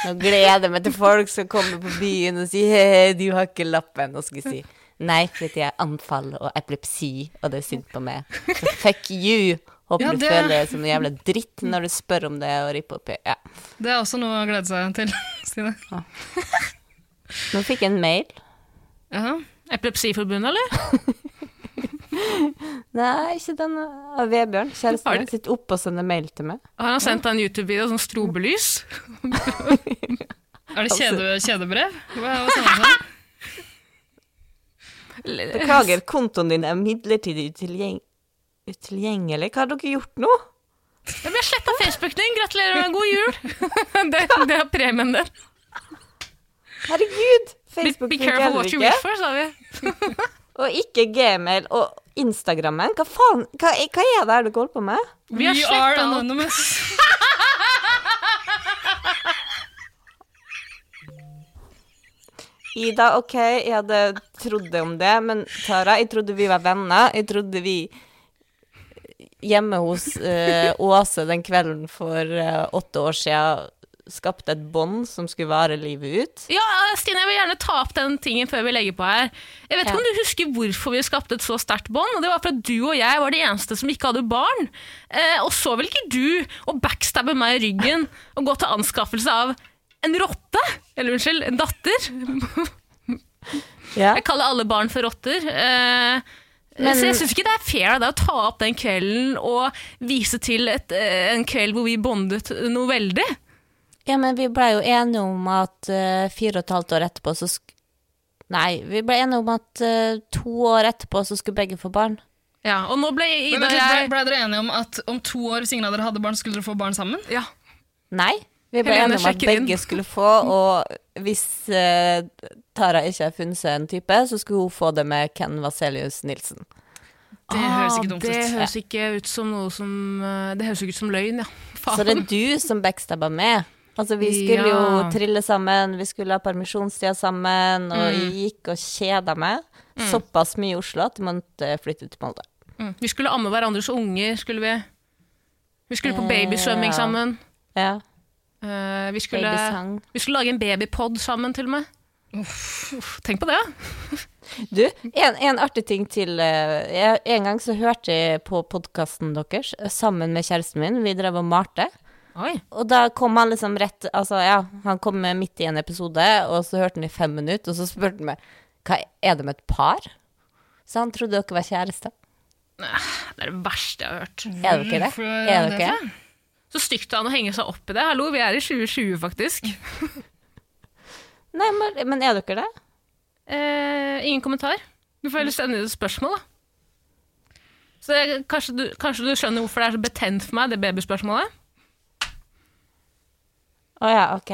F: Nå gleder jeg meg til folk som kommer på byen og sier hei, du har ikke lappen. Og så skal jeg si nei, fordi jeg har anfall og epilepsi, og det er synd på meg. Så fuck you! Håper
B: Ja,
F: du
B: det-
F: føler deg som en jævla dritt når du spør om det og ripper opp i Ja.
B: Det er også noe å glede seg til, Stine.
F: Nå fikk jeg en mail.
B: Jaha.
A: Epilepsiforbundet, eller?
F: Nei, ikke den eh, av Vebjørn. Kjæresten min sitter oppe og sender mail til meg.
A: Har han sendt deg en YouTube-video som strobelys?
B: Er det kjede,
A: Altså.
B: kjedebrev? Hva, hva sender du sånn?
F: Beklager, kontoen din er midlertidig utilgjeng utilgjengelig. Hva har dere gjort nå?
A: Jeg ble sletta Facebooken din! Gratulerer med god jul! det, det er premien din.
F: Herregud!
A: Be,
F: Facebook
A: be
F: funker
A: careful
F: heller
A: what you
F: ikke.
A: wish for, sa vi.
F: Og ikke Gmail og Instagrammen. Hva faen? Hva, hva er det her dere holder på med?
A: Vi har
B: We
A: slettet
B: are
A: alt.
B: anonymous.
F: Ida, OK, jeg hadde trodd det om det, men Tara, jeg trodde vi var venner. Jeg trodde vi hjemme hos eh, Åse den kvelden for eh, åtte år siden skapte et bånd som skulle vare livet ut.
A: Ja, Stine, jeg vil gjerne ta opp den tingen før vi legger på her. Jeg vet ikke om du husker hvorfor vi skapte et så sterkt bånd, og det var for at du og jeg var de eneste som ikke hadde barn. Eh, og så vil ikke du å backstabbe meg i ryggen og gå til anskaffelse av en rotte, eller unnskyld, en datter.
F: Ja.
A: Jeg kaller alle barn for rotter. Eh, så jeg syns ikke det er fair av deg å ta opp den kvelden og vise til et, eh, en kveld hvor vi bondet noe veldig.
F: Ja, men vi ble jo enige om at eh, fire og et halvt år etterpå så sk... Nei, vi ble enige om at eh, to år etterpå så skulle begge få barn.
A: Ja, og nå ble
B: Men
A: Ida og
B: vent litt, Ble,
A: jeg
B: ble dere enige om at om to år, hvis ingen av dere hadde barn, skulle dere få barn sammen?
A: ja.
F: Nei, vi ble
A: Helene
F: enige om at
A: sjekker inn.
F: begge skulle få, og hvis eh, Tara ikke har funnet seg en type, så skulle hun få det med Ken Vaselius Nilsen.
B: Det høres ikke dumt
A: Ah, det
B: ut.
A: Høres ikke ut som noe som eh, Det høres jo ikke ut som løgn, ja. Faen.
F: Så det er du som backstabba med. Altså, vi skulle
A: Ja.
F: jo trille sammen, vi skulle ha permisjonstida sammen, og
A: Mm.
F: jeg gikk og kjeda meg såpass mye i Oslo at jeg måtte flytte til Molde.
A: Mm. Vi skulle amme hverandres unger, skulle vi. Vi skulle på
F: Ja.
A: babysvømming sammen.
F: Ja,
A: Eh, vi, skulle,
F: babysang.
A: vi skulle lage en babypod sammen, til og med. Uff, tenk på det. ja.
F: Du, en, en artig ting til. eh, Jeg, en gang så hørte jeg på podkasten deres eh, sammen med kjæresten min. Vi drev og malte.
A: Oi.
F: Og da kom han liksom rett Altså, ja, han kom med midt i en episode, og så hørte han i fem minutter, og så spurte han meg Hva er det med et par? Så han trodde dere var kjærester.
A: Det er det verste jeg har hørt.
F: Er det ikke det? Er det ikke?
A: Så stygt av han å henge seg opp i det. Hallo, vi er i 2020, faktisk.
F: Nei, men, men er dere det?
A: Eh, ingen kommentar. Du får heller sende inn et spørsmål, da. Så jeg, kanskje, du, kanskje du skjønner hvorfor det er så betent for meg, det babyspørsmålet?
F: Å ja, OK.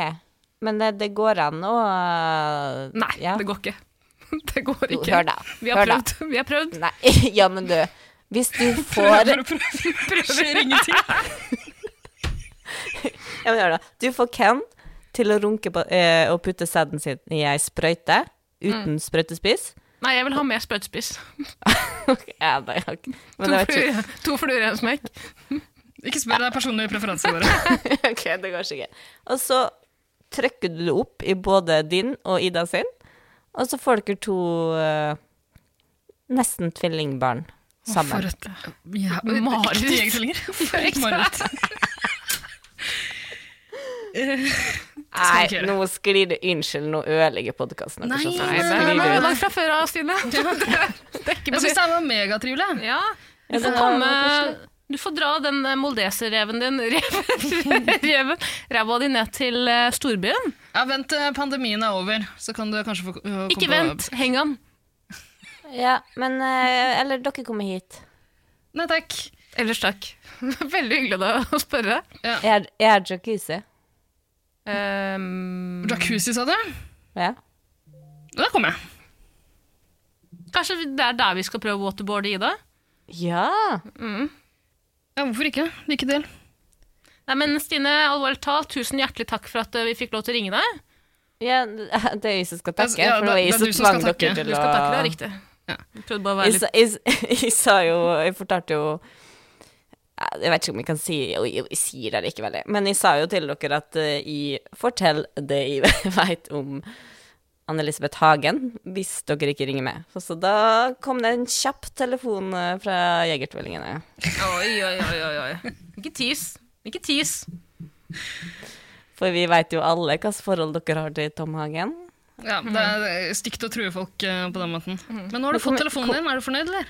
F: Men det, det går an å øh,
A: Nei,
F: ja.
A: det går ikke. Det går
F: Jo,
A: ikke.
F: Hør, da.
A: Vi har
F: Hør da.
A: prøvd. Vi har prøvd.
F: Nei, ja, men du. Hvis du får
A: Skjer ingenting.
F: Ja, men hør da. Du får Ken til å runke på, eh, og putte sæden sin i ei sprøyte
A: Mm.
F: uten sprøytespiss.
A: Nei, jeg vil ha mer sprøytespiss.
F: Ok, ja, nei, ok.
A: To
F: Men det var ikke
A: fluer- to fluer i en smekk.
B: Ikke spør, det er personlige preferanser våre.
F: Ok, det går sikkert. Og så trykker du det opp i både din og Ida sin, og så får dere to eh, nesten tvillingbarn sammen.
B: For et ja,
A: Mareritt.
B: Ekte jegertvillinger. For et mareritt.
F: Nei,
B: ikke gjøre.
F: nå sklir det. Unnskyld, nå ødelegger podkasten.
B: Nei,
A: Nei,
B: nei,
A: det
B: nei,
A: er
B: nei,
A: langt fra før av, Stine. Det er ikke
B: Jeg syns det her var megatrivelig.
A: Ja, du får
B: eh,
A: komme Du får dra den eh, moldeserreven din reven, reven, ræva di ned til eh, storbyen.
B: Ja, vent til pandemien er over, så kan du kanskje få øh, komme
A: Ikke
B: på-
A: vent, heng han.
F: Ja, men eh, Eller dere kommer hit.
B: Nei takk.
A: Ellers takk. Veldig hyggelig av deg å spørre.
F: Jeg er- jeg er jacuzzi.
A: Ehm,
B: Jacuzzi, sa du?
F: Ja.
B: Da kommer jeg.
A: kanskje det er der vi skal prøve å waterboarde Ida?
F: ja.
B: Ja, hvorfor ikke? Like del.
A: Nei, men Stine, alvorlig talt, tusen hjertelig takk for at eh, vi fikk lov til å ringe deg.
F: Ja, det er jeg som skal takke.
B: Altså, ja, det-
F: for det var jeg
B: det er
F: som
B: du som skal
F: tvang dere
B: takke.
F: til
A: Du
F: å
A: skal takke deg riktig.
B: Ja.
A: Jeg Prøvde bare å være
F: Jeg
A: litt
F: sa- Jeg s- jeg sa jo Jeg fortalte jo ja, Jeg vet ikke om jeg kan si jo, jo, Jeg sier det ikke veldig. Men jeg sa jo til dere at eh, jeg Fortell det jeg vet om Anne-Elisabeth Hagen, hvis dere ikke ringer meg. Så da kom det en kjapp telefon eh, fra Jegertvillingene.
A: Oi, oi, oi, oi, oi. Ikke tis. Ikke tis.
F: For vi vet jo alle hvilket forhold dere har til Tom Hagen.
B: Ja, Det er øh, stygt å true folk eh, på den måten. Men nå har du fått telefonen din. Er du fornøyd, eller?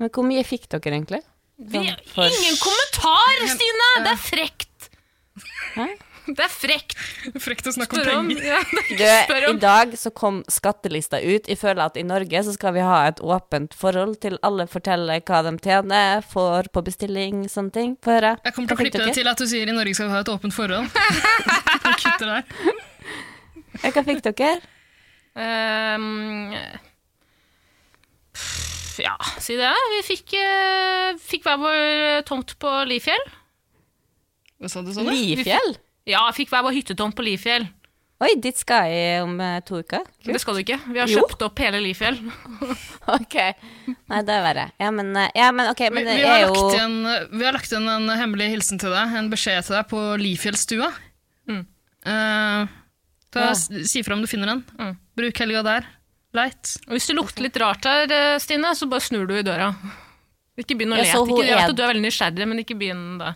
F: Men hvor mye fikk dere egentlig?
A: Vi,
F: Sånn for-
A: ingen kommentar, Stine! Det er frekt.
F: Hæ?
A: Det er frekt.
B: Frekt å snakke om
A: Spør om.
B: penger.
A: Ja, det er
F: Du,
A: ikke spør
F: I
A: om.
F: dag så kom skattelista ut. Jeg føler at i Norge så skal vi ha et åpent forhold til alle forteller hva de tjener, får på bestilling, sånne ting. Få høre.
B: Jeg kommer til å
F: Hva tenkte
B: klippe det
F: dere?
B: til at du sier i Norge skal vi ha et åpent forhold. Og kutter der.
F: Ja, Hva fikk dere?
A: Ehm, pff, ja, si det. Vi fikk, eh, fikk hver vår tomt på Lifjell.
B: Hva sa du, sa du?
F: Lifjell?
A: Ja, fikk hver vår hyttetomt på Lifjell.
F: Oi, dit skal jeg om eh, to uker.
A: Men Det skal du ikke. Vi har
F: Jo.
A: kjøpt opp hele Lifjell.
F: OK. Nei, det er verre. Ja, men, eh, ja, men OK,
B: Vi,
F: men det
B: vi,
F: er
B: har
F: jo
B: lagt igjen, vi har lagt igjen en hemmelig hilsen til deg, en beskjed til deg på Lifjellstua.
A: Mm.
B: Eh, da
F: Ja.
B: s- si fra om du finner den.
A: Mm.
B: Bruk helga der. Leit.
A: Og Hvis det lukter litt rart her, eh, Stine, så bare snur du i døra. Ikke begynn å
F: Ja,
A: lete.
F: så hun
A: Ikke, jeg vet
F: er-
A: at du er veldig nysgjerrig, men ikke begynn da.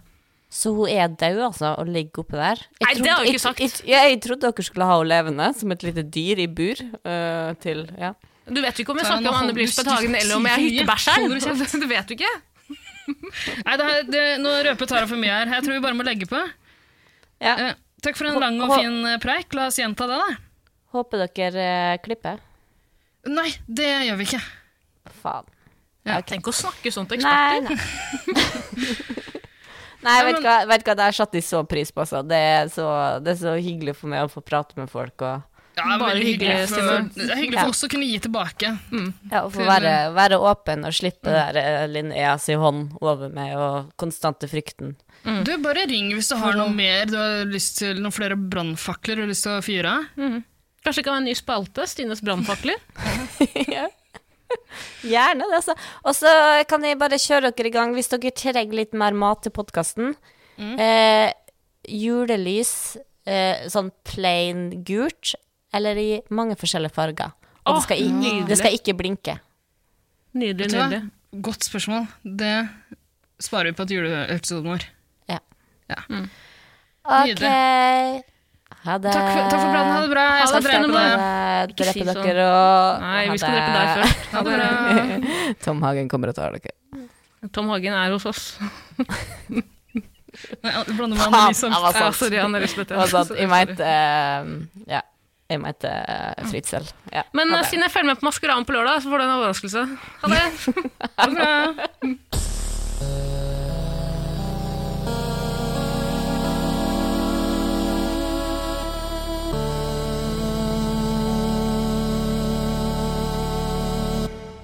F: Så hun er død, altså, og ligger oppe der?
A: Nei, det har hun
F: jeg-
A: ikke sagt.
F: Jeg, ja, jeg trodde dere skulle ha henne levende, som et lite dyr i bur eh, til Ja.
A: Du vet jo ikke om jeg
B: Tara,
A: snakker
B: nå
A: om Anne
B: holder du
A: Blisbeth Hagen
B: stygt-
A: eller om jeg er
B: sier mye. Holder du
A: hyttebæsjeren.
B: kjeft?
A: Du vet jo ikke.
B: Nei, det her, det, nå røper Tara for mye her. Jeg tror vi bare må legge på.
F: ja.
B: Eh, takk for en lang og
F: hå-
B: fin eh, preik. La oss gjenta det, da.
F: Håper dere eh, klipper.
B: Nei, det gjør vi ikke.
F: Faen.
A: Tenk å snakke sånn til
F: Nei,
A: eksperter.
F: nei. nei vet, du hva, vet du hva, det her satte jeg så pris på, altså. Det er, så, det er så hyggelig for meg å få prate med folk og,
B: Ja, det er
A: Bare
B: veldig hyggelig
A: hyggelig,
B: for,
A: Simon.
B: det er hyggelig
F: Ja.
B: for oss å kunne gi tilbake.
F: ja, og få
B: Til-
F: være, være åpen og slippe det der eh, linja si hånd over meg og konstante frykten.
B: Du, Bare ring hvis du har noe mer du har lyst til, noen flere brannfakler du har lyst til å fyre av.
A: Kanskje det kan være en ny spalte? Stines brannfakler.
F: Ja. Gjerne det, altså. Og så kan jeg bare kjøre dere i gang hvis dere trenger litt mer mat til podkasten. Eh, julelys, eh, sånn plain gult, eller i mange forskjellige farger. Og
A: Åh,
F: det, skal i, det skal ikke blinke.
A: Nydelig,
B: Vet du hva?
A: nydelig.
B: Godt spørsmål. Det sparer vi på til juleepisoden vår.
F: Ja.
B: Ja.
F: OK. Ha det.
B: Takk, for, takk for praten. Ha det bra. Jeg
A: Ha
B: skal
A: det,
B: drepe
A: Steinar.
B: deg.
A: Ikke
F: Drepe
A: si sånn.
F: dere og
A: Nei,
F: Ha
A: vi skal
F: det.
A: drepe deg først.
B: Ha det bra.
F: Tom Hagen kommer og tar dere.
A: Tom Hagen er hos oss. Nei, jeg blander med
F: Faen,
A: Anne
B: liksom.
A: Elisabeth.
F: det var sant.
A: Ja, sorry, Anne Elisabeth. ja.
F: Og sånn,
A: Sorry,
F: jeg mente
A: sorry.
F: eh, Ja. Jeg mente eh, Fritzel. Ja.
A: Men eh,
F: Ok.
A: siden jeg følger med på Maskeraden på lørdag, så får du en overraskelse. Ha det!
F: Ha det bra.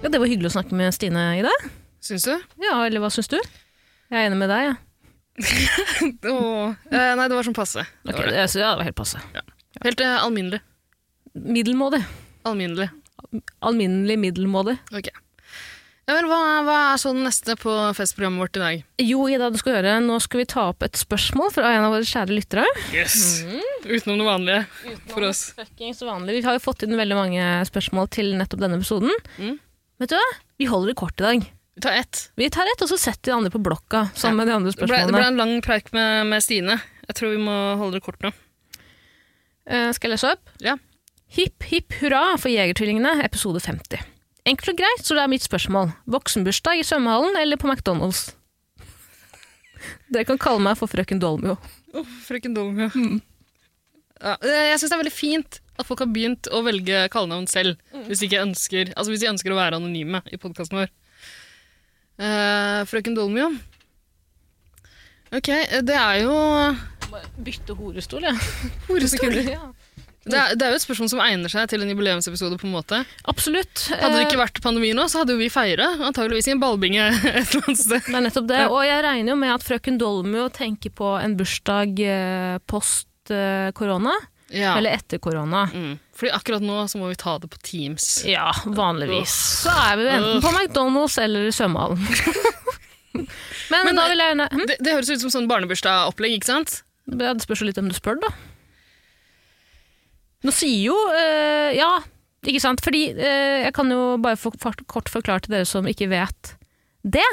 A: Ja, det var hyggelig å snakke med Stine i dag.
B: Syns du?
A: Ja, eller hva syns du? Jeg er enig med deg, ja.
B: Åh. Eh, nei, det var sånn passe. Det
A: Ok,
B: var det.
A: det, ja, det var helt passe.
B: Helt eh, alminnelig.
A: Middelmådig.
B: Alminnelig.
A: Alminnelig middelmådig.
B: Ok. Ja vel, hva, hva er så den neste på festprogrammet vårt i dag?
A: Jo, Ida, du skal høre, nå skal vi ta opp et spørsmål fra en av våre kjære lyttere.
B: Yes! Mhm. Utenom det vanlige for oss.
A: Fucking så vanlig. Vi har jo fått inn veldig mange spørsmål til nettopp denne episoden.
B: Mm.
A: Vet du hva? Vi holder det kort i dag.
B: Vi tar ett.
A: Vi tar ett, og så setter vi de andre på blokka sammen med de andre
B: Det ble, det ble
A: spørsmålene.
B: en lang preik med, med Stine. Jeg tror vi må holde det kort nå.
A: Eh, skal jeg lese opp?
B: Ja.
A: Hipp, hipp hurra for Jegertvillingene, episode 50. Enkelt og greit, så det er mitt spørsmål. Voksenbursdag i svømmehallen eller på McDonald's? Dere kan kalle meg for frøken Dolmio.
B: Frøken Dolmia.
A: Mm.
B: Ja, eh, jeg syns det er veldig fint at folk har begynt å velge kallenavn selv.
A: Mm.
B: Hvis, de ikke ønsker, altså hvis de ønsker å være anonyme i podkasten vår. Eh, Frøken Dolmio. Ok, eh, det er jo
A: Bytte horestol, ja.
B: Horestol. Det er, det er jo et spørsmål som egner seg til en jubileumsepisode. på en måte.
A: Absolutt.
B: Hadde det
A: Eh,
B: ikke vært pandemi nå, så hadde jo vi feira. Antageligvis i en ballbinge et eller annet sted.
A: Det er nettopp det. Og jeg regner jo med at frøken Dolmio tenker på en bursdag eh, post eh, korona,
B: Ja.
A: eller etter korona.
B: Mm. Fordi akkurat nå så må vi ta det på Teams.
A: Ja, vanligvis. Så er vi jo enten på McDonald's eller i svømmehallen. Men, da vil jeg gjerne hm?
B: Det, det høres ut som sånn barnebursdagopplegg, ikke sant?
A: Ja, Det spørs jo litt hvem du spør, da. Nå sier jo eh, Ja, ikke sant? Fordi eh, jeg kan jo bare for, for, kort forklare til dere som ikke vet det.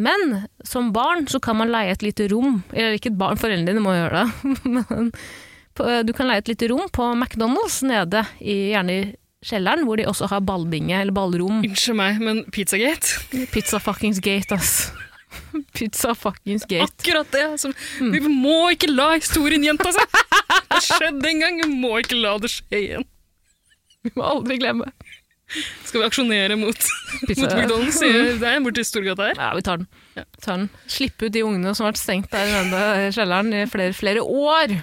A: Men som barn så kan man leie et lite rom Eller ikke et barn, foreldrene dine må gjøre det. Men på, eh, du kan leie et lite rom på McDonald's nede, i, gjerne i kjelleren, hvor de også har ballbinge eller ballrom.
B: Unnskyld meg, men Pizzagate?
A: Pizza fuckings gate, ass. Pizza fuckings gate.
B: Akkurat det! Som, Vi må ikke la historien gjenta seg! Det skjedde en gang, vi må ikke la det skje igjen.
A: Vi må aldri glemme.
B: Skal vi aksjonere mot,
A: Pizza-
B: mot McDonald's? i- Det er borti Storgata her.
A: Ja, vi tar den. Tar den. Slippe ut de ungene som har vært stengt der i denne kjelleren i flere, flere år.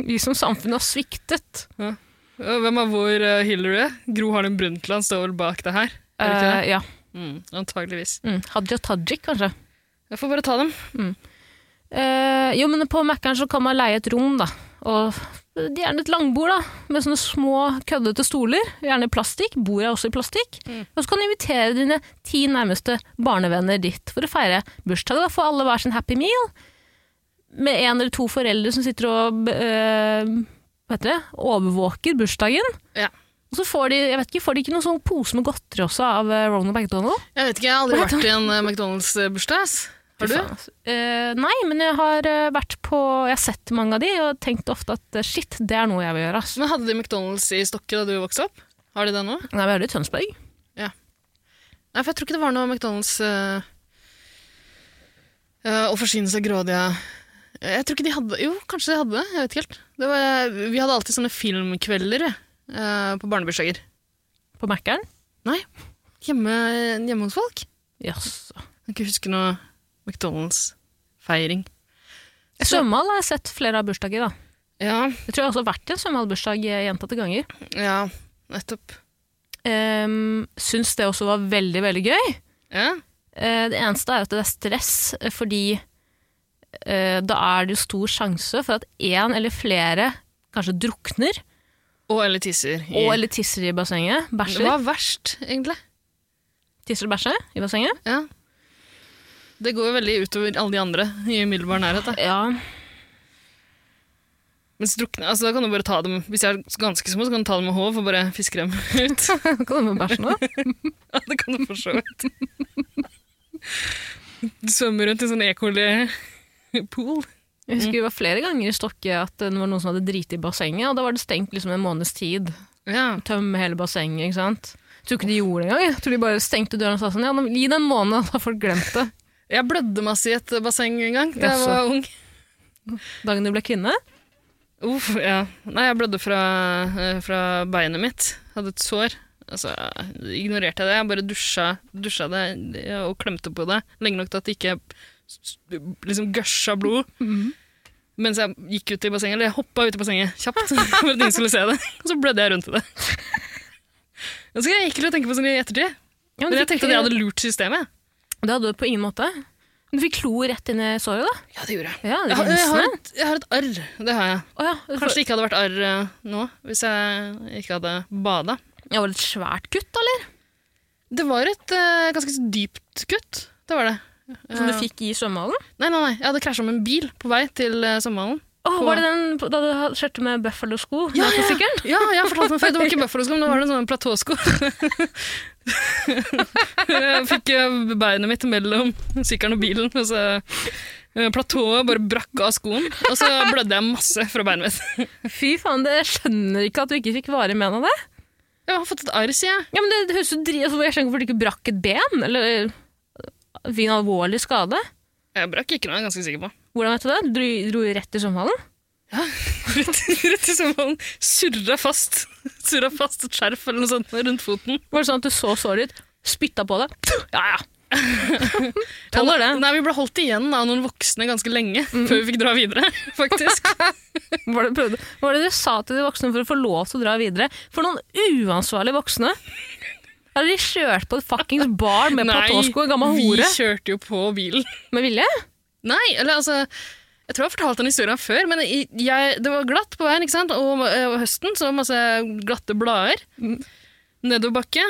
A: Vi som samfunn har sviktet.
B: Og Hvem er vår eh, Hillary? Gro Harlem Brundtland står vel bak det her? Er det ikke det?
A: Eh, ja.
B: Mm, antageligvis.
A: mm. Hadia Tajik, kanskje.
B: Jeg får bare ta dem.
A: Eh, jo, men på Mækkern så kan man leie et rom, da. Og det er gjerne et langbord, da, med sånne små, køddete stoler. Gjerne plastikk. Bordet er også i plastikk. Og så kan du invitere dine ti nærmeste barnevenner dit for å feire bursdag. Da får alle hver sin happy meal. Med en eller to foreldre som sitter og eh, hva heter det, overvåker bursdagen.
B: Ja.
A: Og så får de jeg vet ikke, får de ikke noen sånn pose med godteri også av eh, Ronald McDonald.
B: Jeg vet ikke, jeg har aldri vært i en eh, McDonald's-bursdag. ass. Har du?
A: Fy faen, altså. Eh, nei, men jeg har eh, vært på Jeg har sett mange av de og tenkt ofte at eh, shit, det er noe jeg vil gjøre. ass.
B: Men Hadde de McDonald's i Stokke da du vokste opp? Har de det nå?
A: Nei, vi har det i Tønsberg.
B: Nei, for jeg tror ikke det var noe McDonald's eh, eh, å forsyne seg grådige Jeg tror ikke de hadde Jo, kanskje de hadde det. Jeg vet ikke helt. Det var, vi hadde alltid sånne filmkvelder eh, på barnebursdager.
A: På Mækkern.
B: Hjemme, hjemme hos folk.
A: Jaså.
B: Jeg kan ikke huske noe McDonald's-feiring.
A: Svømmehall har jeg sett flere av bursdager. da.
B: Ja,
A: Jeg tror jeg også har vært i en svømmehallbursdag eh, gjentatte ganger.
B: ja, nettopp.
A: Um, syns det også var veldig, veldig gøy.
B: Ja.
A: Eh, det eneste er at det er stress, eh, fordi eh, da er det jo stor sjanse for at én eller flere kanskje drukner
B: Og eller tisser. i-
A: og eller tisser i bassenget.
B: det
A: Bæsjer.
B: var verst, egentlig.
A: Tisser og bæsjer i bassenget.
B: Ja. Det går jo veldig utover alle de andre i umiddelbar nærhet. Da.
A: Ja,
B: Mens drukne, altså, da kan du bare ta dem Hvis jeg er ganske små, så kan du ta dem med håv og bare fiske dem ut.
A: kan du med bæsj nå?
B: Ja, det kan du for så vidt. Du svømmer rundt i sånn ekoli-pool.
A: Jeg husker det var flere ganger i Stokke at det var noen som hadde driti i bassenget, og da var det stengt liksom en måneds tid.
B: Ja.
A: Tømme hele bassenget, ikke sant? tror ikke de gjorde det engang. Jeg tror de bare stengte døren og sa sånn, ja, nå- gi det en måned, da har folk glemt det.
B: Jeg blødde masse i et basseng en gang da jeg
A: Jaså.
B: var ung.
A: Dagen du ble kvinne.
B: Uff, ja. Nei, jeg blødde fra, eh, fra beinet mitt. Hadde et sår. Altså, ignorerte jeg det. Jeg bare dusja, dusja det ja, og klemte på det lenge nok til at det ikke s- s- liksom gørsa blod. Mens jeg gikk ut i bassenget, eller jeg hoppa ut i bassenget kjapt for at ingen skulle se det. Og så blødde jeg rundt i det. Ganske ekkelt å tenke på sånn i ettertid.
A: Ja,
B: Men jeg
A: fikk-
B: tenkte at jeg hadde lurt systemet.
A: Det hadde du på ingen måte. Du fikk klor rett inn i såret, da.
B: Ja, det gjorde jeg.
A: Ja, det
B: Jeg har, jeg, har
A: rensende.
B: et, jeg har et arr. Det har jeg.
A: Å ja, du
B: Kanskje det ikke hadde vært arr eh, nå hvis jeg ikke hadde bada.
A: får- Jeg var et svært kutt, eller?
B: Det var et eh, ganske dypt kutt. Det var det.
A: Som du
B: Eh,
A: fikk i svømmehallen?
B: Nei, nei, nei. Jeg hadde krasja med en bil på vei til uh, svømmehallen.
A: Åh,
B: På-
A: var det den da du hadde- kjørte med buffalo-sko? Ja,
B: ja.
A: ja.
B: Ja, jeg har fortalt meg før. Det var ikke bøffelosko, men det var en sånn platåsko. jeg fikk eh, beinet mitt mellom sykkelen og bilen, og så eh, Platået bare brakk av skoen, og så blødde jeg masse fra beinet mitt.
A: Fy faen, det jeg skjønner ikke at du ikke fikk vare med av det.
B: Jeg har fått et arr, sier jeg.
A: Ja, men det, det høres jo dri... Altså, jeg skjønner ikke hvorfor du ikke brakk et ben, eller øh, fikk en alvorlig skade.
B: Jeg brakk ikke noe, jeg er ganske sikker på.
A: Hvordan vet du det? Du dro, dro rett i svømmehallen?
B: Rett, rett i svømmehallen. Surra fast. Surra fast et skjerf eller noe sånt rundt foten.
A: Var det sånn at du så såret ut, spytta på det? Ja, ja. Tåler det. Mm.
B: Ja, Nei, vi ble holdt igjen av noen voksne ganske lenge før vi fikk dra videre, faktisk.
A: Var det, prøvde, var det dere sa til de voksne for å få lov til å dra videre? For noen uansvarlige voksne! Hadde de kjørt på et fuckings bar med platåsko og en gammel
B: vi
A: hore?
B: kjørte jo på bilen.
A: Med vilje?
B: Nei, eller altså Jeg tror jeg har fortalt den historien før, men i- jeg, det var glatt på veien, ikke sant? Og eh, høsten så var det masse glatte blader. Nedover bakke,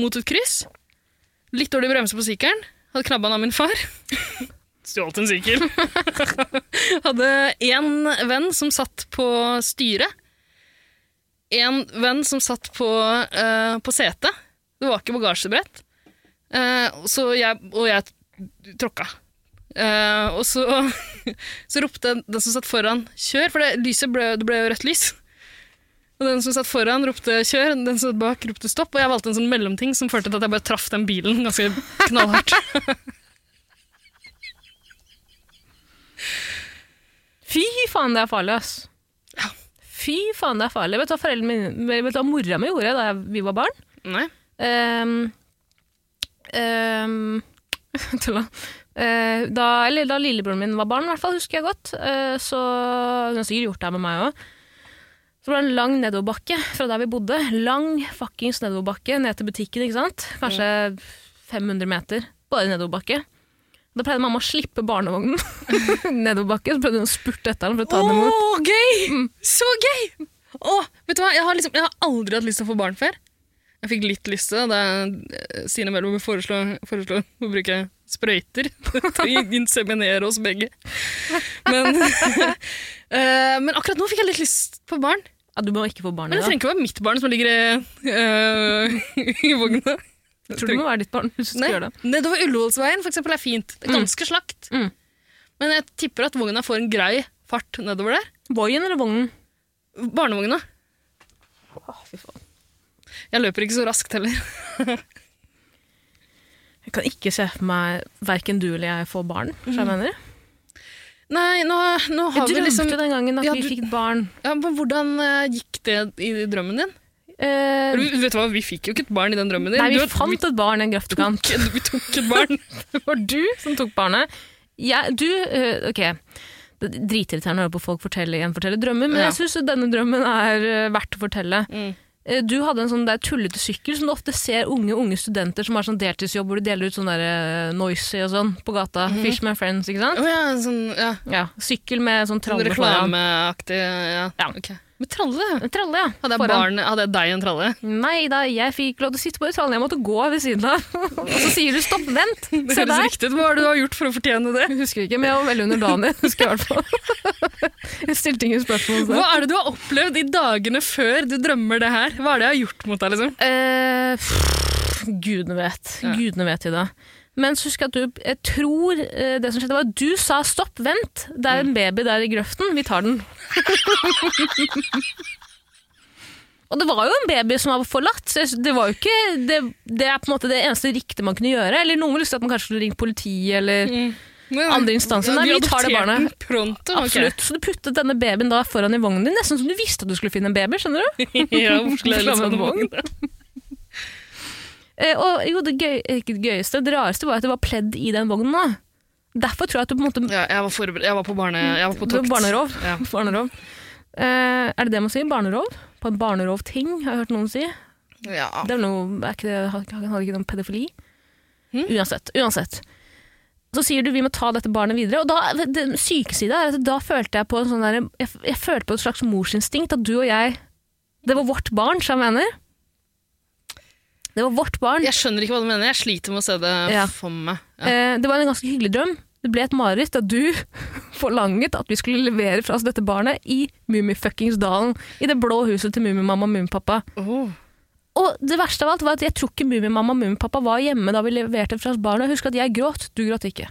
B: mot et kryss. Litt dårlig bremse på sykkelen. Hadde knabba den av min far. Stjålet en sykkel. Hadde én venn som satt på styret. En venn som satt på, eh, på setet. Det var ikke bagasjebrett. Eh, så jeg, og jeg tråkka. Eh, og så, så ropte den, den som satt foran 'kjør', for det, lyset ble, det ble jo rødt lys. Og den som satt foran, ropte 'kjør', den som satt bak, ropte 'stopp'. Og jeg valgte en sånn mellomting som førte til at jeg bare traff den bilen ganske knallhardt.
A: Fy faen, det er farlig, ass. Fy faen, det er farlig. Vet du hva, foreldrene mine, vet du hva mora mi gjorde da jeg, vi var barn?
B: Nei.
A: Ehm, ehm, Tulla. Eh, da, eller da lillebroren min var barn, i hvert fall, husker jeg godt, eh, så hun har sikkert gjort det her med meg òg. Så var det en lang nedoverbakke fra der vi bodde. Lang fuckings nedoverbakke ned til butikken. ikke sant? Kanskje 500 meter. Bare nedoverbakke. Da pleide mamma å slippe barnevognen nedoverbakke. Så prøvde hun å spurte etter den for å ta den imot. Mm.
B: Å, gøy! Så gøy! Å, vet du hva? Jeg har, liksom, jeg har aldri hatt lyst til å få barn før. Jeg fikk litt lyst til det da eh, Stine Mellom foreslo, foreslo å bruke sprøyter til å inseminere oss begge. Men, eh, men akkurat nå fikk jeg litt lyst på barn.
A: Ja, du må ikke få barn i
B: Men det
A: dag.
B: trenger ikke å være mitt barn som ligger i, eh, i vogna.
A: Jeg tror det må være ditt barn. hvis du skal
B: Nei,
A: gjøre det.
B: Nedover Ullevålsveien for eksempel, er fint. Det er ganske slakt.
A: Mm.
B: Men jeg tipper at vogna får en grei fart nedover der.
A: Voien eller vognen?
B: Barnevogna. Jeg løper ikke så raskt heller.
A: Jeg kan ikke se for meg verken du eller jeg får barn. så Jeg mener.
B: Nei, nå, nå
A: Mm. Jeg
B: har vi
A: drømte
B: liksom
A: den gangen at
B: Ja,
A: vi
B: du-
A: fikk barn.
B: ja, men Hvordan eh, gikk det i drømmen din?
A: Eh,
B: Du, vet du hva, Vi fikk jo ikke et barn i den drømmen din.
A: nei, vi
B: Du-
A: fant et barn i en grøftekant.
B: vi, vi tok et barn.
A: Det var du som tok barnet. Jeg, du, eh, ok, det er dritirriterende å høre på folk fortelle, gjenfortelle drømmer, men
B: Ja.
A: jeg syns denne drømmen er eh, verdt å fortelle.
B: Mm.
A: Eh, Du hadde en sånn der tullete sykkel som du ofte ser unge unge studenter som har sånn deltidsjobb hvor de deler ut sånn der eh, noisy og sånn på gata. Fishman Friends, ikke sant?
B: Å ja, sånn ja,
A: Ja, Sykkel med sånn tralle foran.
B: reklameaktig ja.
A: Ja.
B: Ok. Men tralle?
A: Tralle, ja.
B: Hadde jeg,
A: foran.
B: barn, hadde jeg deg en tralle?
A: Nei da, jeg fikk lov til å sitte på uttalen, jeg måtte gå ved siden av. Og så sier du stopp, vent,
B: Det
A: se
B: høres
A: der.
B: riktig ut. Hva har du har gjort for å fortjene det?
A: Jeg husker ikke, men jeg var veldig under dagen din, husker jeg i hvert fall. Jeg stilte ingen spørsmål. Så.
B: Hva er det du har opplevd i dagene før du drømmer det her? Hva er det jeg har gjort mot deg, liksom?
A: Eh, pff, gudene vet,
B: Ja.
A: gudene vet i det. Men så husker jeg at du, jeg tror eh, det som skjedde var at du sa stopp, vent, det
B: Mm.
A: er en baby der i grøften, vi tar den. Og det var jo en baby som var forlatt, så jeg sy- det var jo ikke det, det er på en måte det eneste riktige man kunne gjøre. Eller noen ville sagt at man kanskje skulle ringt politiet eller
B: Mm.
A: andre instanser. Nei, vi tar det barnet.
B: Pronto, ok.
A: Absolutt. Så du puttet denne babyen da foran i vognen din, nesten som du visste at du skulle finne en baby. skjønner du?
B: ja, hvorfor skulle
A: Hvorfor
B: jeg litt
A: har man
B: sånn
A: vogn? Eh, og jo, det, gøy, eh, ikke det gøyeste, det rareste var at det var pledd i den vognen. da. Derfor tror jeg at du på en måte
B: Ja, jeg var forberedt. Jeg var på barne... Jeg var på
A: Du var
B: tokt.
A: barnerov.
B: Ja.
A: Barnerov. Eh, er det det man sier? Barnerov? På en barnerovting, har jeg hørt noen si.
B: ja.
A: Det er noe, er ikke det, har har- har ikke noe pedofili?
B: Hm?
A: Uansett, uansett. Så sier du vi må ta dette barnet videre, og da, den syke sida er at da følte jeg på en sånn der, jeg, jeg følte på et slags morsinstinkt, at du og jeg, det var vårt barn, som jeg mener. Det var vårt barn.
B: Jeg skjønner ikke hva du mener. Jeg sliter med å se det
A: Ja.
B: for meg. Ja.
A: Eh, det var en ganske hyggelig drøm. Det ble et mareritt da du forlanget at vi skulle levere fra oss dette barnet i Mummifuckingsdalen, i det blå huset til Mummimamma og Mummipappa.
B: Åh.
A: Og det verste av alt var at jeg tror ikke Mummimamma og Mummipappa var hjemme da vi leverte fra oss barnet. Husk at jeg gråt, du gråt ikke.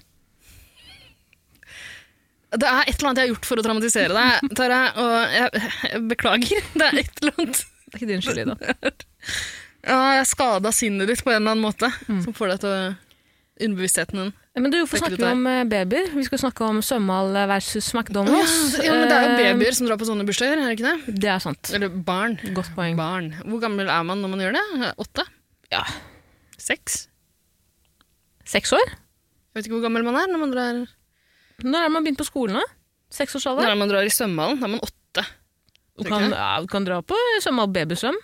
B: Det er et eller annet jeg har gjort for å dramatisere deg, Tara, og jeg, jeg beklager. Det er et eller annet
A: Det er ikke din skyld, Ida.
B: ja, Jeg skada sinnet ditt på en eller annen måte, som får deg til å Underbevisstheten din.
A: Men du, hvorfor
B: Det er ikke
A: snakker vi om eh, babyer? Vi skal snakke om Sømmal versus McDonald's.
B: Ja, men det er jo
A: Eh,
B: babyer som drar på sånne bursdager, er det ikke det?
A: Det er sant.
B: Eller barn.
A: Godt poeng.
B: barn. Hvor gammel er man når man gjør det? Åtte? Ja. Seks?
A: Seks år?
B: Jeg vet ikke hvor gammel man er når man drar,
A: Når er det man begynt på skolen? da?
B: når
A: Seksårsalder?
B: er man drar i svømmehallen. Da er man åtte.
A: Du kan, ja, du kan dra på Sømmal babysvøm.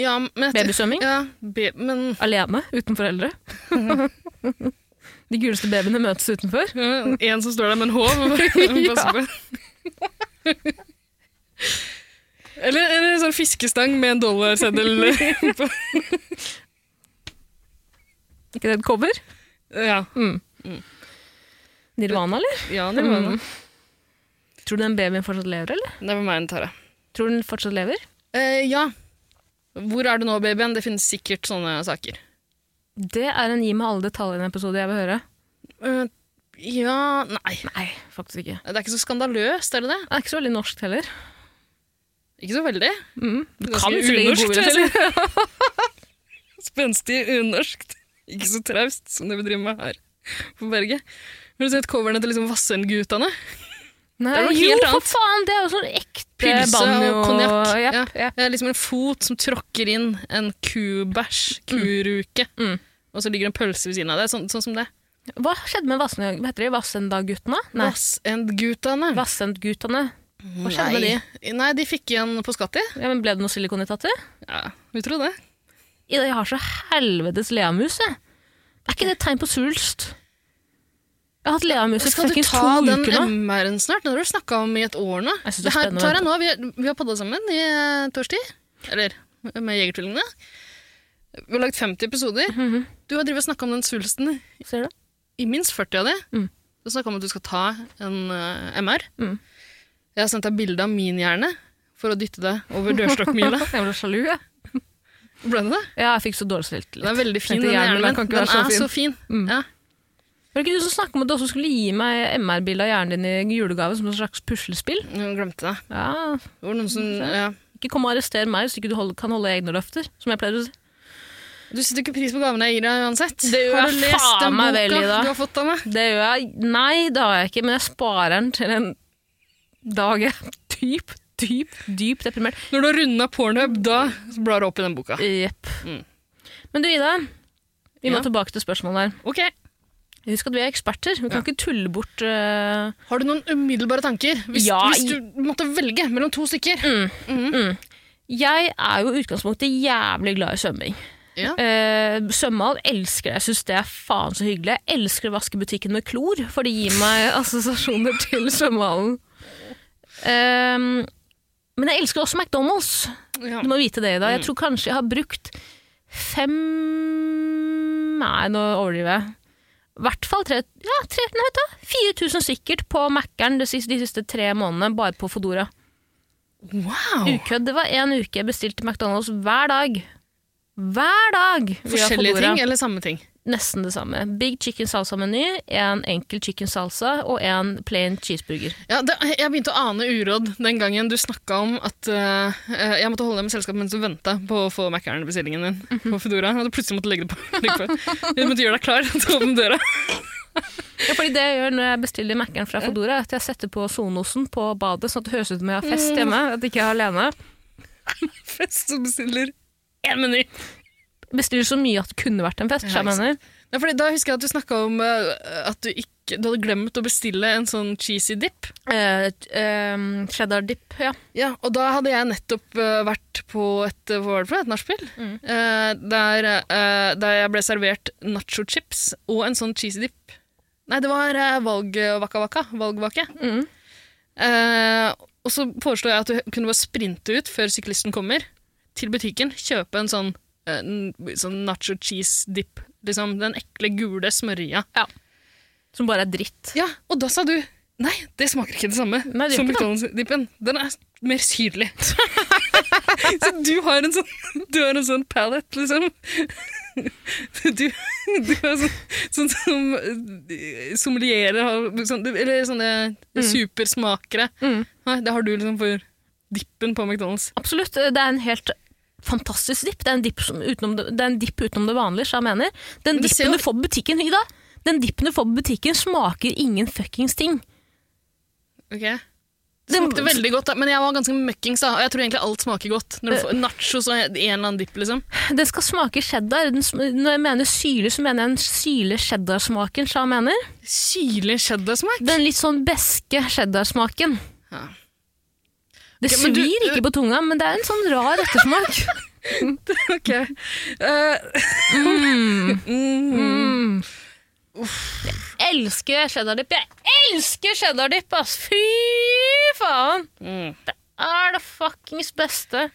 B: Ja, men jeg-
A: Babysvømming?
B: Ja, be, men
A: Alene, uten foreldre. De guleste babyene møtes utenfor.
B: ja, eh, en som står der med en håv. Pass på. Eller eller en sånn fiskestang med en dollarseddel på.
A: Ikke det et cover?
B: Ja,
A: Nirvana, eller?
B: ja det var
A: Mm.
B: det.
A: Tror du den babyen fortsatt lever, eller?
B: Det var meg, Tara.
A: Tror du den fortsatt lever?
B: Eh, ja. Hvor er du nå, babyen? Det finnes sikkert sånne saker.
A: Det er en gi meg alle detaljene-episode jeg vil høre.
B: Eh, ja Nei.
A: Nei, faktisk ikke.
B: Det er ikke så skandaløst, er det det?
A: Det er ikke så veldig norsk heller.
B: Ikke så veldig.
A: Mm. Du
B: Ganske
A: kan ikke legge
B: unorskt,
A: godvilje
B: vil jeg
A: til.
B: Spenstig, unorskt. Ikke så traust som det vi driver med her på berget. Har du sett coverne til liksom Vassendgutane?
A: Nei,
B: Det er noe
A: jo,
B: helt
A: for
B: annet.
A: faen! Det er jo sånn ekte
B: Pylse
A: banjo
B: og konjakk.
A: Jepp,
B: ja.
A: jepp.
B: Det er liksom en fot som tråkker inn en kubæsj, kuruke,
A: Mm.
B: og så ligger det en pølse ved siden av det. Sånn, sånn som det.
A: Hva skjedde med Vassendag- Hva heter de? Vassendagguttene? Nei,
B: Vassendgutane.
A: Vassendguttene. Hva skjedde med de?
B: Nei. Nei, de fikk igjen på skatt, de.
A: Ja, men ble det noe silikon i tattet?
B: Ja, vi tror det.
A: Ida, jeg har så helvetes leamus, jeg. Er ikke det et tegn på svulst? Jeg har hatt leamus i
B: Skal du
A: fucking to
B: ta den
A: uker nå.
B: MR-en snart? Den har du snakka om i et år nå.
A: Jeg synes det er
B: Det her,
A: spennende å
B: Tara, nå, vi, vi har podda sammen i eh, et års tid. Eller med Jegertvillingene. Vi har lagd 50 episoder.
A: Mhm,
B: Du har drevet og snakka om den svulsten
A: Ser du?
B: i minst 40 av de.
A: Mm.
B: Du snakka om at du skal ta en eh, MR.
A: Mm.
B: Jeg har sendt deg bilde av min hjerne for å dytte deg over dørstokkmila.
A: Jeg ble sjalu, jeg.
B: Ble det det?
A: Ja, jeg fikk så dårlig selvtillit.
B: Den er veldig fin,
A: Tenkte
B: den
A: hjernen
B: hjernen.
A: min
B: min.
A: kan ikke
B: Den
A: være så
B: er så fin.
A: Mm.
B: Ja.
A: Var det ikke du som snakket om at du også skulle gi meg MR-bilde av hjernen din i julegave som et slags puslespill?
B: Jeg glemte det.
A: Ja,
B: Det var noen som ja.
A: Ikke kom og arrester meg hvis ikke du hold- kan holde egne løfter, som jeg pleier å si.
B: Du setter ikke pris på gavene jeg gir deg uansett.
A: gjør
B: har
A: jeg
B: du lest
A: faen
B: den
A: meg
B: boka
A: vel i da.
B: du har fått av meg?
A: Det gjør jeg. Nei, det har jeg ikke, men jeg sparer den til en dag jeg er dyp, dyp, dyp deprimert.
B: Når du har runda pornhub, da blar du opp i den boka.
A: Jepp.
B: Mm.
A: Men du, Ida. Vi må
B: Ja.
A: tilbake til spørsmålet her.
B: Ok.
A: Husk at vi er eksperter. Vi kan ikke tulle bort eh,
B: Har du noen umiddelbare tanker? Hvis,
A: Ja,
B: hvis du måtte velge mellom to stykker.
A: Jeg er jo i utgangspunktet jævlig glad i svømming.
B: Ja.
A: Eh, svømmehall elsker det. Jeg syns det er faen så hyggelig. Jeg elsker å vaske butikken med klor, for det gir meg assosiasjoner til svømmehallen. Ehm, men jeg elsker også McDonald's.
B: Ja.
A: Du må vite det, Ida. Jeg tror kanskje jeg har brukt fem Nei, nå overdriver jeg. I hvert fall tre, ja, tre, nei, vet du, 4000 sikkert på Mækkern de, siste- de siste tre månedene, bare på Fodora.
B: Wow!
A: Ukødd. Det var én uke jeg bestilte McDonald's hver dag. Hver dag! via
B: Forskjellige
A: Foodora.
B: ting eller samme ting?
A: Nesten det samme. Big chicken salsa-meny, en enkel chicken salsa og en plain cheeseburger.
B: Ja, det, jeg begynte å ane uråd den gangen du snakka om at eh, eh, jeg måtte holde deg med selskap mens du venta på å få Mækkern-bestillingen din på Foodora. Og du plutselig måtte legge det på. Legge på. Du måtte gjøre deg klar til å åpne døra.
A: Ja, fordi det jeg gjør når jeg bestiller Mac-en fra Fodora, er at jeg setter på Sonosen på badet, sånn at det høres ut som jeg har
B: Mm.
A: fest hjemme, at jeg ikke er alene.
B: Fest som bestiller én meny.
A: Bestiller så mye at det kunne vært en fest,
B: Ja,
A: så jeg
B: ikke
A: mener.
B: Ja, fordi da husker jeg at du snakka om eh, at du ikke du hadde glemt å bestille en sånn cheesy dip.
A: Eh, eh, cheddar dip, ja.
B: Ja, og da hadde jeg nettopp eh, vært på et, eh, hva var det for noe, et nachspiel, Eh, der, eh, der jeg ble servert nacho chips og en sånn cheesy dip. Nei, det var uh, valgvaka-vaka, valgvake.
A: Mm.
B: Eh, og så foreslo jeg at du kunne bare sprinte ut før syklisten kommer, til butikken, kjøpe en sånn, eh, n- sånn nacho cheese dip, liksom den ekle gule smørja.
A: Som bare er dritt.
B: Ja, og da sa du, nei, det smaker ikke det samme
A: Nei, det gjør
B: som
A: ikke det.
B: McDonald's-dippen. Den er mer syrlig. så du har en sånn, du har en sånn palette, liksom. Du, du har sånn, sånn som eh, sommelierer har, sånn, eller sånne supersmakere.
A: Mm.
B: Nei, det har du liksom for dippen på McDonald's.
A: Absolutt. Det er en helt fantastisk dipp. Det er en dipp som- utenom det, det, er en dipp utenom det vanlige, så jeg mener. Den
B: Men det ser
A: dippen
B: jo-
A: du får på butikken, Ida, den dippen du får på butikken smaker ingen fuckings ting.
B: Ok. Det smakte veldig godt, da, men jeg var ganske møkkings, da. Og jeg tror egentlig alt smaker godt. Når du får nachos og en eller annen dipp, liksom.
A: Den skal smake cheddar. Den, sm- når jeg mener syrlig, så mener jeg den syrlige cheddar-smaken, sa jeg mener.
B: Syrlig cheddar-smak.
A: Den litt sånn beske cheddar-smaken.
B: Ja.
A: Det
B: Ok, men
A: svir
B: du-
A: ikke på tunga, men det er en sånn rar ettersmak.
B: Ok. Eh,
A: Jeg elsker cheddar-dipp. Jeg elsker cheddar-dipp, ass! Fy faen!
B: Mm.
A: Det er det fuckings beste.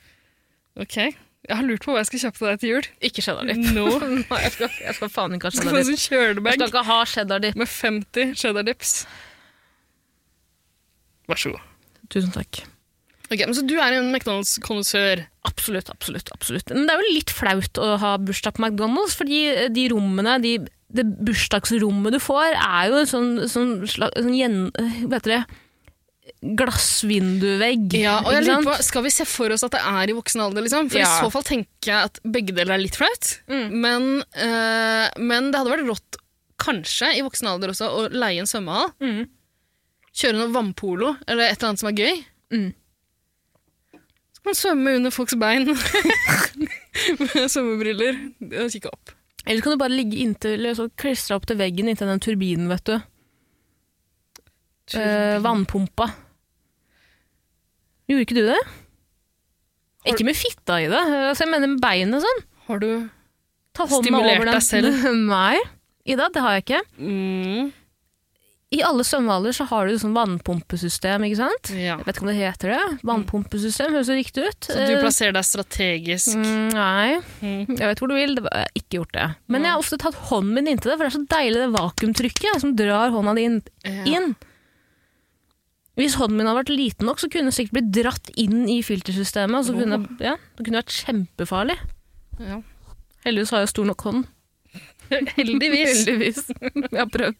B: Ok. Jeg har lurt på hva jeg skal kjøpe til deg til jul.
A: Ikke cheddar-dipp.
B: Nå
A: Nei, jeg skal, jeg skal faen ikke ha
B: skal du få
A: cheddar-dipp.
B: en Mm. sånn
A: Jeg
B: kjølebag
A: skal ikke ha cheddar-dipp.
B: med 50 cheddar dips. Vær så god.
A: Tusen takk.
B: Ok, men Så du er en McDonald's-kondisør?
A: Absolutt, absolutt, absolutt. Men det er jo litt flaut å ha bursdag på McDonald's, fordi eh, de rommene, de, det bursdagsrommet du får, er jo en sånn, sånn, sla- sånn gjen, eh, hva heter det, glassvinduevegg.
B: Ja, og
A: ikke
B: jeg lurer på,
A: sant?
B: Skal vi se for oss at det er i voksen alder? liksom? For
A: Ja.
B: I så fall tenker jeg at begge deler er litt flaut. Men, eh, men det hadde vært rått, kanskje, i voksen alder også, å leie en svømmehall.
A: Mm.
B: Kjøre noe vannpolo eller et eller annet som er gøy.
A: Mm.
B: Så kan man svømme under folks bein med svømmebriller og kikke opp.
A: Eller så kan du bare ligge inntil, eller så klistre opp til veggen inntil den turbinen, vet du. Eh, vannpumpa. Gjorde ikke du det? Ikke med fitta i det, altså jeg mener med beinet sånn.
B: Har du
A: Ta hånda
B: Stimulert
A: over den.
B: deg selv?
A: Nei, Ida, det har jeg ikke.
B: mm,
A: I alle svømmehaller så har du sånn vannpumpesystem, ikke sant?
B: Ja.
A: Jeg vet ikke om det heter det. Vannpumpesystem høres jo riktig ut.
B: Så du
A: Eh,
B: plasserer deg strategisk.
A: mm, Nei,
B: Mm.
A: jeg vet hvor du vil. Det var- Jeg har ikke gjort det. Men jeg har ofte tatt hånden min inntil det, for det er så deilig det vakuumtrykket som drar hånda di inn.
B: Ja.
A: inn. Hvis hånden min hadde vært liten nok, så kunne den sikkert blitt dratt inn i filtersystemet. Og så kunne, jeg- ja, det kunne vært kjempefarlig.
B: Ja.
A: Heldigvis har jeg stor nok hånd. Heldigvis. Jeg har prøvd.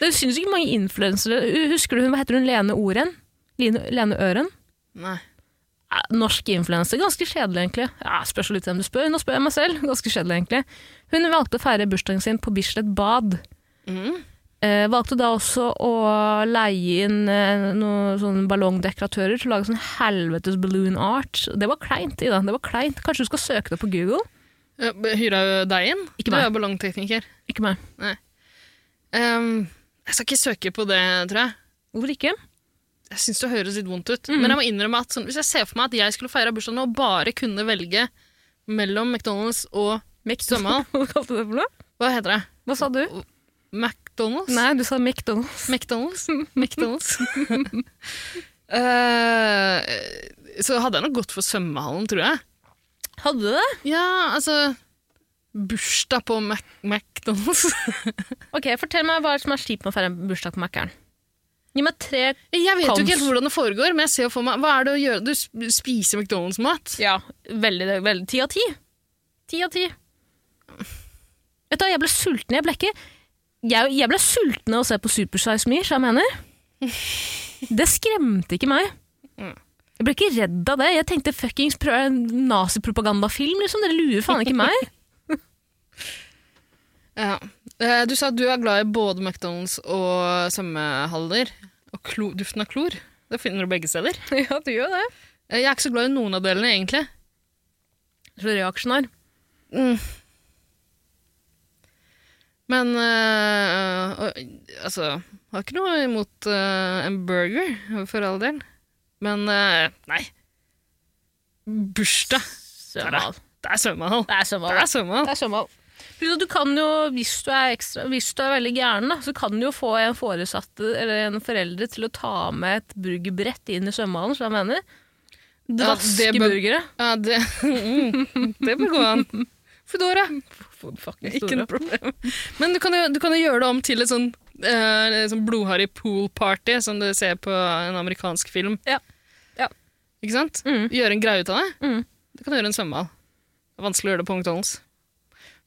A: Det synes ikke mange influensere. Husker du hun, hva heter hun, Lene Oren? Line, Lene Øren?
B: Nei.
A: Eh, Norsk influenser, ganske kjedelig egentlig. Ja, spørs jo litt hvem du spør. Nå spør jeg meg selv, ganske kjedelig egentlig. Hun valgte å feire bursdagen sin på Bislett Bad.
B: Mm.
A: Eh, valgte da også å leie inn eh, noen sånne ballongdekoratører til å lage sånn helvetes balloon art. Det var kleint, Ida. Det var kleint. Kanskje du skal søke det på Google?
B: Ja, b- Hyra jo deg inn?
A: Ikke
B: du
A: meg.
B: er ballongtekniker.
A: Ikke meg.
B: Ehm, jeg skal ikke søke på det, tror jeg.
A: Hvorfor ikke?
B: Jeg syns det høres litt vondt ut.
A: Mm.
B: Men jeg må innrømme at sånn, hvis jeg ser for meg at jeg skulle feira bursdag nå og bare kunne velge mellom McDonald's og svømmehall
A: Hva kalte du det for noe?
B: Hva heter det?
A: Hva sa du?
B: McDonald's?
A: Nei, du sa McDonald's.
B: McDonald's? McDonald's. Eh, så hadde jeg nok gått for svømmehallen, tror jeg.
A: Hadde du det?
B: Ja, altså Bursdag på Mac McDonald's.
A: Ok, fortell meg hva som er kjipt med å feire bursdag på Mækkern. Gi meg tre
B: Jeg vet jo
A: Kans.
B: ikke helt hvordan det foregår, men jeg ser jo for meg Hva er det å gjøre? Du sp- spiser McDonald's-mat?
A: Ja, veldig, veldig. Ti av ti. Ti av ti. Vet du, hva, jeg ble sulten. Jeg ble ikke jeg, jeg ble sulten av å se på Super Size Me, så jeg mener. Det skremte ikke meg. Mm. Jeg ble ikke redd av det. Jeg tenkte fuckings prøv en nazipropagandafilm, liksom. Dere lurer faen ikke meg.
B: Ja. Eh, Du sa at du er glad i både McDonald's og svømmehaller. Og klo, duften av klor. Det finner du begge steder.
A: ja, du gjør det.
B: Eh, Jeg er ikke så glad i noen av delene, egentlig.
A: Så reaksjonær.
B: Men eh, og- altså jeg Har ikke noe imot eh, en burger, for all del. Men eh, nei. Bursdag.
A: Svømmehall.
B: Det er svømmehall.
A: Det er svømmehall.
B: Det er svømmehall.
A: Det er svømmehall. Pluss at Du kan jo, hvis du er, ekstra, hvis du er veldig gæren, da, så kan du jo få en foresatt eller en forelder til å ta med et burgerbrett inn i svømmehallen, som jeg mener.
B: Ja,
A: Raske
B: det bør-
A: burgere.
B: Ja, det, mm, det bør gå an. Foodora.
A: Fucking
B: Ikke
A: store.
B: noe problem. Men du kan, jo, du kan jo gjøre det om til et sånn eh, sånn blodharry pool party, som du ser på en amerikansk film.
A: Ja. Ja.
B: Ikke sant?
A: Mm.
B: Gjøre en greie ut av det.
A: Mm.
B: Du kan gjøre en svømmehall. Det er vanskelig å gjøre det på McDonald's.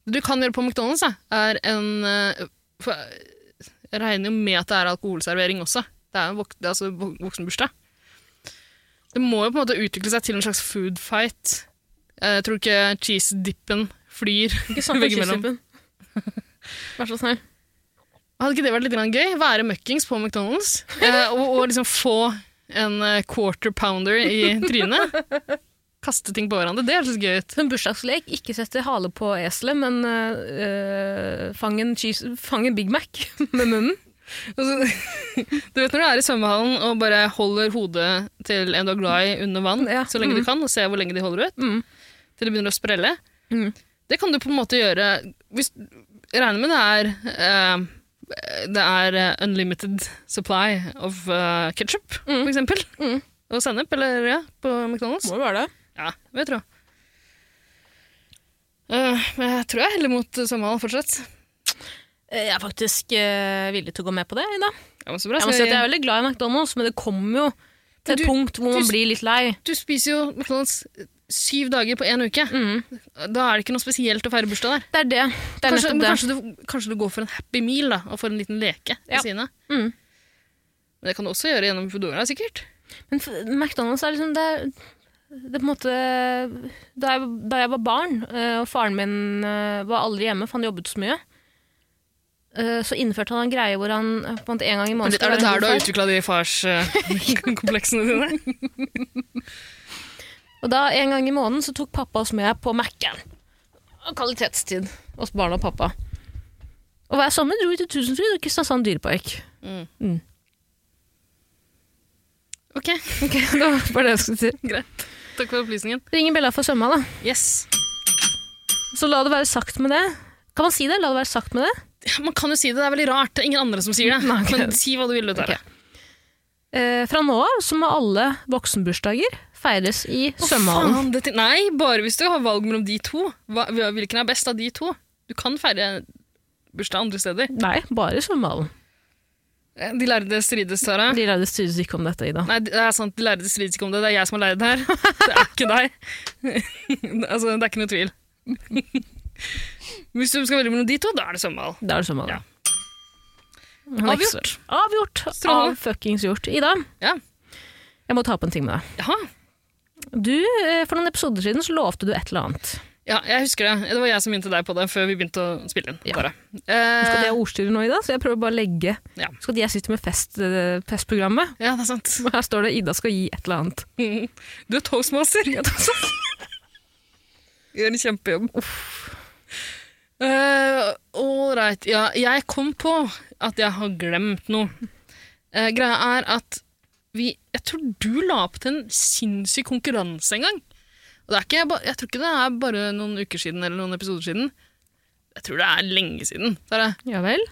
B: Det du kan gjøre på McDonald's, da, er en eh, for Jeg regner jo med at det er alkoholservering også. Det er jo vok det er altså vok- voksenbursdag. Det må jo på en måte utvikle seg til en slags food fight. Eh, Jeg tror ikke cheese-dippen flyr
A: Ikke snakk om
B: veggimellom.
A: cheesesuppen. Vær så snill.
B: Hadde ikke det vært litt grann gøy? Være møkkings på McDonald's eh, og, og liksom få en eh, quarter pounder i trynet. Kaste ting på hverandre. Det høres gøy ut.
A: Som bursdagslek, ikke sette hale på eselet, men øh, øh, fang, en cheese, fang en Big Mac med munnen.
B: Altså, du vet når du er i svømmehallen og bare holder hodet til en du er glad i, under vann
A: Ja.
B: så lenge du kan, og ser hvor lenge de holder ut,
A: Mm.
B: til det begynner å sprelle.
A: Mm.
B: Det kan du på en måte gjøre hvis, Jeg regner med det er eh, det er eh, unlimited supply of uh, ketsjup, for eksempel.
A: Mm.
B: Og sennep, eller ja, på McDonald's.
A: jo være det.
B: Ja, det vil jeg tro. Eh, men jeg tror jeg heller mot svømmehall fortsatt.
A: Jeg er faktisk øh, villig til å gå med på det, Ida.
B: Ja, men så bra.
A: Jeg
B: så
A: må si at jeg er veldig glad i McDonald's, men det kommer jo til
B: Men
A: et
B: du-
A: punkt hvor man
B: du-
A: blir litt lei.
B: Du spiser jo McDonald's eh, syv dager på én uke. Da er det ikke noe spesielt å feire bursdag der.
A: Det er det. Mm. Det er
B: kanskje,
A: nettopp
B: men
A: det.
B: kanskje, du, kanskje du går for en happy meal da, og får en liten leke ved
A: Ja.
B: siden av.
A: Mm.
B: Men det kan du også gjøre gjennom Foodora, sikkert.
A: Men f- McDonald's er liksom det, er- det er på en måte da jeg, da jeg var barn, eh, og faren min eh, var aldri hjemme, for han jobbet så mye, eh, så innførte han en greie hvor han eh, på en måte en gang i måneden
B: er det
A: være en
B: der du har
A: god far.
B: utvikla de farskompleksene dine?
A: Og da en gang i måneden så tok pappa oss med på Mac-en. Og Kvalitetstid. Oss barna og pappa. Og hver sommer dro vi til Tusenfryd og Kristiansand dyrepark.
B: Mm.
A: Mm.
B: Ok,
A: Ok, det var bare det jeg skulle si.
B: greit. Takk for opplysningen.
A: Ring Bella for svømma, da.
B: Yes.
A: Så la det være sagt med det. Kan man si det? La det være sagt med det.
B: Man kan jo si det, det er veldig rart. Det er ingen andre som sier det.
A: Nei, ok.
B: Men si hva du vil. Okay.
A: Eh, fra nå av så må alle voksenbursdager feires i svømmehallen.
B: Faen, dette- Nei, bare hvis du har valg mellom de to. Hva, hvilken er best av de to? Du kan feire bursdag andre steder.
A: Nei, bare i svømmehallen.
B: Eh, De lærde strides, Tara.
A: De lærde styres ikke om dette, Ida.
B: Nei, det er sant, de lærde strides ikke om det. Det er jeg som har lærd det her. Det er ikke deg. altså, det er ikke noe tvil. Hvis du skal velge mellom de to, da er det svømmehall.
A: Det er det svømmehallen.
B: Ja.
A: Men
B: Avgjort.
A: ekstra- Avgjort.
B: Strålende.
A: Av fuckings gjort. Ida,
B: Ja.
A: jeg må ta opp en ting med deg.
B: Jaha.
A: Du, eh, For noen episoder siden så lovte du et eller annet.
B: Ja, jeg husker det. Det var jeg som begynte deg på det før vi begynte å spille inn.
A: Ja.
B: Tara.
A: Husk at jeg
B: Eh,
A: er ordstyrer nå, Ida, så jeg prøver bare å legge
B: Ja.
A: Husk at jeg sitter med fest, eh, festprogrammet.
B: ja, det er sant.
A: Og her står det 'Ida skal gi et eller annet'.
B: Du er toastmaster. Gjør en kjempejobb. Eh, All right. Ja, jeg kom på at jeg har glemt noe. Eh, greia er at vi Jeg tror du la opp til en sinnssyk konkurranse en gang. Og det er ikke, ba- jeg tror ikke det er bare noen uker siden eller noen episoder siden. Jeg tror det er lenge siden. Tara.
A: Ja vel?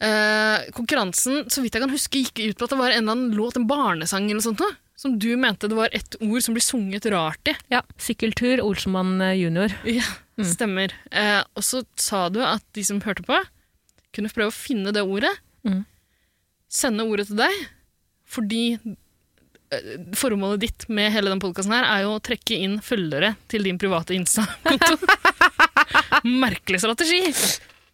B: Eh, konkurransen, så vidt jeg kan huske, gikk ut på at det var en eller annen låt, en barnesang eller noe sånt, noe, som du mente det var ett ord som blir sunget rart i.
A: Ja. Sykkeltur, Olsenmann eh, junior.
B: Ja, Stemmer. Eh, og så sa du at de som hørte på, kunne prøve å finne det ordet,
A: Mm.
B: sende ordet til deg, fordi eh, Formålet ditt med hele den podkasten er jo å trekke inn følgere til din private Insta-konto. Merkelig strategi.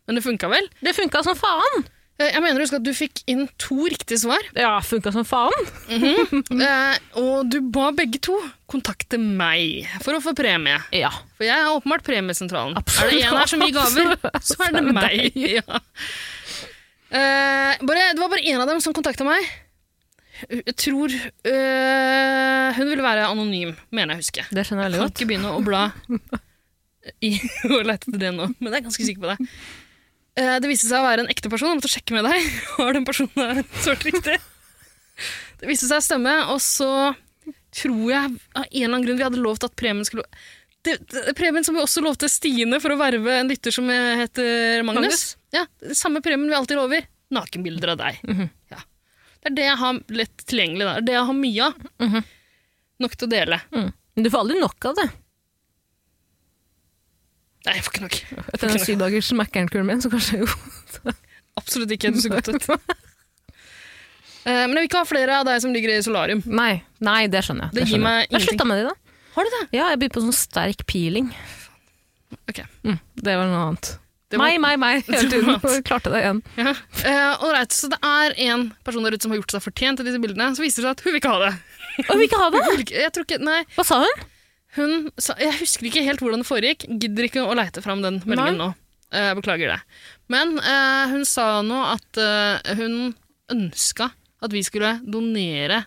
B: Men det funka vel?
A: Det funka som faen!
B: Eh, Jeg mener husk at du fikk inn to riktige svar,
A: Ja, funka som faen.
B: eh, og du ba begge to kontakte meg for å få premie.
A: Ja.
B: For jeg er åpenbart premiesentralen.
A: Absolutt.
B: Er det en her som gir gaver, så er det meg. Ja. Eh, bare, det var bare én av dem som kontakta meg. Jeg tror eh, Hun ville være anonym, mener jeg å huske.
A: Det skjønner jeg
B: Jeg kan ikke begynne å bla i og lete etter det nå, men jeg er ganske sikker på det. Eh, Det viste seg å være en ekte person. Jeg måtte sjekke med deg. Har den personen her svart riktig? Det viste seg å stemme, og så tror jeg av en eller annen grunn vi hadde lovt at premien skulle det, det, Premien som vi også lovte Stine for å verve en lytter som heter Magnus. Ja, det Samme premien vi alltid lover. Nakenbilder av deg. ja. Det er det jeg har lett tilgjengelig. da. Det er det jeg har mye av. Nok til å dele.
A: Men du får aldri nok av det.
B: Nei, jeg får ikke nok.
A: Etter den syvdagers Mac-and-kuren min, så kanskje jo
B: Absolutt ikke. Du ser godt ut. Eh, men jeg vil ikke ha flere av deg som ligger i solarium.
A: Nei, nei det skjønner jeg.
B: Det gir
A: skjønner
B: meg
A: jeg. Jeg
B: ingenting.
A: slutta med det, da.
B: Har du det?
A: Ja, jeg begynte på sånn sterk peeling.
B: Ok.
A: Mm, det var noe annet.
B: Det var-
A: Meg, meg, meg, hele
B: Det var
A: tiden.
B: noe annet.
A: Klarte det igjen.
B: Ja. Eh, all right, så det er en person der ute som har gjort seg fortjent til disse bildene. Så viser det seg at hun vil ikke ha det.
A: Å, vi vil ikke ha det!
B: Hun vil ikke- Jeg tror ikke, nei,
A: Hva sa hun?
B: hun sa, jeg husker ikke helt hvordan det foregikk. Gidder ikke å leite fram den meldingen nå. Eh, Jeg beklager det. Men eh, hun sa nå at eh, hun ønska at vi skulle donere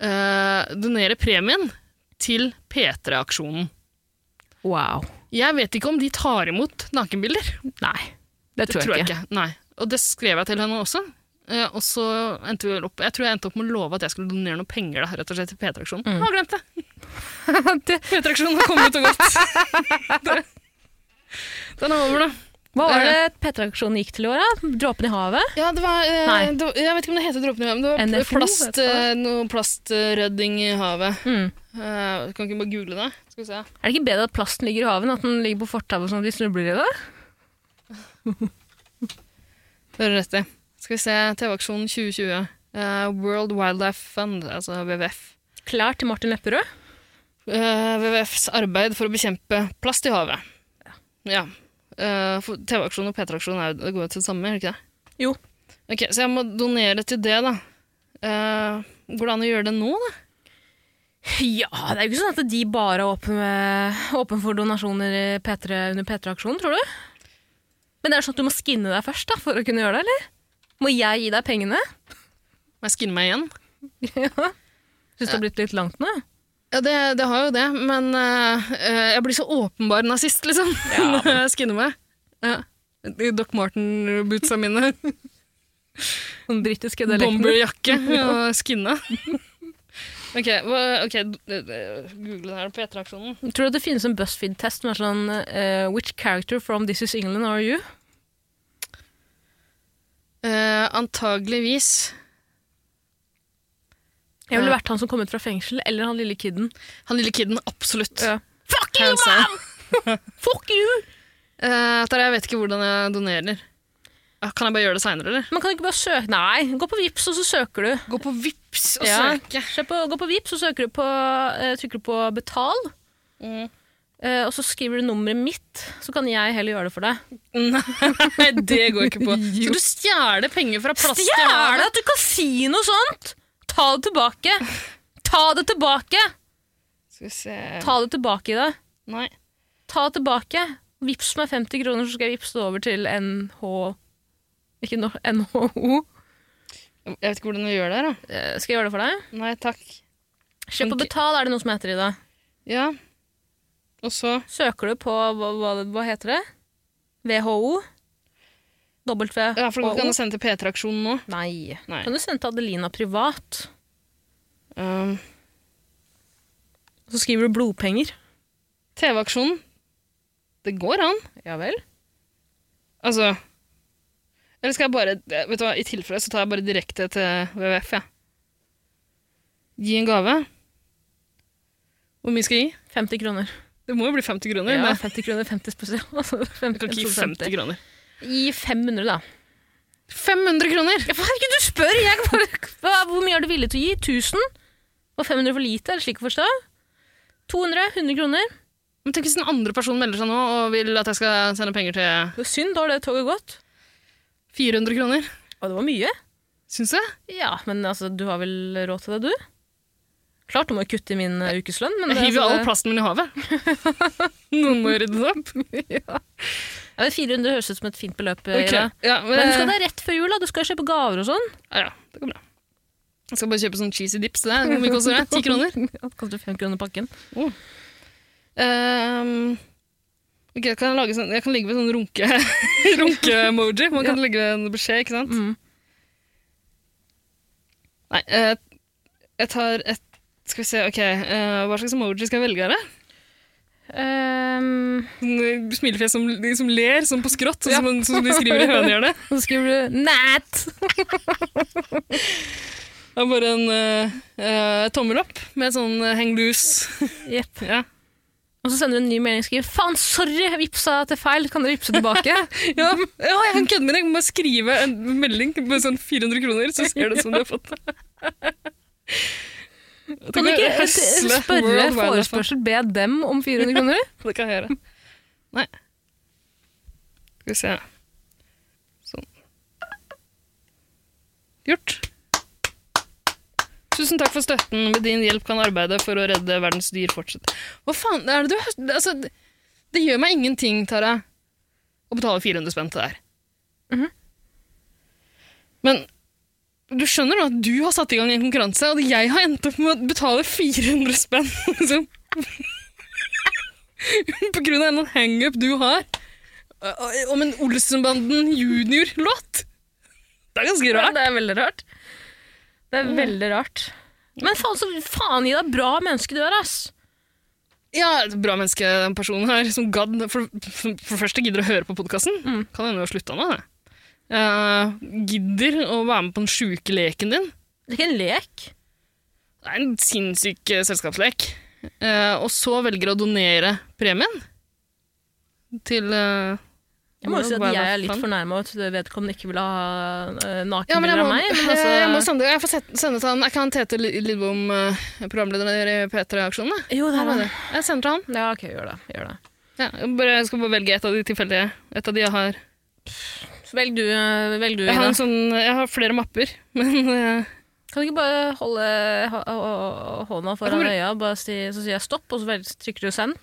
B: eh, Donere premien til P3-aksjonen.
A: Wow.
B: Jeg vet ikke om de tar imot nakenbilder.
A: Nei, det tror,
B: Det tror jeg ikke. Nei. Og det skrev jeg til henne også. Eh, og så endte vi vel opp, Jeg tror jeg endte opp med å love at jeg skulle donere noen penger da, rett og slett til P3-aksjonen. Mm. Har glemt det! P3-aksjonen har kommet og gått. Det- Den er over, da.
A: Hva var det P3-aksjonen gikk til i år, da? Dråpen i havet?
B: Ja, det var, eh,
A: Nei.
B: det var- Jeg vet ikke om det heter dråpen i havet, men det var
A: NFO, vet
B: plast,
A: du hva?
B: eh, noe plastrødding i havet.
A: Mm.
B: Eh, kan ikke bare google det? Skal vi se.
A: Er det ikke bedre at plasten ligger i havet enn at den ligger på fortauet sånn at vi snubler i det?
B: Det har du rett i. Skal vi se TV-aksjonen 2020. Eh, World Wildlife Fund, altså WWF.
A: Klær til Martin Lepperød?
B: Eh, WWFs arbeid for å bekjempe plast i havet. Ja. Eh, for TV-aksjonen og P3-aksjonen er jo- det går jo til det samme, gjør det ikke det?
A: Jo.
B: Ok, Så jeg må donere til det, da. Eh, går det an å gjøre det nå, da?
A: Ja, det er jo ikke sånn at de bare er åpne, åpne for donasjoner i P3, under P3-aksjonen, tror du? Men det er sånn at du må skinne deg først da, for å kunne gjøre det, eller? Må jeg gi deg pengene?
B: Må jeg skinne meg igjen?
A: ja. Syns det har blitt litt langt nå?
B: Ja, det, det har jo det, men eh, eh, jeg blir så åpenbar nazist, liksom, når jeg skinner meg. Ja. De Doc Marten-bootsa mine,
A: Den britiske dialekten.
B: bomberjakke og skinne. Ok, hva, ok, d- d- d- google det her, P3-aksjonen.
A: Tror du at det finnes en BuzzFeed-test som er sånn eh, Which character from This Is England are you?
B: Eh, antageligvis.
A: Jeg ville vært han som kom ut fra fengsel, eller han lille kidden.
B: Han lille kiden, absolutt.
A: Ja. Fuck you,
B: Hands
A: man!
B: down.
A: Fuck you!
B: Eh, Tara, jeg vet ikke hvordan jeg donerer. Ah, Kan jeg bare gjøre det seinere, eller?
A: Man kan ikke bare søke Nei, gå på Vipps, og så søker du.
B: Gå på Vips og
A: Ja.
B: søke.
A: Se på, gå på Vipps, og søker du på, eh, trykker du på betal.
B: Mm.
A: Eh, og så skriver du nummeret mitt, så kan jeg heller gjøre det for deg.
B: Nei, det går ikke på. Så du stjeler penger fra plast i
A: Stjele
B: havet?
A: at du kan si noe sånt! Ta det tilbake! Ta det tilbake!
B: Skal vi se
A: Ta det tilbake i det.
B: Nei.
A: Ta det tilbake. Vips meg 50 kroner, så skal jeg vippse det over til NH... Ikke no, NHO.
B: Jeg vet ikke hvordan jeg gjør det her, da.
A: Eh, skal jeg gjøre det for deg?
B: Nei takk.
A: Kjøp og
B: Ok.
A: betal er det noe som heter i det.
B: Ja. Og så
A: Søker du på hva, hva, hva heter det? VHO?
B: Ja, for det går ikke
A: WHO?
B: an å sende til P3-aksjonen nå.
A: Nei.
B: Nei.
A: Kan du sende til Adelina privat?
B: Um,
A: Så skriver du blodpenger.
B: TV-aksjonen. Det går an.
A: Ja vel.
B: Altså Eller skal jeg bare Vet du hva, i tilfelle så tar jeg bare direkte til WWF, jeg. Gi en gave. Hvor mye skal jeg gi?
A: 50 kroner.
B: Det må jo bli 50 kroner.
A: Ja,
B: men
A: 50 kroner, 50 spesial. Altså, 50,
B: jeg kan ikke gi 50 kroner.
A: Gi 500, da.
B: 500 kroner!
A: Ja, Hva er det du spør? Jeg kan bare, hva, hvor mye er du villig til å gi? 1000? Var 500 for lite? Er det slik å forstå? 200? 100 kroner?
B: Men tenk hvis den andre personen melder seg nå og vil at jeg skal sende penger til
A: Synd, da har det toget gått.
B: 400 kroner.
A: Og det var mye.
B: Syns du? det?
A: Ja, men altså, du har vel råd til det, du? Klart du må kutte i min eh, ukeslønn, men
B: Jeg
A: det-
B: hiver jo
A: altså,
B: all plasten min i havet. Noen må jo rydde det opp.
A: jeg vet, 400 høres ut som et fint beløp.
B: Ok,
A: Ida.
B: Ja, men,
A: Men husk at det er rett før jul, da. Du skal jo kjøpe gaver og sånn.
B: ja, ja, det går bra. Jeg skal bare kjøpe sånn cheesy dips til deg. Hvor mye
A: Altså,
B: koster det? Ti kroner?
A: Ja, det koster fem kroner pakken.
B: Ehm, ok, jeg, kan lage sånn, jeg kan legge ved sånn runke, runke-emoji. Man kan legge ved en beskjed, ikke sant?
A: Mm.
B: Nei, eh, jeg tar et Skal vi se, ok. eh, hva slags emoji skal jeg velge her, da?
A: Ehm,
B: Sånn, eh, Smilefjes som, de som ler, sånn på skrått, sånn, som, sånn som de skriver i hønehjørnet.
A: så skriver du 'nat'.
B: Det er bare en eh, eh, tommel opp med sånn eh, hang loose.
A: Jepp.
B: Ja.
A: Og så sender du en ny melding og skriver 'faen, sorry, jeg vipsa til feil'. Kan dere vipse tilbake?
B: Ja, ja jeg kan kødde med deg. Jeg må bare skrive en melding med sånn 400 kroner, så ser det ut som du sånn har fått det.
A: Kan du ikke eh, spørre forespørsel, be dem om 400 kroner?
B: Det kan jeg gjøre. Nei. Skal vi se. Sånn. Gjort. Tusen takk for støtten. Med din hjelp kan arbeidet for å redde verdens dyr fortsette. Hva faen er det du hø- altså, det- Det gjør meg ingenting, Tara, å betale 400 spenn til det her. Men du skjønner nå at du har satt i gang en konkurranse, og jeg har endt opp med å betale 400 spenn. Liksom på grunn av en eller annen hangup du har eh, om en Olsenbanden junior-låt. Det er ganske rart.
A: Det er veldig rart. Det er veldig rart. Men faen, så faen Ida, bra menneske du er, ass.
B: Ja, et bra menneske, den personen her, som gadd For, for for det første gidder å høre på podkasten.
A: Mm.
B: Kan hende du har slutta nå, det. Eh, gidder å være med på den sjuke leken din.
A: Det er ikke en lek.
B: Det er en sinnssyk eh, selskapslek. Eh, og så velger å donere premien til eh,
A: Jeg må jo si at
B: World
A: jeg er
B: Wildlife
A: litt
B: Fund.
A: fornærma at vedkommende ikke ville ha eh,
B: Ja, men
A: nakenbilder
B: jeg må,
A: av meg. Men
B: eh, jeg må
A: altså,
B: sende, jeg får sette- sende til han. Er ikke han Tete Li- Lidbom, eh, programleder i P3-aksjonen? da?
A: jo, det
B: Han er
A: er
B: det.
A: det.
B: Jeg sender til han.
A: Ja, ok, gjør det. Gjør det.
B: Ja, jeg, bare, jeg skal bare velge et av de tilfeldige. Et av de jeg har.
A: Så velg du, eh, velg du
B: Jeg har,
A: Ida.
B: en sånn, jeg har flere mapper, men eh,
A: Kan du ikke bare holde ha- ha- hånda foran
B: kommer-
A: øya, bare si, så sier jeg stopp, og så vel- trykker du send?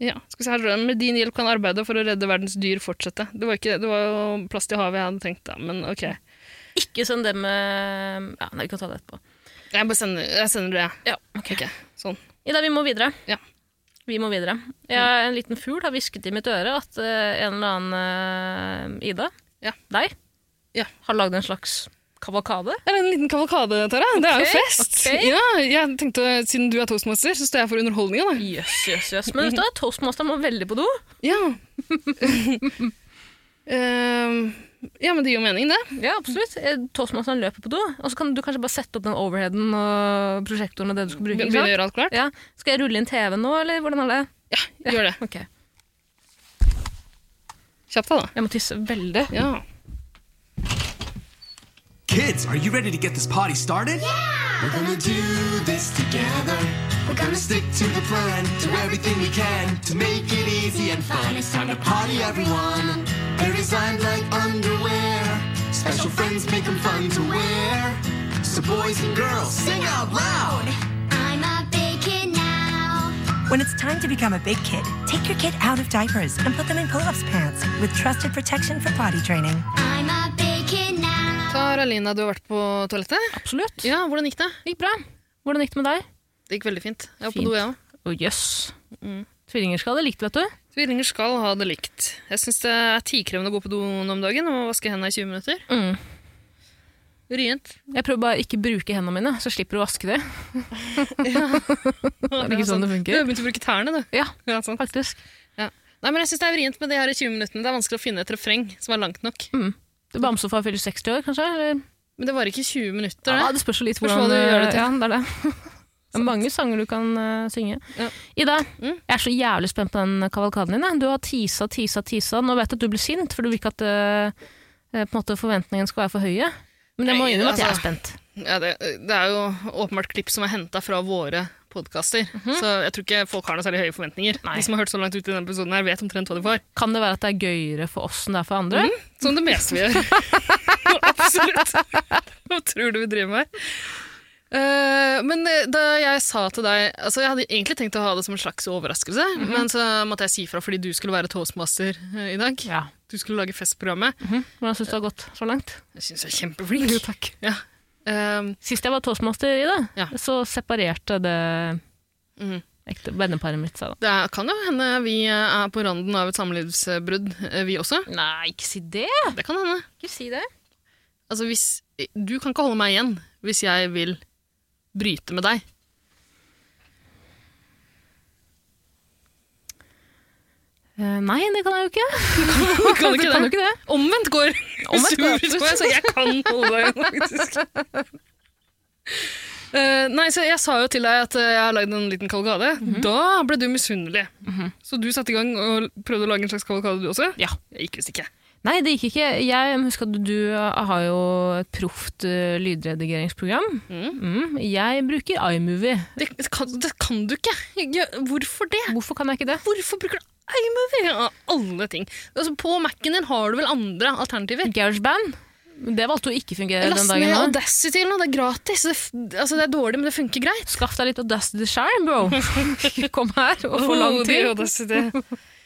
B: ja. Skal vi se, her står det, Med din hjelp kan arbeidet for å redde verdens dyr fortsette. Det var, ikke, det var jo plast i havet jeg hadde tenkt, da, men ok.
A: Ikke send det med Ja, nei, vi kan ta det etterpå.
B: Jeg, bare sender, jeg sender det, jeg.
A: Ja, ok.
B: Ok, Sånn.
A: Ida, vi må videre.
B: Ja. Mm.
A: Vi må videre. Jeg, en liten fugl har hvisket i mitt øre at eh, en eller annen eh, Ida,
B: Ja.
A: deg,
B: Ja.
A: har lagd en slags kavalkade.
B: Det er en liten kavalkade, Tara. Det er jo
A: Ok,
B: fest!
A: ok.
B: Ja, jeg tenkte, Siden du er toastmaster, så står jeg for underholdninga, da.
A: Jøss, jøss, jøss. Men vet du hva, toastmaster må veldig på do.
B: Ja. Ehm, ja, men det gir jo mening, det.
A: Ja, absolutt. Eh, Toastmasteren løper på do, og så kan du kanskje bare sette opp den overheaden og prosjektoren og det du skal bruke.
B: Begynne å
A: Ikke sant?
B: gjøre alt klart.
A: Ja. Skal jeg rulle inn TV nå, eller hvordan er det?
B: Gjør det.
A: Ok.
B: Kjapt, da.
A: Jeg må tisse veldig.
B: Ja.
J: Kids, are you ready to get this party started? Yeah! We're gonna do this together. We're gonna stick to the plan, do everything we can to make it easy and fun. It's time to party, everyone. They're designed like underwear. Special friends make them fun to wear. So, boys and girls, sing out loud.
K: I'm a big kid now.
L: When it's time to become a big kid, take your kid out of diapers and put them in pull-ups pants with trusted protection for potty training.
K: I'm a big kid now.
B: Tara Lina, du har vært på toalettet?
A: Absolutt.
B: Ja, hvordan gikk det?
A: Gikk bra. Hvordan gikk det med deg?
B: Det gikk veldig fint. Jeg var
A: Fint.
B: på do, jeg òg.
A: Å, jøss.
B: Mm.
A: Tvillinger skal ha det likt, vet du.
B: Tvillinger skal ha det likt. Jeg syns det er tidkrevende å gå på do nå om dagen og må vaske hendene i 20 minutter.
A: Mm.
B: Vrient.
A: Jeg prøver bare ikke bruke hendene mine, så slipper du å vaske dem.
B: Det
A: er ikke sånn det funker.
B: Du har begynt å bruke tærne, du.
A: Ja,
B: Ja, sant.
A: faktisk.
B: Nei, men jeg syns det er vrient med det her i 20 minuttene. Det er vanskelig å finne et refreng som er langt nok.
A: Bamsefar fyller 60 år, kanskje? Eller?
B: Men det varer ikke 20 minutter,
A: Ja,
B: det.
A: det spørs jo litt
B: Spørs
A: hvordan
B: hva du gjør det til.
A: Ja, det er det. Det er mange sanger du kan eh, synge.
B: Ja.
A: Ida,
B: Mm.
A: jeg er så jævlig spent på den kavalkaden din. jeg. Du har tisa, tisa, tisa. Nå vet jeg at du blir sint, for du vil ikke at eh, eh, på en måte forventningene skal være for høye. Men jeg må
B: Nei,
A: innrømme at jeg er
B: altså-
A: spent.
B: Ja, det, det er jo åpenbart klipp som er henta fra våre podkaster.
A: Mhm.
B: Så jeg tror ikke folk har noe særlig høye forventninger. De som har hørt så langt ut i denne episoden her, vet omtrent hva de får.
A: Kan det være at det er gøyere for oss enn det er for andre?
B: Mhm, som det meste vi gjør. Absolutt. Hva tror du vi driver med her? Eh, men eh, da jeg sa til deg altså Jeg hadde egentlig tenkt å ha det som en slags overraskelse,
A: Mhm.
B: men så måtte jeg si fra fordi du skulle være toastmaster eh, i dag. Du skulle lage festprogrammet.
A: Hvordan syns du det har gått så langt?
B: Jeg syns jeg er kjempeflink. Eh, Ja.
A: Sist jeg var toastmaster i det, så separerte det ekte venneparet mitt seg. da.
B: mm. Det er- kan jo hende vi eh, er på randen av et samlivsbrudd, eh, vi også.
A: Nei, ikke si det!
B: Det kan hende.
A: Ikke si det.
B: Altså, hvis, du kan ikke holde meg igjen hvis jeg vil bryte med deg.
A: Eh, nei, det kan jeg jo ikke.
B: Du kan
A: Du
B: ikke
A: kan
B: det.
A: jo ikke det.
B: Omvendt går.
A: Omvendt går.
B: Hvis du vil, Så jeg kan holde deg igjen, faktisk. Eh, nei, så jeg sa jo til deg at eh, jeg har lagd en liten kavalkade.
A: Mhm.
B: Da ble du misunnelig. Så du satte i gang og prøvde å lage en slags kavalkade, du også?
A: Ja.
B: Jeg gikk visst ikke.
A: Nei, det gikk ikke. Jeg husker at du eh, har jo et proft eh, lydredigeringsprogram. Mm. Jeg bruker iMovie.
B: Det, kan, du ikke! hvorfor det?
A: Hvorfor kan jeg ikke det?
B: Hvorfor bruker du iMovie av alle ting? Altså, på Mac-en din har du vel andre alternativer?
A: GarageBand? Det valgte å ikke fungere den
B: Last
A: dagen.
B: ned
A: da.
B: Audacity eller noe, det er gratis. Det, f- altså, det er dårlig, men det funker greit.
A: Skaff deg litt Audacity Shine, bro. Kom her og få lang
B: Oh, det er
A: tid.
B: Audacity.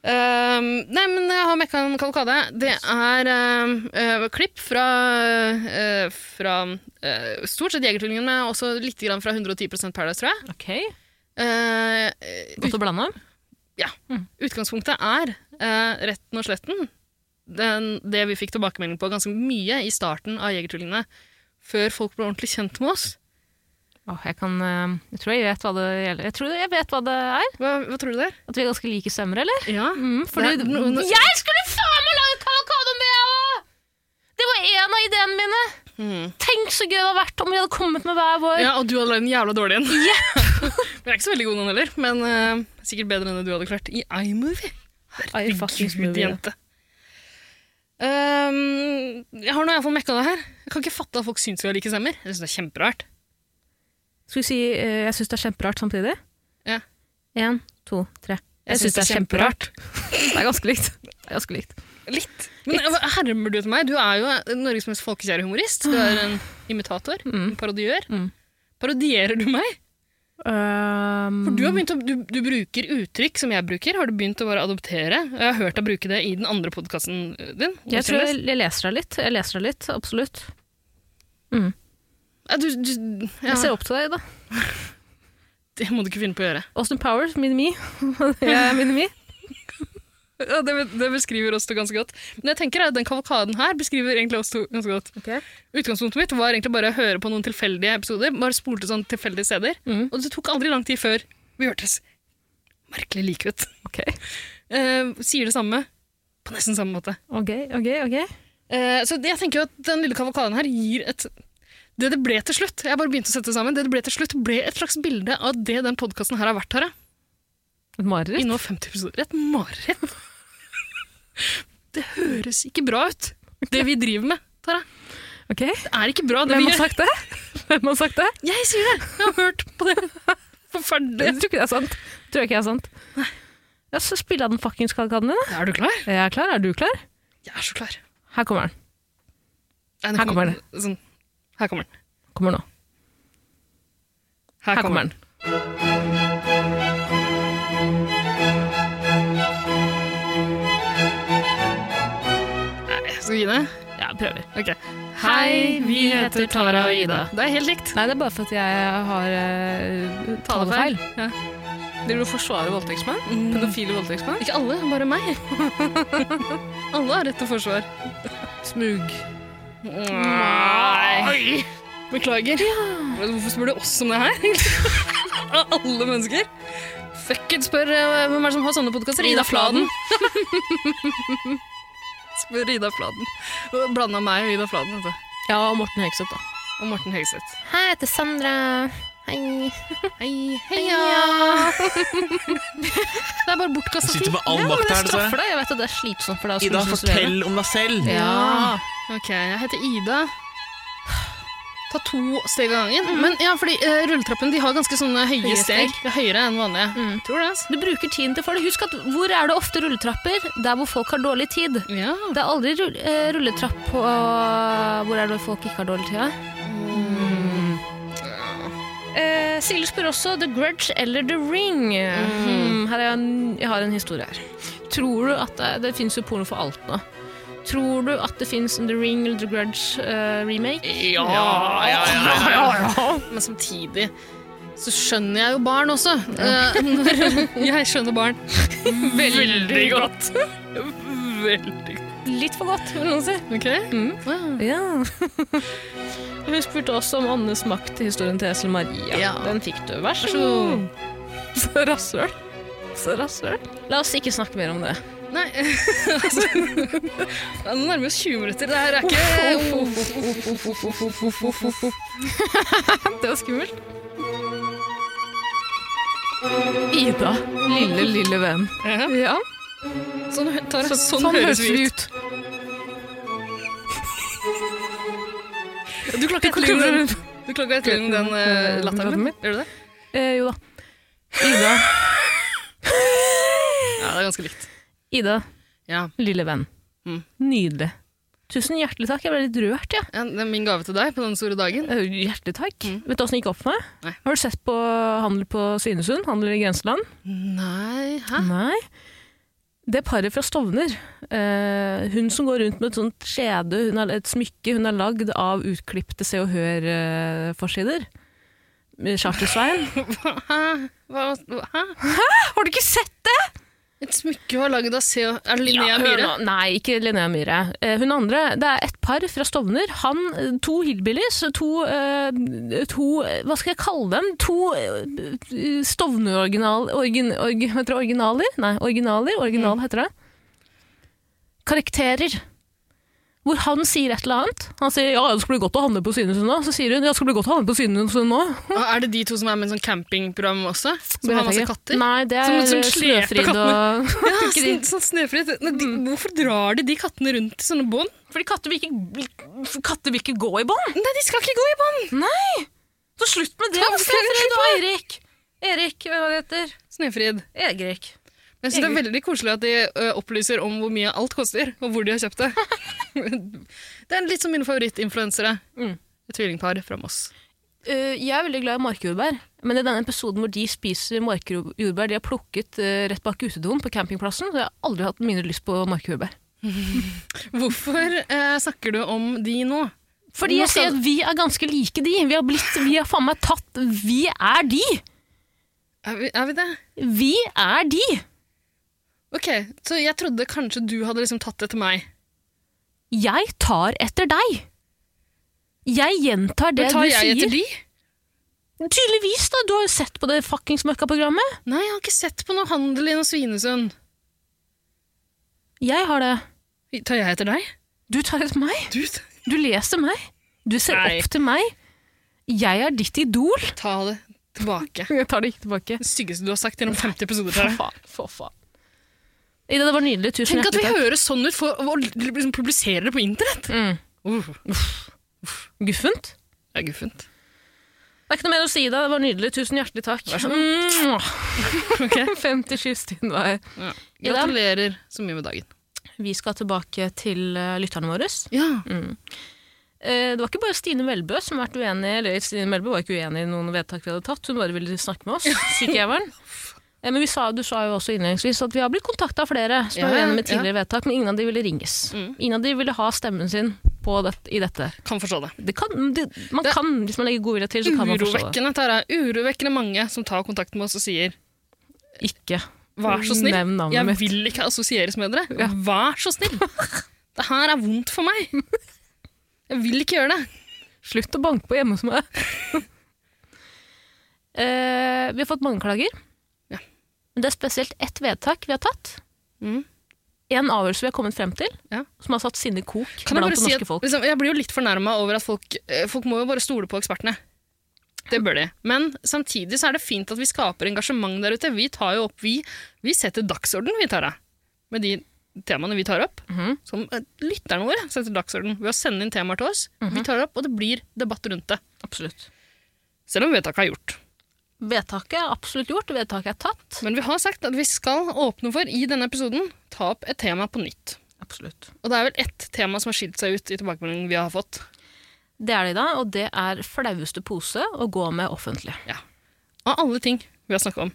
B: Um, nei, men jeg har mekka en kavalkade. Det er um, eh, klipp fra, eh, fra eh, stort sett Jegertvillingen, men også litt grann fra 110 Paradise, tror jeg.
A: Ok.
B: Eh,
A: Godt å blande.
B: ja. Utgangspunktet er eh, retten og sletten. Den, det vi fikk tilbakemelding på ganske mye i starten av Jegertvillingene, før folk ble ordentlig kjent med oss.
A: Åh, jeg, kan, eh, jeg tror jeg vet hva det gjelder. Jeg tror jeg vet hva det er.
B: Hva, hva tror du det er?
A: At vi er ganske like stemmer, eller?
B: Ja.
A: Mm, fordi,
B: Det er noe- noe-
A: Jeg skulle faen meg lage kavalkade om det, jeg òg! Det var en av ideene mine. Tenk så gøy det hadde vært om vi hadde kommet med hver vår.
B: Hmm. Ja, og du hadde lagd en jævla dårlig en. Men jeg er ikke så veldig god nå heller, men eh, sikkert bedre enn det du hadde klart i iMovie. Herregud,
A: movie, ja.
B: jente. Um, jeg har nå iallfall mekka det her. Jeg kan ikke fatte at folk syns vi har like stemmer. Jeg synes det er kjemperart.
A: Skal vi si eh, 'jeg syns det er kjemperart' samtidig?
B: Ja.
A: Én, to, tre. Jeg, synes syns det er kjemperart. Det er ganske likt. Det er ganske likt.
B: Litt. Men eh, hermer du til meg? Du er jo Norges mest folkekjære humorist. Du
A: Ah.
B: er en imitator.
A: Mm.
B: En parodiør. Parodierer du meg? For
A: Mm.
B: du, har begynt å, du, du bruker uttrykk som jeg bruker. Har du begynt å bare adoptere? Jeg har hørt deg bruke det i den andre podkasten din.
A: Jeg tror jeg, jeg leser deg litt. Jeg leser deg litt, absolutt. Mm.
B: Ja, du, du, ja.
A: Jeg ser opp til deg, da.
B: Det må du ikke finne på å gjøre.
A: Austin Powers, Minimi. Jeg er Minimi.
B: Ja, det, det beskriver oss to ganske godt. Men jeg tenker at den kavalkaden her beskriver egentlig oss to ganske godt. Utgangspunktet mitt var egentlig bare å høre på noen tilfeldige episoder. Bare spolte sånn tilfeldige steder.
A: Mm.
B: Og det tok aldri lang tid før vi hørtes merkelig like ut. Eh, sier det samme på nesten samme måte.
A: Ok, ok, ok.
B: Eh, så det, jeg tenker jo at den lille kavalkaden her gir et Det det ble til slutt, jeg bare begynte å sette det sammen, det det ble til slutt, ble et slags bilde av det den podkasten her har vært, Tara.
A: Et mareritt?
B: I nå 50 episoder. Et mareritt. Det høres ikke bra ut, det vi driver med, Tara.
A: Ok.
B: Det er ikke bra, det
A: Hvem
B: vi
A: har
B: gjør.
A: sagt det? Hvem har sagt det?
B: Jeg sier det! Jeg har hørt på det. Forferdelig.
A: Jeg tror ikke det er sant. Jeg tror ikke det er sant. Ja, så spiller jeg den fuckings kalkanen din, da.
B: Er du klar?
A: Jeg er klar. Er du klar?
B: Jeg er så klar.
A: Her kommer den.
B: Nei,
A: Her kommer den.
B: Sånn. Her kommer den.
A: Kommer nå.
B: Her, kommer den. Nei, Skal vi gi det?
A: Ja, prøver.
B: Ok. Hei, vi heter Tara og Ida. Det er helt likt.
A: Nei, det er bare for at jeg har uh, talefeil.
B: Ja.
H: Driver du og forsvarer voldtektsmenn? Pedofile voldtektsmenn?
B: Mm. Ikke alle, bare meg. alle har rett til forsvar.
A: Smug.
B: Nei. Beklager. Hvorfor spør du oss om det her? Av alle mennesker? Fuck it, spør eh, hvem er det som har sånne podkaster?
H: Ida
B: Ida Fladen. spør Ida Fladen. Blanda meg og Ida Fladen. Vet du.
A: Ja, og Morten Hegseth, da.
B: Og Morten Hegseth.
A: Hei, jeg heter Sandra. Hei.
B: Hei, heia! det er bare
M: Du
B: bortkasta tid.
M: sitter med all
B: Ja, men
M: makt her,
B: det
M: dessverre.
B: straffer deg.
A: Jeg vet at det er slitsomt for deg å
M: Ida,
A: skulle sensurere.
M: fortell om deg selv!
B: Ja. Ok, jeg heter Ida. Ta to steg av gangen. Men ja, fordi eh, rulletrappen de har ganske sånne høye,
A: Mm. Høye steg.
B: steg.
A: Mm.
B: Det er høyere enn vanlige. Tror det, altså.
A: Du bruker tiden til for det. Husk at hvor er det ofte rulletrapper? Der hvor folk har dårlig tid. Det er aldri rull- eh, rulletrapp på eh, Hvor er det folk ikke har dårlig tid? da? Mm. Eh, Silje spør også The Grudge eller The Ring. Hmm, her er jeg, en, jeg har en historie her. Tror du at det, det finnes jo porno for alt nå? Tror du at det finnes en The Ring eller The Grudge eh, remake?
B: Ja, ja, ja, ja, Men samtidig så skjønner jeg jo barn også. Eh, når- jeg skjønner barn.
A: Veldig godt.
B: Veldig godt.
A: Litt for godt, vil noen si.
B: Ok?
A: Mm. Hun spurte også om åndenes makt i historien til Esel Maria. Den fikk du. Vær så
B: Vær så
A: god. Så rasshøl. Så rasshøl. La oss ikke snakke mer om det.
B: Nei, altså ja, Det nærmer oss 20 minutter. Det her er ikke
A: Det var skummelt. Ida, lille, lille venn. Ja.
B: Sånn, hø- Tara,
A: Så-
B: sånn, høres vi ut. Du klarer ikke å etterligne den, du klarer ikke å etterligne den eh, latteren min? Gjør du det?
A: Eh, jo da. Ida,
B: Ja, det er ganske likt.
A: Ida
B: Ja.
A: lille venn. Mm. Nydelig. Tusen hjertelig takk. Jeg ble litt rørt, jeg.
B: Ja, det er min gave til deg på den store dagen.
A: Eh, Hjertelig takk. Vet du åssen det gikk opp for meg? Har du sett på Handel på Svinesund? Handel i grenseland?
B: Nei, hæ?
A: Nei. Det paret fra Stovner, eh, hun som går rundt med et sånt skjede, hun har, et smykke hun har lagd av utklipte Se og eh, Hør-forsider. Charter-Svein.
B: Hæ? Hva, hva- hæ?
A: Har du ikke sett det?!
B: Et smykke hun har lagd av Se og Er det Linnea
A: Ja, hør
B: Myhre?
A: nå. Nei, ikke Linnea Myhre. Eh, Hun andre, det er et par fra Stovner. Han, eh, to hillbillies, to, eh, to eh, Hva skal jeg kalle dem? To eh, Stovner-originaler origin, orgi- Heter det originaler? Nei, originaler. Original heter det. Karakterer. Hvor han sier et eller annet. Han sier 'ja, det skal bli godt å handle på Synesund nå'. Så sier hun 'ja, det skal bli godt å handle på Synesund nå'.
B: Og Er det de to som er med i en sånn campingprogram også? Som
A: Det
B: har
A: vet jeg
B: masse
A: ikke.
B: katter?
A: Nei, det er
B: Som- som sleper
A: Snøfrid
B: kattene.
A: og
B: Ja, sånn, sånn Snøfrid. Nei, de,
A: Mm.
B: hvorfor drar de de kattene rundt i sånne bånd?
A: Fordi katter vil ikke, katter vil ikke gå i bånd.
B: Nei, de skal ikke gå i bånd!
A: Nei! Så slutt med det.
B: Ta
A: Hvorfor er
B: slutt
A: det
B: på
A: da,
B: det.
A: Erik? Erik, hva heter
B: Snøfrid.
A: Egrik.
B: Men jeg synes det er veldig koselig at de ø, opplyser om hvor mye alt koster, og hvor de har kjøpt det. det er litt som mine favorittinfluensere.
A: Mm.
B: Et tvillingpar fra Moss.
A: Eh, jeg er veldig glad i markjordbær, men i denne episoden hvor de spiser markjordbær de har plukket eh, rett bak utedoen på campingplassen, så jeg har aldri hatt mindre lyst på markjordbær.
B: Hvorfor ø, snakker du om de nå?
A: Fordi jeg
B: Nå
A: ser
B: skal-
A: at vi er ganske like de. Vi har blitt, vi har faen meg tatt Vi er de!
B: Er vi, er vi det?
A: Vi er de!
B: Ok, så jeg trodde kanskje du hadde liksom tatt etter meg.
A: Jeg tar etter deg! Jeg gjentar det
B: Men tar
A: du
B: jeg
A: sier.
B: etter de?
A: Tydeligvis, da! Du har jo sett på det fuckings møkkaprogrammet.
B: Nei, jeg har ikke sett på noe handel i noe Svinesund.
A: Jeg har det.
B: Tar jeg etter deg?
A: Du tar etter meg.
B: Du,
A: Du leser meg. Du ser
B: Nei.
A: opp til meg. Jeg er ditt idol.
B: ta det tilbake.
A: Jeg tar det ikke tilbake.
B: Det styggeste du har sagt gjennom 50 episoder. Tara.
A: For faen. For faen. Ida, det var nydelig. Tusen
B: Tenk at vi
A: hjertelig takk.
B: høres sånn ut for å liksom publisere det på internett! Uh,
A: Mm. Guffent?
B: det er guffent.
A: Det er ikke noe mer å si, Ida. Det var nydelig. Tusen hjertelig takk.
B: Vær så
A: Mm. 50 kyss din vei.
B: Ja.
A: Ida?
B: Gratulerer så mye med dagen.
A: Vi skal tilbake til eh, lytterne våre.
B: Ja.
A: Mm. Eh, Det var ikke bare Stine Melbø som har vært uenig eller Stine Melbø var ikke uenig i noen vedtak vi hadde tatt, hun bare ville snakke med oss, sykejævelen. Eh, Men vi sa, du sa jo også innledningsvis at vi har blitt kontakta av flere som er
B: Ja,
A: uenige
B: Mm.
A: med
B: ja.
A: tidligere vedtak, men ingen av de ville ringes. Ingen av de ville ha stemmen sin på det, i dette.
B: Kan forstå det.
A: Det kan, det, man kan, hvis man legger god vilje til, så kan man forstå det.
B: Urovekkende, Tara. Urovekkende mange som tar kontakt med oss og sier
A: Ikke.
B: Vær så snill,
A: Nevn navnet
B: jeg
A: mitt.
B: vil ikke assosieres med dere. Vær så snill! Det her er vondt for meg. Jeg vil ikke gjøre det.
A: Slutt å banke på hjemme hos meg. Eh, vi har fått mange klager. Men det er spesielt ett vedtak vi har tatt.
B: Mm.
A: En avgjørelse vi har kommet frem til,
B: Ja.
A: som har satt sinne i kok
B: Kan jeg,
A: blant
B: bare
A: det
B: si
A: norske
B: at,
A: folk.
B: liksom, jeg blir jo litt fornærma over at folk, eh, folk må jo bare stole på ekspertene. Det bør de. Men samtidig så er det fint at vi skaper engasjement der ute. Vi tar jo opp, vi, vi setter dagsorden, vi, Tara. Med de temaene vi tar opp,
A: Mhm.
B: som eh, lytterne våre setter dagsorden ved å sende inn temaer til oss.
A: Mhm.
B: Vi tar det opp, og det blir debatt rundt det.
A: Absolutt.
B: Selv om vedtaket er gjort.
A: Vedtaket er absolutt gjort, vedtaket er tatt.
B: Men vi har sagt at vi skal åpne for i denne episoden ta opp et tema på nytt.
A: Absolutt.
B: Og det er vel ett tema som har skilt seg ut i tilbakemeldingen vi har fått.
A: Det er det i dag, og det er flaueste pose å gå med offentlig.
B: Av alle ting vi har snakket om.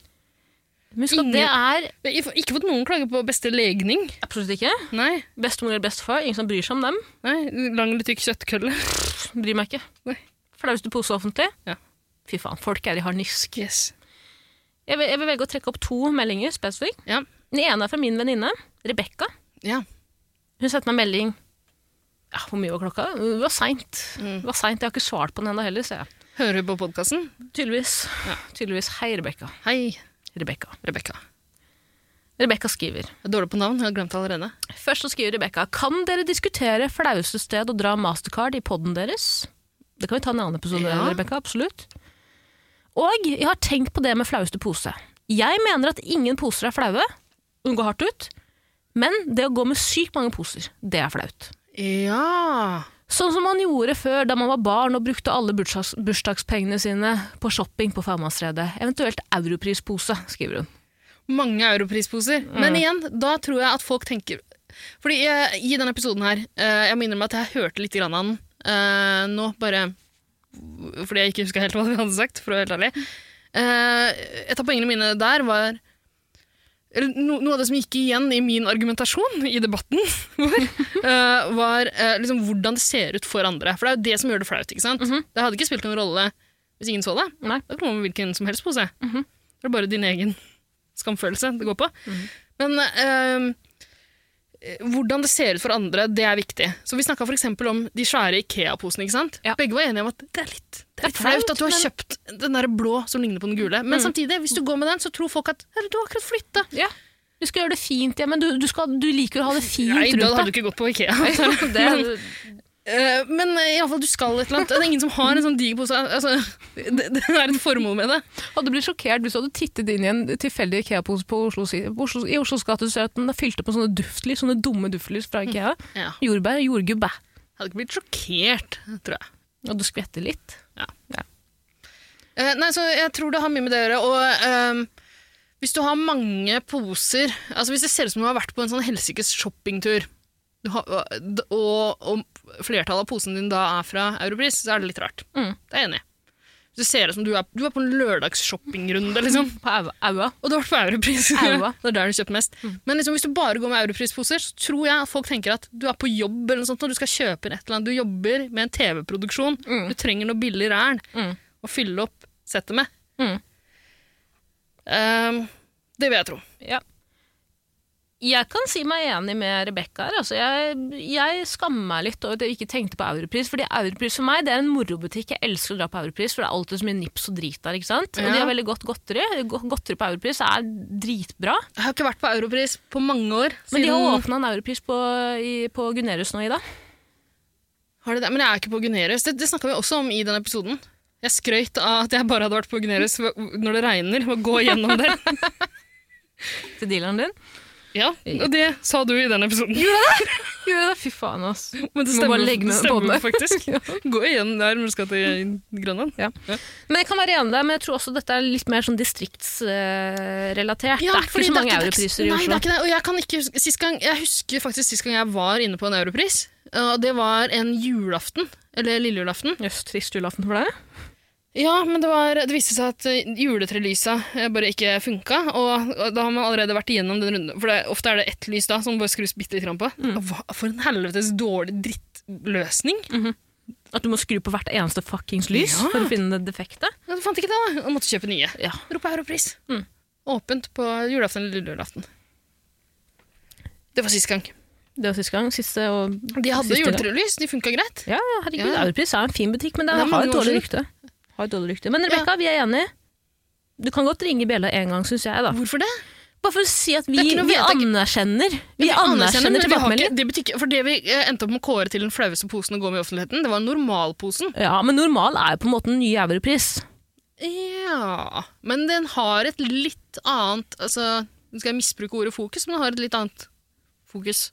A: Husk at det er
B: Vi har ikke fått noen klage på beste legning.
A: Absolutt ikke.
B: Nei.
A: Bestemor eller bestefar, ingen som bryr seg om dem.
B: Nei, Lang eller tykk kjøttkølle.
A: Bryr meg ikke.
B: Nei.
A: Flaueste pose offentlig.
B: Ja.
A: Fy faen, folk er i harnisk.
B: Yes.
A: Jeg vil, jeg vil velge å trekke opp to meldinger spesifikt.
B: Ja.
A: Den ene er fra min venninne, Rebekka.
B: Ja.
A: Hun sendte meg en melding ja, Hvor mye var klokka? Det var seint. Det var seint. Jeg har ikke svart på den ennå heller, ser jeg.
B: Hører du på podkasten?
A: Tydeligvis. Tydeligvis. Hei, Rebekka.
B: Hei,
A: Rebekka.
B: Rebekka.
A: Rebekka skriver.
B: Jeg er dårlig på navn, jeg har glemt det allerede.
A: Først så skriver Rebekka Kan dere diskutere flaueste sted å dra mastercard i podden deres? Det kan vi ta en annen episode,
B: Ja.
A: Rebekka. Absolutt. Og jeg har tenkt på det med flaueste pose. Jeg mener at ingen poser er flaue. Hun går hardt ut. Men det å gå med sykt mange poser, det er flaut.
B: Ja
A: Sånn som man gjorde før da man var barn og brukte alle bursdags bursdagspengene sine på shopping på Farmannsredet. Eventuelt europrispose, skriver hun.
B: Mange europrisposer. Men igjen, da tror jeg at folk tenker Fordi eh, i denne episoden her eh, Jeg må innrømme at jeg hørte litt grann av den eh, nå, bare fordi jeg ikke huska helt hva vi hadde sagt, for å være helt ærlig. Eh, Et av poengene mine der var eller no, Noe av det som gikk igjen i min argumentasjon i debatten, vår, eh, var eh, liksom hvordan det ser ut for andre. For det er jo det som gjør det flaut. ikke sant? Det hadde ikke spilt noen rolle hvis ingen så det.
A: Nei.
B: Da kan man med hvilken som helst pose. Det er bare din egen skamfølelse det går på. Men eh, hvordan det ser ut for andre, det er viktig. Så Vi snakka f.eks. om de svære Ikea-posene. ikke sant?
A: Ja.
B: Begge var enige om at det er litt det er litt flaut at du har
A: men-
B: kjøpt den der blå som ligner på den gule. Men samtidig, hvis du går med den, så tror folk at «Herre, du har akkurat flytta.
A: Ja. Du skal gjøre det fint, ja, men du, du, skal, du liker å ha det fint
B: Nei, da hadde du
A: rundt deg.
B: ikke gått på Ikea.
A: Det,
B: Eh, Men eh, i alle fall, du skal et eller annet. Det er ingen som har en sånn diger pose. Altså, det, det er et formål med det.
A: hadde blitt sjokkert hvis du hadde tittet inn i en tilfeldig Ikea-pose på Oslo, si- på Oslo, i Oslos gater. Du ser at den er fylt opp med sånne duftlys, sånne dumme duftlys fra Ikea.
B: Ja.
A: Jordbær, jordgubbe.
B: Hadde ikke blitt sjokkert, tror jeg.
A: Og du skvetter litt.
B: Eh, nei, så jeg tror det har mye med det å gjøre. Og ehm, hvis du har mange poser Altså Hvis det ser ut som du har vært på en sånn helsikes shoppingtur, du har, og, og, og flertallet av posene dine da er fra Europris, så er det litt rart.
A: Mm.
B: Det er jeg enig i. Hvis det ser ut som du er, du er på en lørdagsshoppingrunde, liksom.
A: På au- aua.
B: Og du har vært på Europris.
A: Aua.
B: det er der du kjøper mest.
A: Mm.
B: Men liksom, hvis du bare går med Europris-poser, så tror jeg at folk tenker at du er på jobb eller noe sånt, og du skal kjøpe inn et eller annet. Du jobber med en TV-produksjon.
A: Mm.
B: Du trenger noe billig ræl
A: Mm.
B: å fylle opp settet med.
A: Mm.
B: Ehm, det vil jeg tro.
A: Ja. Jeg kan si meg enig med Rebekka her. Altså, jeg, jeg skammer meg litt over at jeg ikke tenkte på Europris. Fordi Europris for meg det er en morobutikk. Jeg elsker å dra på Europris, for det er alltid så mye nips og drit der. ikke sant? Og
B: Ja.
A: de har veldig godt godteri. Go- Godteri på Europris er dritbra.
B: Jeg har ikke vært på Europris på mange år.
A: Men de har
B: siden-
A: åpna en Europris på, i- på Gunerius nå, Ida.
B: Har de det? Men jeg er ikke på Gunerius. Det, det snakka vi også om i den episoden. Jeg skrøyt av at jeg bare hadde vært på Gunerius når det regner, og gå gjennom der.
A: Til dealeren din.
B: Ja, og det sa du i den episoden.
A: Jo, fy faen, ass.
B: Men det
A: Må bare
B: stemmer,
A: legge med
B: det stemmer
A: båndet.
B: faktisk. Gå igjen der når du skal til Grønland.
A: Ja. Men jeg kan være enig der, men jeg tror også dette er litt mer sånn distriktsrelatert. det er ikke
B: fordi
A: så mange
B: det er ikke-
A: europriser i
B: Nei, det er
A: Oslo.
B: ikke det. Og jeg, kan ikke huske, sist gang, jeg husker faktisk sist gang jeg var inne på en europris. Og det var en julaften. Eller lille julaften.
A: Jøss, trist julaften for deg.
B: Ja, men det, var, det viste seg at eh, juletrelysa eh, bare ikke funka. Og og da har man allerede vært igjennom den runden. For det, ofte er det ett lys da som bare skrus bitte litt grann på.
A: Mm.
B: Hva, for en helvetes dårlig drittløsning.
A: At du må skru på hvert eneste fuckings lys
B: Ja.
A: for å finne det defekte?
B: Ja, du fant ikke det, da. Og måtte kjøpe nye.
A: Ja. Mm.
B: Rop på europris. Åpent på julaften eller lille julaften. Det var sist gang.
A: Det var siste gang. Siste og
B: De hadde
A: siste gang.
B: juletrelys, de funka greit.
A: Ja, ja, herregud.
B: Ja.
A: Europris er en fin butikk, men den
B: Det er
A: har
B: mange
A: et
B: år
A: dårlig
B: siden.
A: rykte. Har et dårlig rykte. Men Rebekka, vi er enige. Du kan godt ringe bjella en gang, syns jeg. da.
B: Hvorfor det?
A: Bare for å si at vi,
B: Det er ikke noe
A: vi
B: vedtak.
A: anerkjenner Vi
B: men
A: anerkjenner
B: vi har ikke,
A: tilbakemeldingen.
B: det betyr ikke- For det vi eh, endte opp med å kåre til den flaueste posen å gå med i offentligheten, det var normalposen.
A: Ja, men normal er jo på en måte den nye europris.
B: Ja Men den har et litt annet Altså, nå skal jeg misbruke ordet fokus, men den har et litt annet fokus.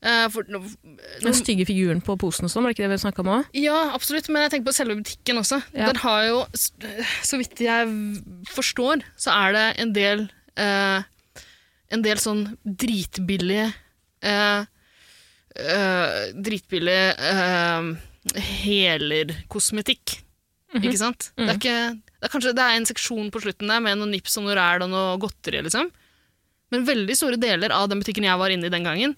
B: Eh, for, nå-
A: Den stygge figuren på posen og sånn, var det ikke det vi snakka om òg?
B: Ja, absolutt, men jeg tenker på selve butikken også.
A: Ja.
B: Den har jo, s- så vidt jeg forstår, så er det en del eh, En del sånn dritbillige eh, eh, Dritbillig eh, helerkosmetikk. Ikke sant? Det, er ikke, det er kanskje det er en seksjon på slutten der med noe nips og noe ræl og noe godteri, liksom. Men veldig store deler av den butikken jeg var inne i den gangen,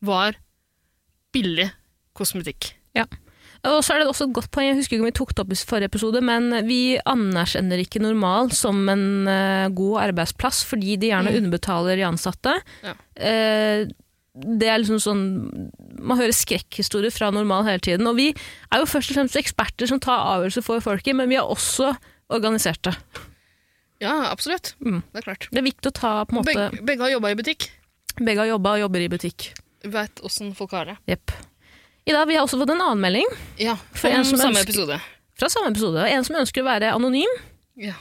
B: var billig kosmetikk.
A: Ja. Og så er det også et godt poeng, jeg husker ikke om vi tok det opp i forrige episode, men vi anerkjenner ikke normal som en eh, god arbeidsplass, fordi de gjerne
H: Mm.
A: underbetaler de ansatte.
B: Ja.
A: Eh, det er liksom sånn Man hører skrekkhistorier fra normal hele tiden. Og vi er jo først og fremst eksperter som tar avgjørelser for folket, men vi er også organiserte.
B: Ja, absolutt. Det er klart.
A: Det er viktig å ta Mm. på en måte
B: Beg, begge har jobba i butikk.
A: Begge har jobba og jobber i butikk.
B: Veit åssen folk har det.
A: Jepp. Ida, vi har også fått en annen melding.
B: Ja,
A: For
B: om
A: en som
B: samme
A: ønsker-
B: episode.
A: Fra samme episode. En som ønsker å være anonym.
B: Ja.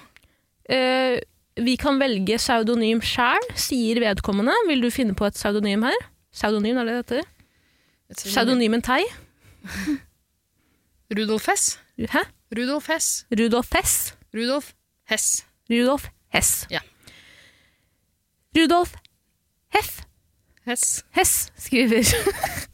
A: Eh, vi kan velge pseudonym sjæl, sier vedkommende. Vil du finne på et pseudonym her? Pseudonym, er det det heter? Pseudonymen Tei.
B: Rudolf Hess.
A: Hæ?
B: Rudolf Hess.
A: Rudolf Hess.
B: Rudolf Hess.
A: Rudolf Hess.
B: Ja.
A: Rudolf Heff.
B: Hess.
A: Hess skriver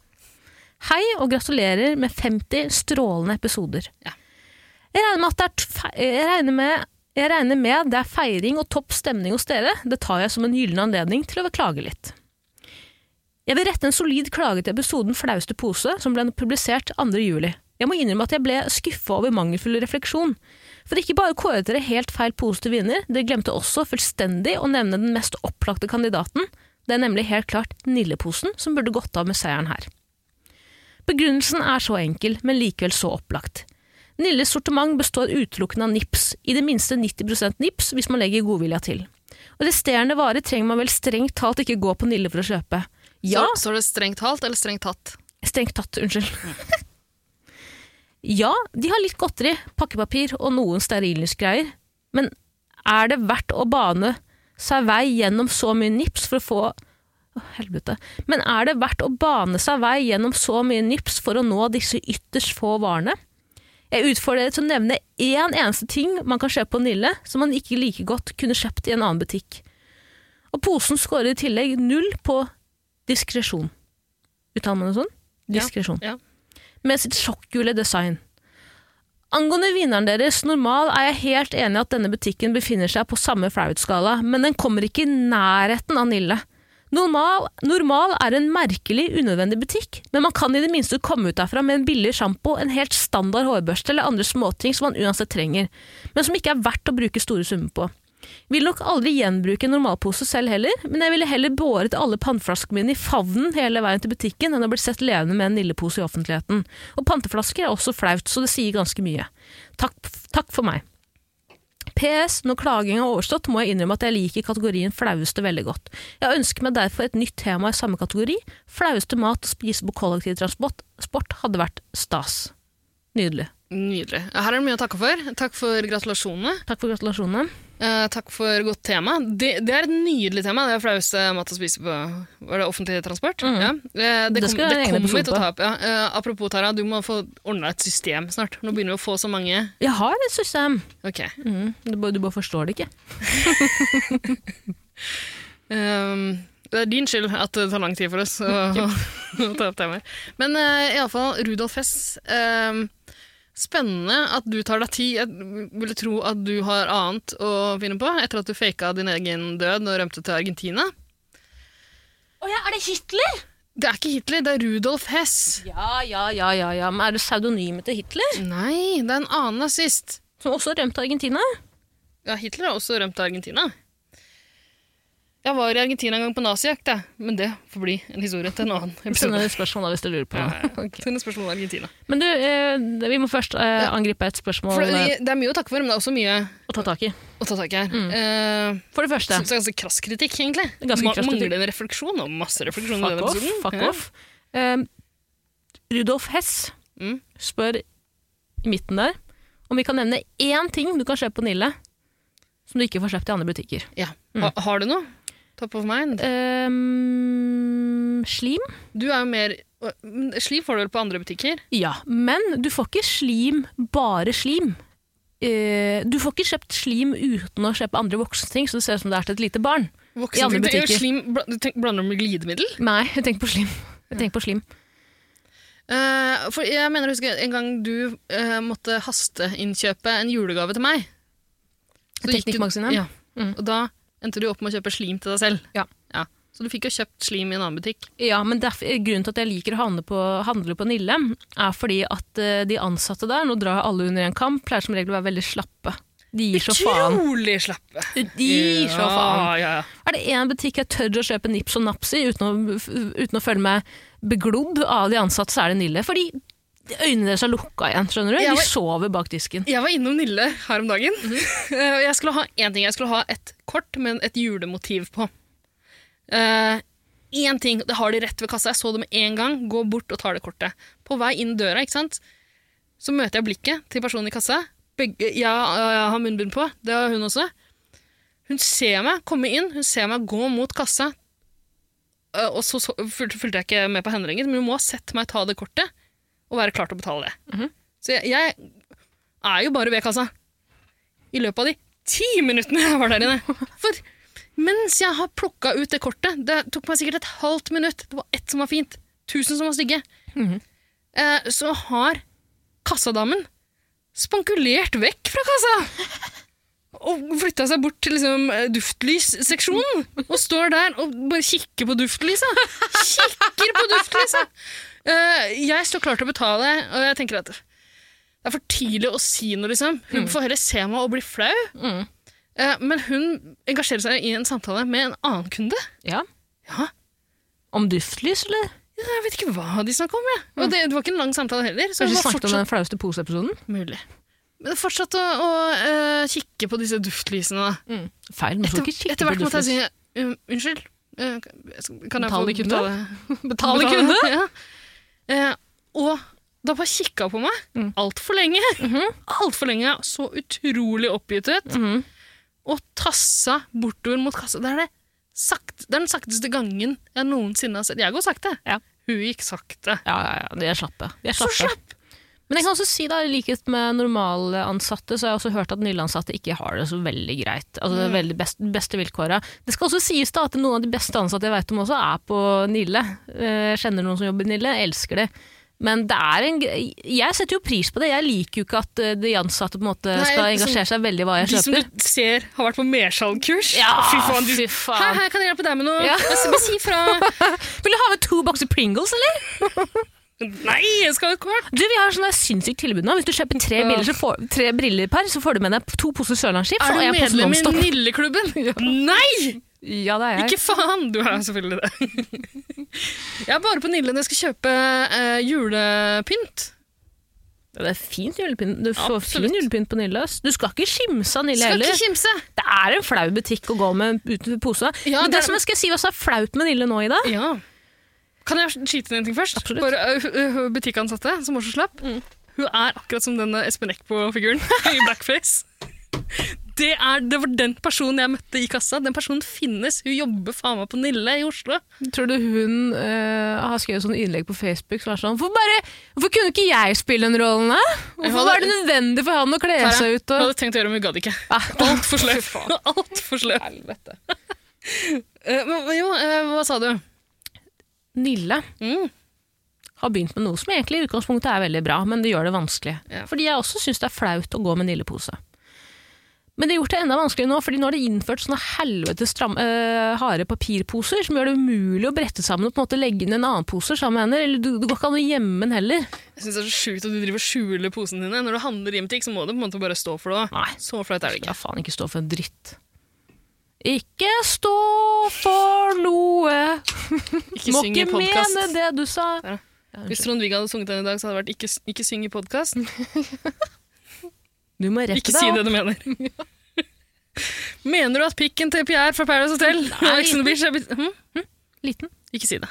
A: Hei og gratulerer med 50 strålende episoder. Jeg regner med at det er t- fe- jeg regner med jeg regner med det er feiring og topp stemning hos dere. Det tar jeg som en gyllen anledning til å klage litt. Jeg vil rette en solid klage til episoden Flauste pose, som ble publisert 2. juli. Jeg må innrømme at jeg ble skuffa over mangelfull refleksjon. For ikke bare kåret dere helt feil pose til vinner, dere glemte også fullstendig å nevne den mest opplagte kandidaten. Det er nemlig helt klart Nilleposen, som burde gått av med seieren her. Begrunnelsen er så enkel, men likevel så opplagt. Nilles sortiment består utelukkende av nips, i det minste 90 nips hvis man legger godvilja til. Og resterende varer trenger man vel strengt talt ikke gå på Nille for å kjøpe. Ja,
B: Så, så er det strengt talt eller strengt tatt?
A: strengt tatt, unnskyld. ja, de har litt godteri, pakkepapir og noen stearinlysgreier, men er det verdt å bane seg vei gjennom så mye nips for å få Å, helvete. Men er det verdt å bane seg vei gjennom så mye nips for å nå disse ytterst få varene? Jeg utfordrer dere til å nevne én eneste ting man kan kjøpe på Nille som man ikke like godt kunne kjøpt i en annen butikk. Og posen scorer i tillegg null på diskresjon. Uttaler man det sånn? Diskresjon.
B: Ja.
A: Med sitt sjokkgule design. Angående vinneren deres, normal er jeg helt enig i at denne butikken befinner seg på samme flauhetsskala, men den kommer ikke i nærheten av Nille. Normal, normal er en merkelig, unødvendig butikk, men man kan i det minste komme ut derfra med en billig sjampo, en helt standard hårbørste eller andre småting som man uansett trenger, men som ikke er verdt å bruke store summer på. Vil nok aldri gjenbruke en normalpose selv heller, men jeg ville heller båret alle panneflaskene mine i favnen hele veien til butikken enn å bli sett levende med en nillepose i offentligheten. Og panteflasker er også flaut, så det sier ganske mye. Takk, takk for meg. PS, når klaging er overstått, må jeg innrømme at jeg liker kategorien flaueste veldig godt. Jeg ønsker meg derfor et nytt tema i samme kategori. Flaueste mat å spise på kollektivtransport sport hadde vært stas. Nydelig.
B: Nydelig. Her er det mye å takke for. Takk for gratulasjonene.
A: Takk for gratulasjonene.
B: Eh, takk for godt tema. Det, det er et nydelig tema. Det er flaueste mat å spise på Var det offentlig transport. Ja. Eh,
A: Mm. Det
B: det kom,
A: skal vi ha en
B: det
A: egen
B: kommer vi
A: episode
B: til å
A: på.
B: ta opp. Ja. Eh, apropos Tara, du må få ordna et system snart. Nå begynner vi å få så mange.
A: Jeg har et system.
B: Ok.
A: Mm, du, bare, du bare forstår det ikke.
B: Ehm, det er din skyld at det tar lang tid for oss å, å ta opp temaer. Men eh, i alle fall, Rudolf Hess, ehm, spennende at du tar deg tid. Jeg ville tro at du har annet å finne på etter at du faka din egen død og rømte til Argentina.
A: Å ja, er det Hitler?
B: Det er ikke Hitler, det er Rudolf Hess.
A: Ja, ja, ja, ja, ja. Men er det pseudonymet til Hitler?
B: Nei, det er en annen nazist.
A: Som også rømte Argentina?
B: Ja, Hitler har også rømt til Argentina. Jeg var i Argentina en gang på nazijakt, jeg. men det får bli en historie til en annen
A: Send
B: episode.
A: et spørsmål da, hvis du lurer på noe.
B: Send et spørsmål om Argentina.
A: Men du, eh, vi må først eh, angripe et spørsmål
B: For det,
A: eh,
B: det er mye å takke for, men det er også mye
A: å ta tak i.
B: å ta tak i her.
A: Mm.
B: Eh,
A: For det første
B: synes det er ganske krass kritikk, egentlig.
A: Ganske
B: Ma-
A: krass kritikk.
B: Manglende refleksjon, og masse refleksjon. i
A: Fuck
B: denne
A: off.
B: episoden.
A: Fuck
B: Ja.
A: off. Ehm, Rudolf Hess spør i midten der om vi kan nevne én ting du kan kjøpe på Nille som du ikke
B: Mm.
A: får kjøpt i andre butikker.
B: Ja. Ha, har du noe? Topp of mind?
A: Ehm, Eh, slim.
B: Du er jo mer Slim får du vel på andre butikker?
A: Ja, men du får ikke slim bare slim. Eh, du får ikke kjøpt slim uten å kjøpe andre voksne så det ser ut som det er til et lite barn. I
B: Voksen,
A: andre
B: tenker jeg,
A: butikker.
B: Slim, bla- du tenker, blander du med glidemiddel?
A: Nei, jeg tenker på slim. Jeg tenker på slim.
B: Eh, for jeg mener, husker jeg, en gang du eh, måtte hasteinnkjøpe en julegave til meg. Så gikk du-
A: Teknikkmagasinet?
B: Ja. Og da endte du opp med å kjøpe slim til deg selv. Ja. Så du fikk jo kjøpt slim i en annen butikk.
A: Ja, men derfor, grunnen til at jeg liker å handle på, handle på Nille, er fordi at eh, de ansatte der, nå drar alle under en kamp, pleier som regel å være veldig slappe. De gir så faen.
B: Utrolig slappe.
A: De gir så faen.
B: Ja, ja.
A: Er det én butikk jeg tør å kjøpe nips og naps i uten å, uten å føle meg beglodd av de ansatte, så er det Nille. Fordi øynene deres er lukka igjen, skjønner du?
B: Jeg var-
A: De sover bak disken.
B: Jeg var innom Nille her om dagen. Eh, og jeg skulle ha én ting. Jeg skulle ha et kort med et julemotiv på. Eh, Én ting. Det har de rett ved kassa. Jeg så det med en gang. Gå bort og tar det kortet. På vei inn døra ikke sant? så møter jeg blikket til personen i kassa. Begge, jeg, jeg har munnbind på. Det har hun også. Hun ser meg komme inn, hun ser meg gå mot kassa. Eh, Og så, så fulgte, fulgte jeg ikke med på henne lenger, men hun må ha sett meg ta det kortet og være klar til å betale det. Så jeg, jeg er jo bare ved kassa. I løpet av de ti minuttene jeg var der inne. For mens jeg har plukka ut det kortet Det tok meg sikkert et halvt minutt. Det var ett som var fint. Tusen som var stygge. eh, så har kassadamen spankulert vekk fra kassa! Og flytta seg bort til liksom, eh, duftlysseksjonen. Og står der og bare kikker på duftlysa. Kikker på duftlysa! Eh, jeg står klar til å betale, og jeg tenker at det er for tidlig å si noe, liksom. Hun
A: Mm.
B: får heller se meg og bli flau. Eh, men hun engasjerer seg i en samtale med en annen kunde.
A: Ja. Om duftlys, eller?
B: Ja, jeg vet ikke hva de snakker om, jeg. Og det, det var ikke en lang samtale heller. Så hun
A: Mm. Kanskje
B: var
A: snakket om
B: fortsatt,
A: den flaueste pose-episoden?
B: Mulig. men fortsatt å, å eh, kikke på disse duftlysene, da.
A: Feil, men du får
B: Etter,
A: ikke kikke
B: etter
A: på
B: hvert måtte jeg si
A: duftlys.
B: um, unnskyld. eh, kan jeg få
A: Betale kunde?
B: betale?
A: Betale kunde?
B: Ja. Eh, og da bare kikka hun på meg mm. altfor lenge.
A: Mm-hmm.
B: Altfor lenge. Så utrolig oppgitt ut.
A: Mhm.
B: Og tassa bortover mot kassa. Det er, det, sakte, det er den sakteste gangen jeg noensinne har sett. Jeg går sakte. Hun gikk sakte.
A: Ja, ja, ja. De er slappe. De er
B: Så
A: slappe. Men jeg kan også si da, i likhet med normalansatte, så har jeg også hørt at nyansatte ikke har det så veldig greit. Altså det er
H: Mm.
A: veldig best, beste vilkåra. Det skal også sies da at noen av de beste ansatte jeg vet om også, er på Nille. Eh, Jeg kjenner noen som jobber i Nille, jeg elsker det. Men det er en, gre- jeg setter jo pris på det. Jeg liker jo ikke at eh, de ansatte på en måte
B: Nei,
A: skal
B: liksom,
A: engasjere seg veldig i hva jeg
B: De som
A: kjøper.
B: du ser har vært på Mersalg-kurs.
A: Ja,
B: fy faen. De,
A: fy faen.
B: Hei, hei, kan jeg hjelpe deg med noe?
A: Ja.
B: Jeg skal bare si fra.
A: Vil du ha med to bokser Pringles, eller?
B: Nei, jeg skal ha et kort.
A: Du, Vi har sånne sinnssykt tilbud nå. Hvis du kjøper tre,
B: Ja.
A: briller, så får, tre briller per, så får du med deg to poser Sørlandschips
B: Er
A: og
B: du
A: en pose
B: medlem i
A: Nonstop.
B: Nilleklubben? Nei!
A: Ja, det er jeg.
B: Ikke faen! Du er selvfølgelig det. jeg er bare på Nille når jeg skal kjøpe eh, julepynt.
A: Ja, Det er fint julepynt. Du får
B: Absolutt.
A: fin julepynt på Nille. ass. Du skal ikke kimse av Nille
B: Skal
A: heller.
B: ikke kimse.
A: Det er en flau butikk å gå med uten pose.
B: Ja,
A: Men det,
B: det er-
A: som jeg skal si også er flaut med Nille nå, Ida
B: Kan jeg skyte inn en ting først? Absolutt. Bare ø, ø, ø, Butikkansatte som også slapp.
A: Mm.
B: Hun er akkurat som den Espen Eckbo-figuren i blackface. Det, er, det var den personen jeg møtte i kassa. Den personen finnes. Hun jobber faen meg på Nille i Oslo.
A: Tror du hun eh, har skrevet sånn innlegg på Facebook som er sånn Hvorfor, bare, hvorfor kunne ikke jeg spille den rollen, da?
B: Jeg
A: Hvorfor
B: hadde-
A: var det nødvendig for han å kle
B: Tara,
A: seg ut
B: Hun
A: og
B: hadde tenkt å gjøre det, men hun gadd ikke.
A: Ah.
B: Altfor sløv. Altfor sløv. Eh, Men men jo, eh, hva sa du? Mm.
A: Nille har begynt med noe som egentlig i utgangspunktet er veldig bra, men det gjør det vanskelig. Fordi jeg også syns det er flaut å gå med Nille-pose. Men det har gjort det enda vanskeligere nå, fordi nå har de innført sånne helvetes stram- øh, harde papirposer som gjør det umulig å brette sammen og på en måte legge inn en annen pose sammen med hender. Eller du, det går ikke an å gjemme den heller.
B: Jeg synes det er så sjukt at du driver og skjuler posene dine. Når du handler i en butikk, så må du på en måte bare stå for det. Nei. Så flaut er det ikke.
A: Faen, ikke stå for en dritt. Ikke stå for noe!
B: Ikke
A: Må
B: syng i
A: ikke
B: podcast.
A: mene det du sa.
B: Hvis Trond-Viggo hadde sunget den i dag, så hadde det vært 'Ikke, ikke syng i podkast'.
A: Du må rette
B: Ikke
A: deg
B: si
A: opp.
B: det du mener. Mener du at pikken til Pierre fra Paradise Hotel
A: Nei,
B: og Ex
A: liten.
B: on the Beach er blitt hm?
A: Liten.
B: Ikke si det.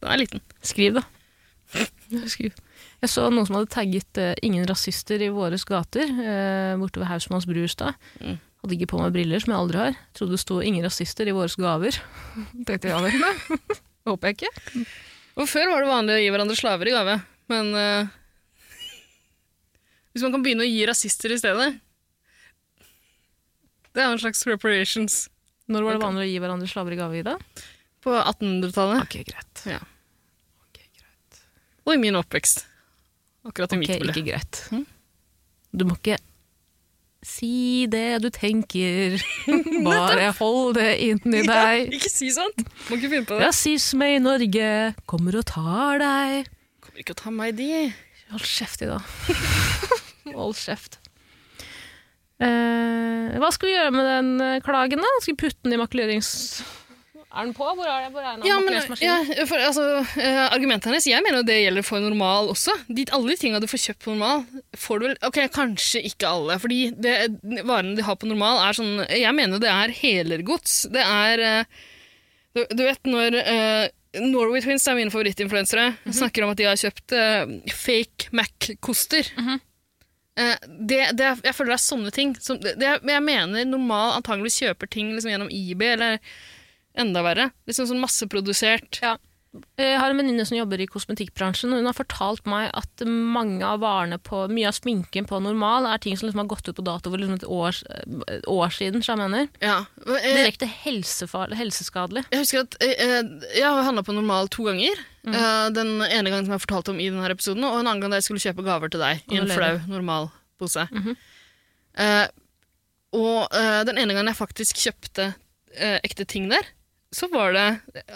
B: Den er liten.
A: Skriv, da. Skriv. Jeg så noen som hadde tagget eh, 'Ingen rasister i våres gater' eh, borte ved Hausmanns Brustad. Hadde ikke på meg briller, som jeg aldri har. Trodde det sto 'Ingen rasister i våres gaver'. Tenkte jeg, ja vel.
B: Håper jeg ikke. Og før var det vanlig å gi hverandre slaver i gave, men eh, Hvis man kan begynne å gi rasister i stedet Det er jo en slags reparations.
A: Når var det vanlig å gi hverandre slaver i gave, Ida?
B: På 1800-tallet.
A: Ok, greit.
B: Ja. Og i min oppvekst. Akkurat
A: Ok,
B: i mitt miljø.
A: ikke greit. Du må ikke si det du tenker. Bare hold det inni deg.
B: ikke si sånt! Må ikke finne på det.
A: Rasisme i Norge kommer og tar deg.
B: Kommer ikke å ta meg de.
A: Hold kjeft, Ida. Hold kjeft. Eh, hva skal vi gjøre med den eh, klagen, da? Skal vi putte den i makulerings... Er den på? Hvor er, det? Hvor er den?
B: Ja, men,
A: Makuleringsmaskinen?
B: ja, for, altså, eh, argumentet hennes Jeg mener jo det gjelder for normal også. De, alle de tinga du får kjøpt på normal, får du vel Ok, kanskje ikke alle. Fordi det, varene de har på normal, er sånn Jeg mener jo det er helergods. Det er eh, du, du vet når eh, Norway Twins er mine favorittinfluensere. Snakker om at de har kjøpt eh, fake Mac-koster. Eh, det, det, er- jeg føler det er sånne ting. Som, det, det, jeg mener normal antageligvis kjøper ting liksom, gjennom IB eller enda verre. Liksom sånn masseprodusert.
A: Ja. Eh, Jeg har en venninne som jobber i kosmetikkbransjen, og hun har fortalt meg at mange av varene på, mye av sminken på normal er ting som liksom har gått ut på dato for liksom et år, et år siden, som jeg mener. Direkte helsefar, helseskadelig.
B: Jeg husker at eh, eh, jeg har handla på normal to ganger. Eh, den ene gangen som jeg fortalte om i denne episoden, og en annen gang da jeg skulle kjøpe gaver til deg i en
A: Gratulerer.
B: flau, normal pose. Eh, og eh, den ene gangen jeg faktisk kjøpte eh, ekte ting der, så var det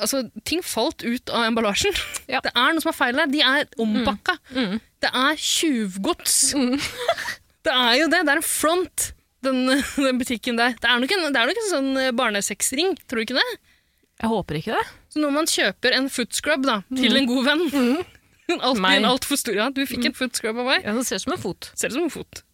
B: Altså, ting falt ut av emballasjen. Det er noe som er feil der. De er ompakka. Det er tjuvgods. det er jo det. Det er en front, den, den butikken der. Det er nok en, det er nok en sånn eh, barnesexring, tror du ikke det?
A: Jeg håper ikke det.
B: Så når man kjøper en footscrub da, til en god venn Alltid
A: Mhm. Meg. Mhm.
B: en altfor stor Ja, du fikk en footscrub av meg.
A: Ja, det ser ut som en fot.
B: Ser ut som en fot.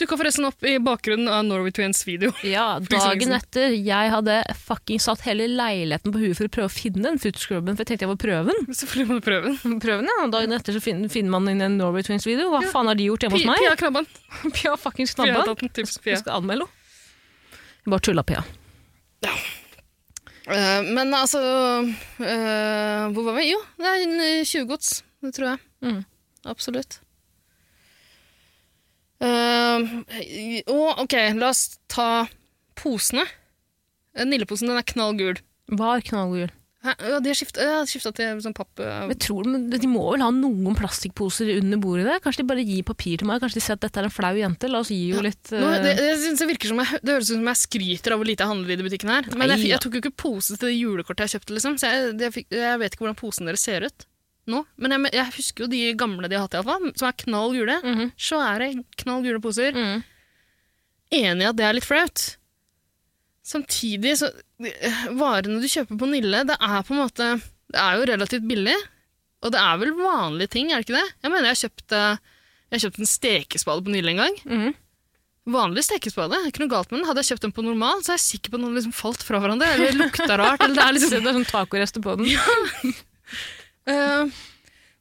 B: Dukka forresten opp i bakgrunnen av Norway Twins video.
A: Ja,
B: For ikke så lenge
A: Dagen
B: siden.
A: etter, jeg hadde fucking satt hele leiligheten på huet for å prøve å finne den footscrubben, for jeg tenkte jeg var prøven.
B: Selvfølgelig må du prøve den.
A: Prøven, ja. og Dagen etter så finner, finner man inn en Norway Twins-video. Hva faen har de gjort hjemme hos
B: Pia,
A: meg?
B: Pia Krabban.
A: Pia fucking
B: Pia har
A: snabba.
B: tatt en tips,
A: Vi
B: Pia.
A: skal anmelde henne. Jeg Bare tulla, Pia.
B: Eh, men altså eh, Hvor var vi? Jo, det er en eh, tjuvgods. Det tror jeg.
A: Mm.
B: Absolutt. Eh, og ok, la oss ta posene. Eh, Nilleposen den er knallgul.
A: Var knallgul.
B: Hæ? Ja, de har skifta ja, skifta til sånn papp...
A: Men Jeg tror, men De må vel ha noen plastikkposer under bordet der? Kanskje de bare gir papir til meg? Kanskje de ser at dette er en flau jente? La oss gi henne litt
B: Nå, det,
A: eh,
B: jeg synes det, virker som jeg, det høres ut som jeg skryter av hvor lite jeg handler i de butikken her. Men jeg,
A: Nei,
B: fi-
A: ja.
B: jeg tok jo ikke pose til det julekortet jeg kjøpte, liksom. Så jeg, det, jeg fikk, jeg vet ikke hvordan posene deres ser ut nå. Men jeg, jeg husker jo de gamle de har hatt, iallfall. Som er knall gule.
A: Mhm,
B: Svære, knall gule poser. Enig i at det er litt flaut. Samtidig så øh, Varene du kjøper på Nille, det er på en måte Det er jo relativt billig. Og det er vel vanlige ting, er det ikke det? Jeg mener jeg kjøpte, jeg kjøpte en stekespade på Nille en gang. Vanlig stekespade. Ikke noe galt med den. Hadde jeg kjøpt den på normal, så er jeg sikker på at den hadde liksom falt fra hverandre. Eller lukta rart. Eller det er
A: Se,
B: liksom,
A: det er sånn tacorester på den.
B: Eh,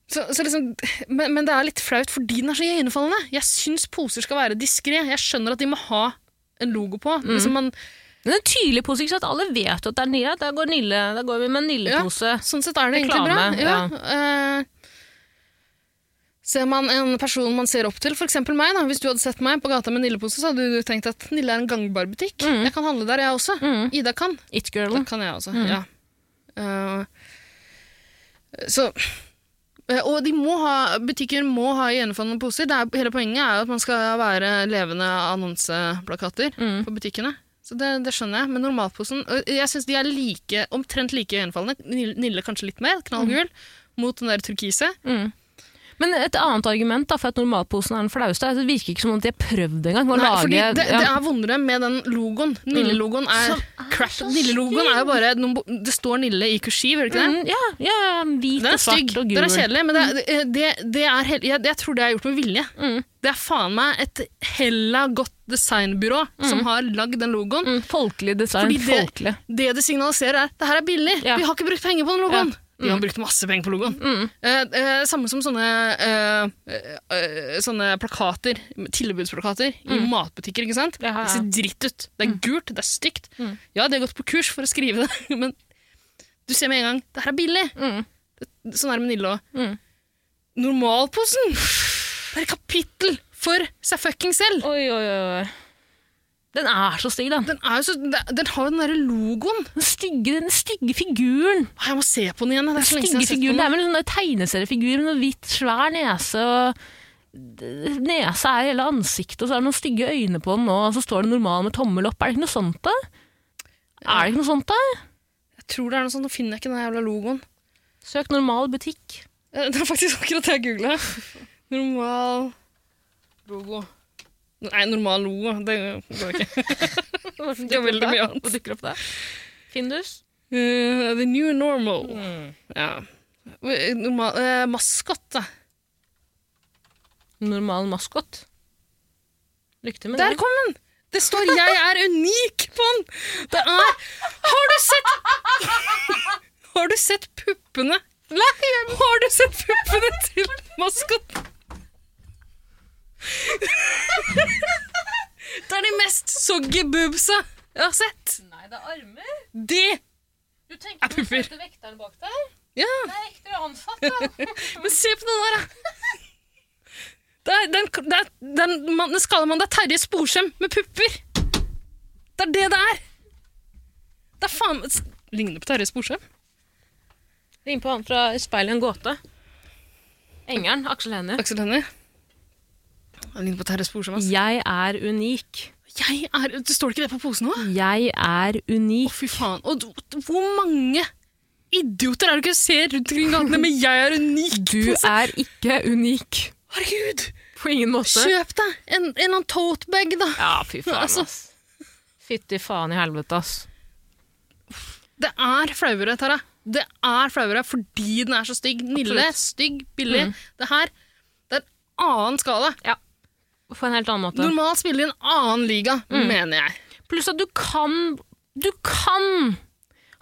B: så, så liksom men, men det er litt flaut fordi den er så iøynefallende. Jeg syns poser skal være diskré. Jeg skjønner at de må ha en logo på. Liksom man,
A: Men en tydelig pose, ikke sant? Alle vet at det er Nille. Der går, Nille, der går vi med en Nille-pose.
B: sånn sett er det egentlig bra.
A: Reklame,
B: Ja, eh, ser man en person man ser opp til, f.eks. meg, da, hvis du hadde sett meg på gata med Nille-pose, så hadde du tenkt at Nille er en gangbar butikk. Jeg kan handle der, jeg også. Ida kan.
A: It-girlen.
B: Det kan jeg
A: Mm.
B: også, ja. Eh, så eh, Og de må ha, butikker må ha iøynefallende poser. Det er, hele poenget er jo at man skal være levende annonseplakater
A: Mm.
B: på butikkene. Så det, det skjønner jeg. Men normalposen og Jeg syns de er like, omtrent like iøynefallende. Nille- Nille kanskje litt mer, knallgul,
A: Mm.
B: mot den der turkise.
A: Men et annet argument da, for at normalposen er den flaueste, er at det virker ikke som om de har prøvd engang. å
B: Nei,
A: lage-
B: fordi det,
A: ja. Mm.
B: det er vondere med den logoen. Nille-logoen er, crap. Nille-logoen er jo bare noen, bo- Det står Nille i kursiv, gjør det ikke det?
A: Mm, ja, ja, ja, hvit
B: Den
A: og
B: er
A: svart
B: stygg,
A: og gul.
B: den er kjedelig, men det, er- det, det er hel, jeg, jeg tror det er gjort med vilje.
A: Mm.
B: Det er faen meg et hella godt designbyrå som har lagd den logoen.
A: Mm, folkelig design.
B: Fordi det-
A: folkelig.
B: Det det signaliserer, er det her er billig.
A: Ja.
B: Vi har ikke brukt penger på den logoen.
A: Ja. Mm.
B: De har brukt masse penger på logoen. Eh, eh, samme som sånne, eh, eh, eh, sånne plakater, tilbudsplakater, i matbutikker. ikke sant?
A: Mm. Ja, Mm. ja, ja.
B: Det ser dritt ut. Det er gult, det er stygt. Ja, de har gått på kurs for å skrive det, men Du ser med en gang det her er billig.
A: Mm.
B: Sånn er det med Nille òg. Normalposen! Det er et kapittel for seg fucking selv!
A: Oi, oi, oi. Den er så stygg, den.
B: Den, er jo så, den den har jo den derre logoen.
A: Den stygge, den stygge figuren.
B: Å, Jeg må se på den igjen. Det er så lenge
A: Stygge
B: siden jeg har sett på
A: figuren. Det er
B: den.
A: vel en sånn der tegneseriefigur med noe hvitt, svær nese og d- Nesa er hele ansiktet, og så er det noen stygge øyne på den, og så står det normal med tommel opp. Er det ikke noe sånt, da? Er det ikke noe sånt, da?
B: Jeg tror det er noe sånt, nå finner jeg ikke den jævla logoen.
A: Søk normal butikk.
B: Eh, Det er faktisk akkurat det jeg googla. Normal logo. Nei, normal logo. Det går ikke. Det er veldig mye annet.
A: Hva dukker opp der? Findus?
B: Eh, the new normal.
A: Mm.
B: Ja. Eh, Normal, eh, maskott, da.
A: Normal maskot. Lykke til med
B: Der
A: det.
B: kom den! Det står 'Jeg er unik' på den! Det er Har du sett Har du sett puppene Har du sett puppene til maskotten? Det er de mest soggy boobsa jeg har sett.
A: Nei, det er armer.
B: Det
A: Du
B: Er
A: tenker
B: pupper.
A: på vekteren bak der?
B: Ja!
A: Det er ektere ansatt, da.
B: Men se på den der, da! Det er den, det er, den, man, den skallemannen, det er Terje Sporsem med pupper! Det er det det er! Det er faen s- Ligner det på Terje Sporsem?
A: Ring på han fra speilet i en gåte. Engeren, Aksel Hennie.
B: Aksel Hennie? Han ligner på Terje Sporsem, ass.
A: Jeg er unik.
B: Jeg er, det står ikke det på posen nå? Å,
A: Jeg er unik.
B: fy faen. Og d- hvor mange idioter er det ikke jeg ser rundt omkring i gatene med 'jeg er unik'?
A: Du
B: pose?
A: er ikke unik.
B: Herregud!
A: På ingen måte.
B: Kjøp deg en, en eller annen totebag, da.
A: Ja, fy faen,
B: Altså.
A: ass. Fytti faen i helvete, ass.
B: Det er flauere, Tara. Det er flauere fordi den er så stygg. Nille,
A: Absolutt. Mm.
B: stygg, billig. Det her det er en annen skala.
A: På en helt annen måte.
B: Normalt spiller de i en annen liga,
A: Mm.
B: mener jeg.
A: Pluss at du kan Du kan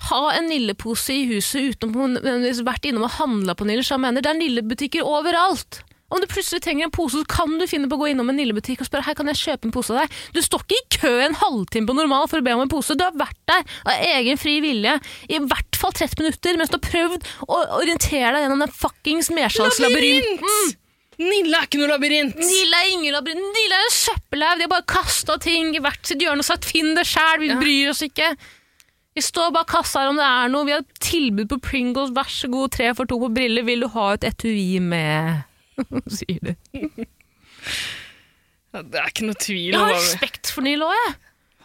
A: ha en Nille-pose i huset uten å nødvendigvis vært innom og handla på Nille. Så jeg mener, det er Nille-butikker overalt. Om du plutselig trenger en pose, så kan du finne på å gå innom en Nille-butikk og spørre «Hei, kan jeg kjøpe en pose av deg. Du står ikke i kø en halvtime på normal for å be om en pose. Du har vært der av egen fri vilje i hvert fall 30 minutter mens du har prøvd å orientere deg gjennom den fuckings mersalslabyrinten.
B: Mm. Nille er ikke noe labyrint!
A: Nila er ingen labyrint. Nila er en søppelhaug. De har bare kasta ting i hvert sitt hjørne og sagt 'finn det sjæl', vi bryr oss ikke. Vi står bak kassa her om det er noe. Vi har tilbud på Pringles, vær så god, tre for to på briller. Vil du ha et etui med Sier de.
B: Ja, det er ikke noe tvil.
A: Jeg har
B: om hva vi-
A: respekt for Nila òg, jeg.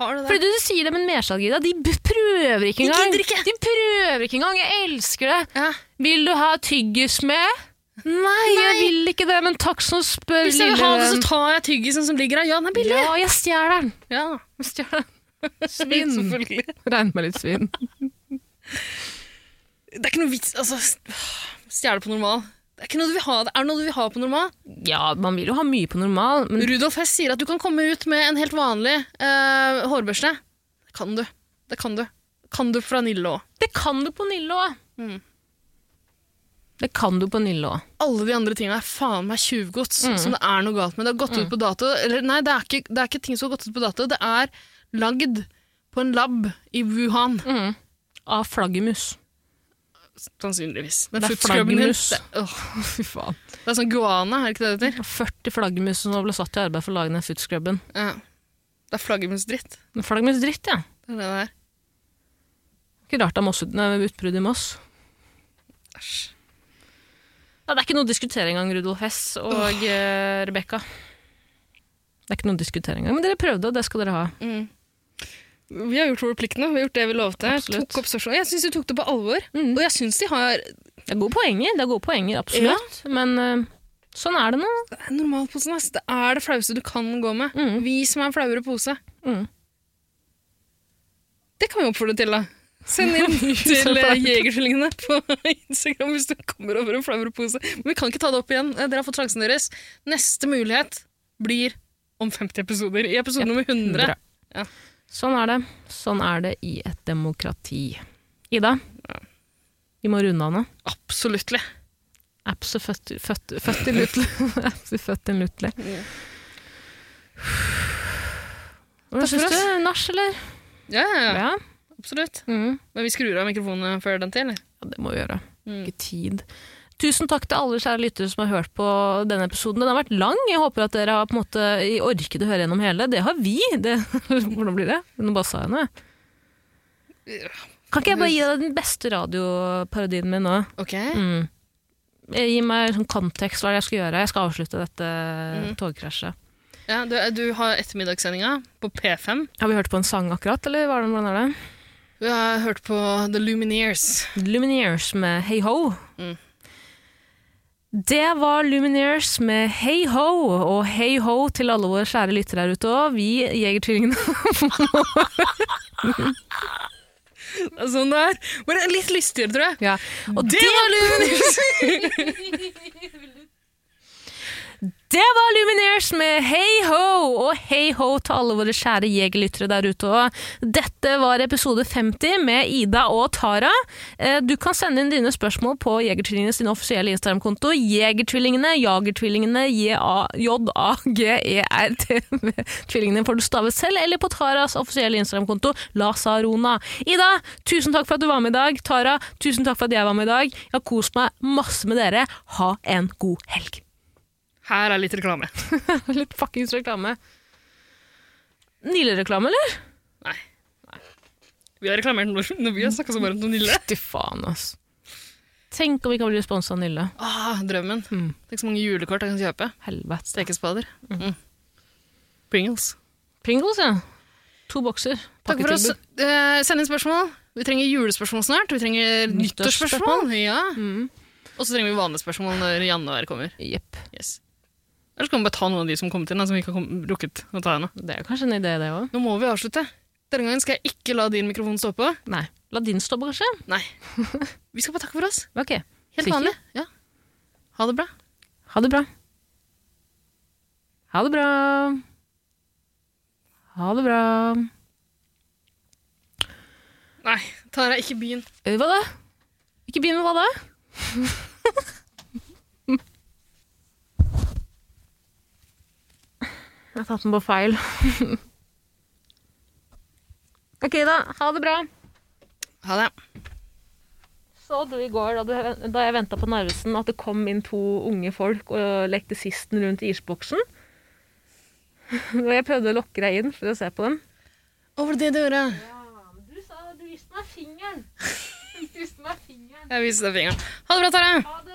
B: har du
A: Fordi du sier det med en mersalg, Ida. De b- prøver ikke engang.
B: gidder ikke.
A: De prøver ikke engang. Jeg elsker det.
B: Ja.
A: Vil du ha tyggis med? Nei, jeg vil ikke det, men takk som spør,
B: Hvis jeg vil
A: lille
B: ha det, så
A: venn.
B: tar jeg tyggisen som ligger her. Ja, den er billig!
A: Ja, jeg stjeler den.
B: Ja.
A: Jeg stjeler den. Svinn.
B: Selvfølgelig.
A: Regn med litt svin.
B: Det er ikke noe vits altså, Stjele på normal. Det er, ikke noe du vil ha. det er det noe du vil ha på normal.
A: Ja, man vil jo ha mye på normal, men
B: Rudolf Hess sier at du kan komme ut med en helt vanlig eh, hårbørste. Det kan du. Det kan du. Kan du fra Nille òg.
A: det kan du på Nille òg.
B: Mm.
A: Det kan du på Nille òg.
B: Alle de andre tingene er faen meg tjuvgods
A: Mm.
B: som det er noe galt med. Det har
A: Mhm.
B: gått ut på dato. Eller nei, det er, ikke, det er ikke ting som har gått ut på dato. Det er lagd på en lab i Wuhan.
A: Mm. Av flaggermus.
B: Sannsynligvis. Men
A: Det er
B: footscrubben din,
A: flaggermus.
B: Det, åh,
A: Fy faen.
B: det er sånn guana, er det ikke det det heter?
A: 40 flaggermus som ble satt i arbeid for å lage den footscrubben.
B: Ja. Det er flaggermusdritt.
A: Men Flaggermusdritt, ja.
B: Det er det det er.
A: Ikke rart det er Moss- nei, utbrudd i Moss.
B: Æsj.
A: Ja, det er ikke noe å diskutere engang, Rudolf Hess og oh. Rebekka. Det er ikke noe å diskutere engang, men dere prøvde, og det skal dere ha.
B: Mm. Vi har gjort vår plikt nå. Vi har gjort det vi lovte.
A: Absolutt.
B: Tok opp spørsmål. Jeg syns de tok det på alvor.
A: Mm.
B: Og jeg syns de har
A: Det er gode poenger, det er gode poenger, absolutt. Men eh, sånn er det nå.
B: Normalposen, ass. Det er det flaueste du kan gå med.
A: Mm.
B: Vi som er en flauere pose.
A: Mm.
B: Det kan vi oppfordre til, da. Send inn til eh, Jegertvillingene på Instagram hvis du kommer over en flauere pose. Men vi kan ikke ta det opp igjen. Eh, Dere har fått sjansen deres. Neste mulighet blir om 50 episoder. I episode nummer 100.
A: Bra.
B: Ja.
A: Sånn er det. Sånn er det i et demokrati. Ida, vi må runde av nå.
B: Absolutt.
A: Apps er født, født, født i Lutle. Apps er født i Lutle. Hvordan
B: Takk for
A: syns
B: oss.
A: du? Nach, eller?
B: Ja, ja, ja.
A: Ja. Mm.
B: Absolutt. Men vi skrur av mikrofonene før den tid, eller?
A: Ja, det må vi gjøre. Ikke tid. Tusen takk til alle kjære lyttere som har hørt på denne episoden. Den har vært lang. Jeg håper at dere har på en måte orket å høre gjennom hele. Det har vi! Det, hvordan blir det? Nå bare sa jeg noe. Kan ikke jeg bare gi deg den beste radioparodien min nå?
B: Ok.
A: Mm. Eh, Gi meg sånn kontekst. Hva er det jeg skal gjøre? Jeg skal avslutte dette togkrasjet.
B: Ja, du, du har ettermiddagssendinga på P5.
A: Har vi hørt på en sang akkurat, eller hva er det- hvordan er det?
B: Vi har hørt på The Lumineers.
A: Lumineers med Hey Ho. Det var Lumineers med Hey Ho, og Hey Ho til alle våre kjære lyttere her ute òg. Vi Jegertvillingene
B: Det er Sånn det er. Bare litt lystigere, tror jeg.
A: Ja. Og
B: det,
A: det-
B: var Lumineers!
A: Det var Lumineers med Hey Ho, og hey ho til alle våre kjære jegerlyttere der ute òg. Dette var episode 50 med Ida og Tara. Eh, Du kan sende inn dine spørsmål på Jegertvillingene sin offisielle Instagram-konto. Jegertvillingene, Jagertvillingene, J-A-G-E-R-T. E Tvillingene får du stave selv, eller på Taras offisielle Instagram-konto, Lasarona. Ida, tusen takk for at du var med i dag. Tara, tusen takk for at jeg var med i dag. Jeg har kost meg masse med dere. Ha en god helg.
B: Her er litt reklame.
A: litt fuckings reklame. Nille-reklame, eller?
B: Vi har reklamert når, når vi har snakka så varmt om Nille.
A: Fy faen, ass. Tenk om vi kan bli sponsa av Nille.
B: Ah, drømmen. Tenk så mange julekort jeg kan kjøpe.
A: Helvete.
B: Stekespader. Mm. Pringles.
A: Pringles, ja. To bokser.
B: Takk for oss.
A: Pakketilbud.
B: Eh, send inn spørsmål. Vi trenger julespørsmål snart. Vi trenger
A: Nyttårsspørsmål.
B: nyttårsspørsmål. Mm. Ja. Og så trenger vi vanlige spørsmål når januar kommer.
A: Jepp.
B: Yes. Eller så kan vi bare ta noen av de som kom til, da, som vi ikke har kom- rukket å ta ennå.
A: Det er kanskje en idé, det òg.
B: Nå må vi avslutte. Denne gangen skal jeg ikke la din mikrofon stå på.
A: Nei. La din stå på, kanskje?
B: Nei. Vi skal bare takke for oss.
A: Ok.
B: Helt
A: Sikker?
B: vanlig. Ja. Ha det bra.
A: Ha det bra. Ha det bra. Ha det bra.
B: Nei, Tara, ikke begynn.
A: Eh, Hva da? Ikke begynn med hva da? Jeg har tatt den på feil. ok, da. Ha det bra.
B: Ha det.
A: Så du i går, da, du, da jeg venta på Narvesen, at det kom inn to unge folk og lekte sisten rundt isboksen? Og jeg prøvde å lokke deg inn for å se på dem.
B: Å, var det det du gjorde?
A: Du sa du viste meg fingeren. Du viste meg fingeren.
B: Jeg viser deg fingeren. Ha det bra, Tara.
A: Ha det.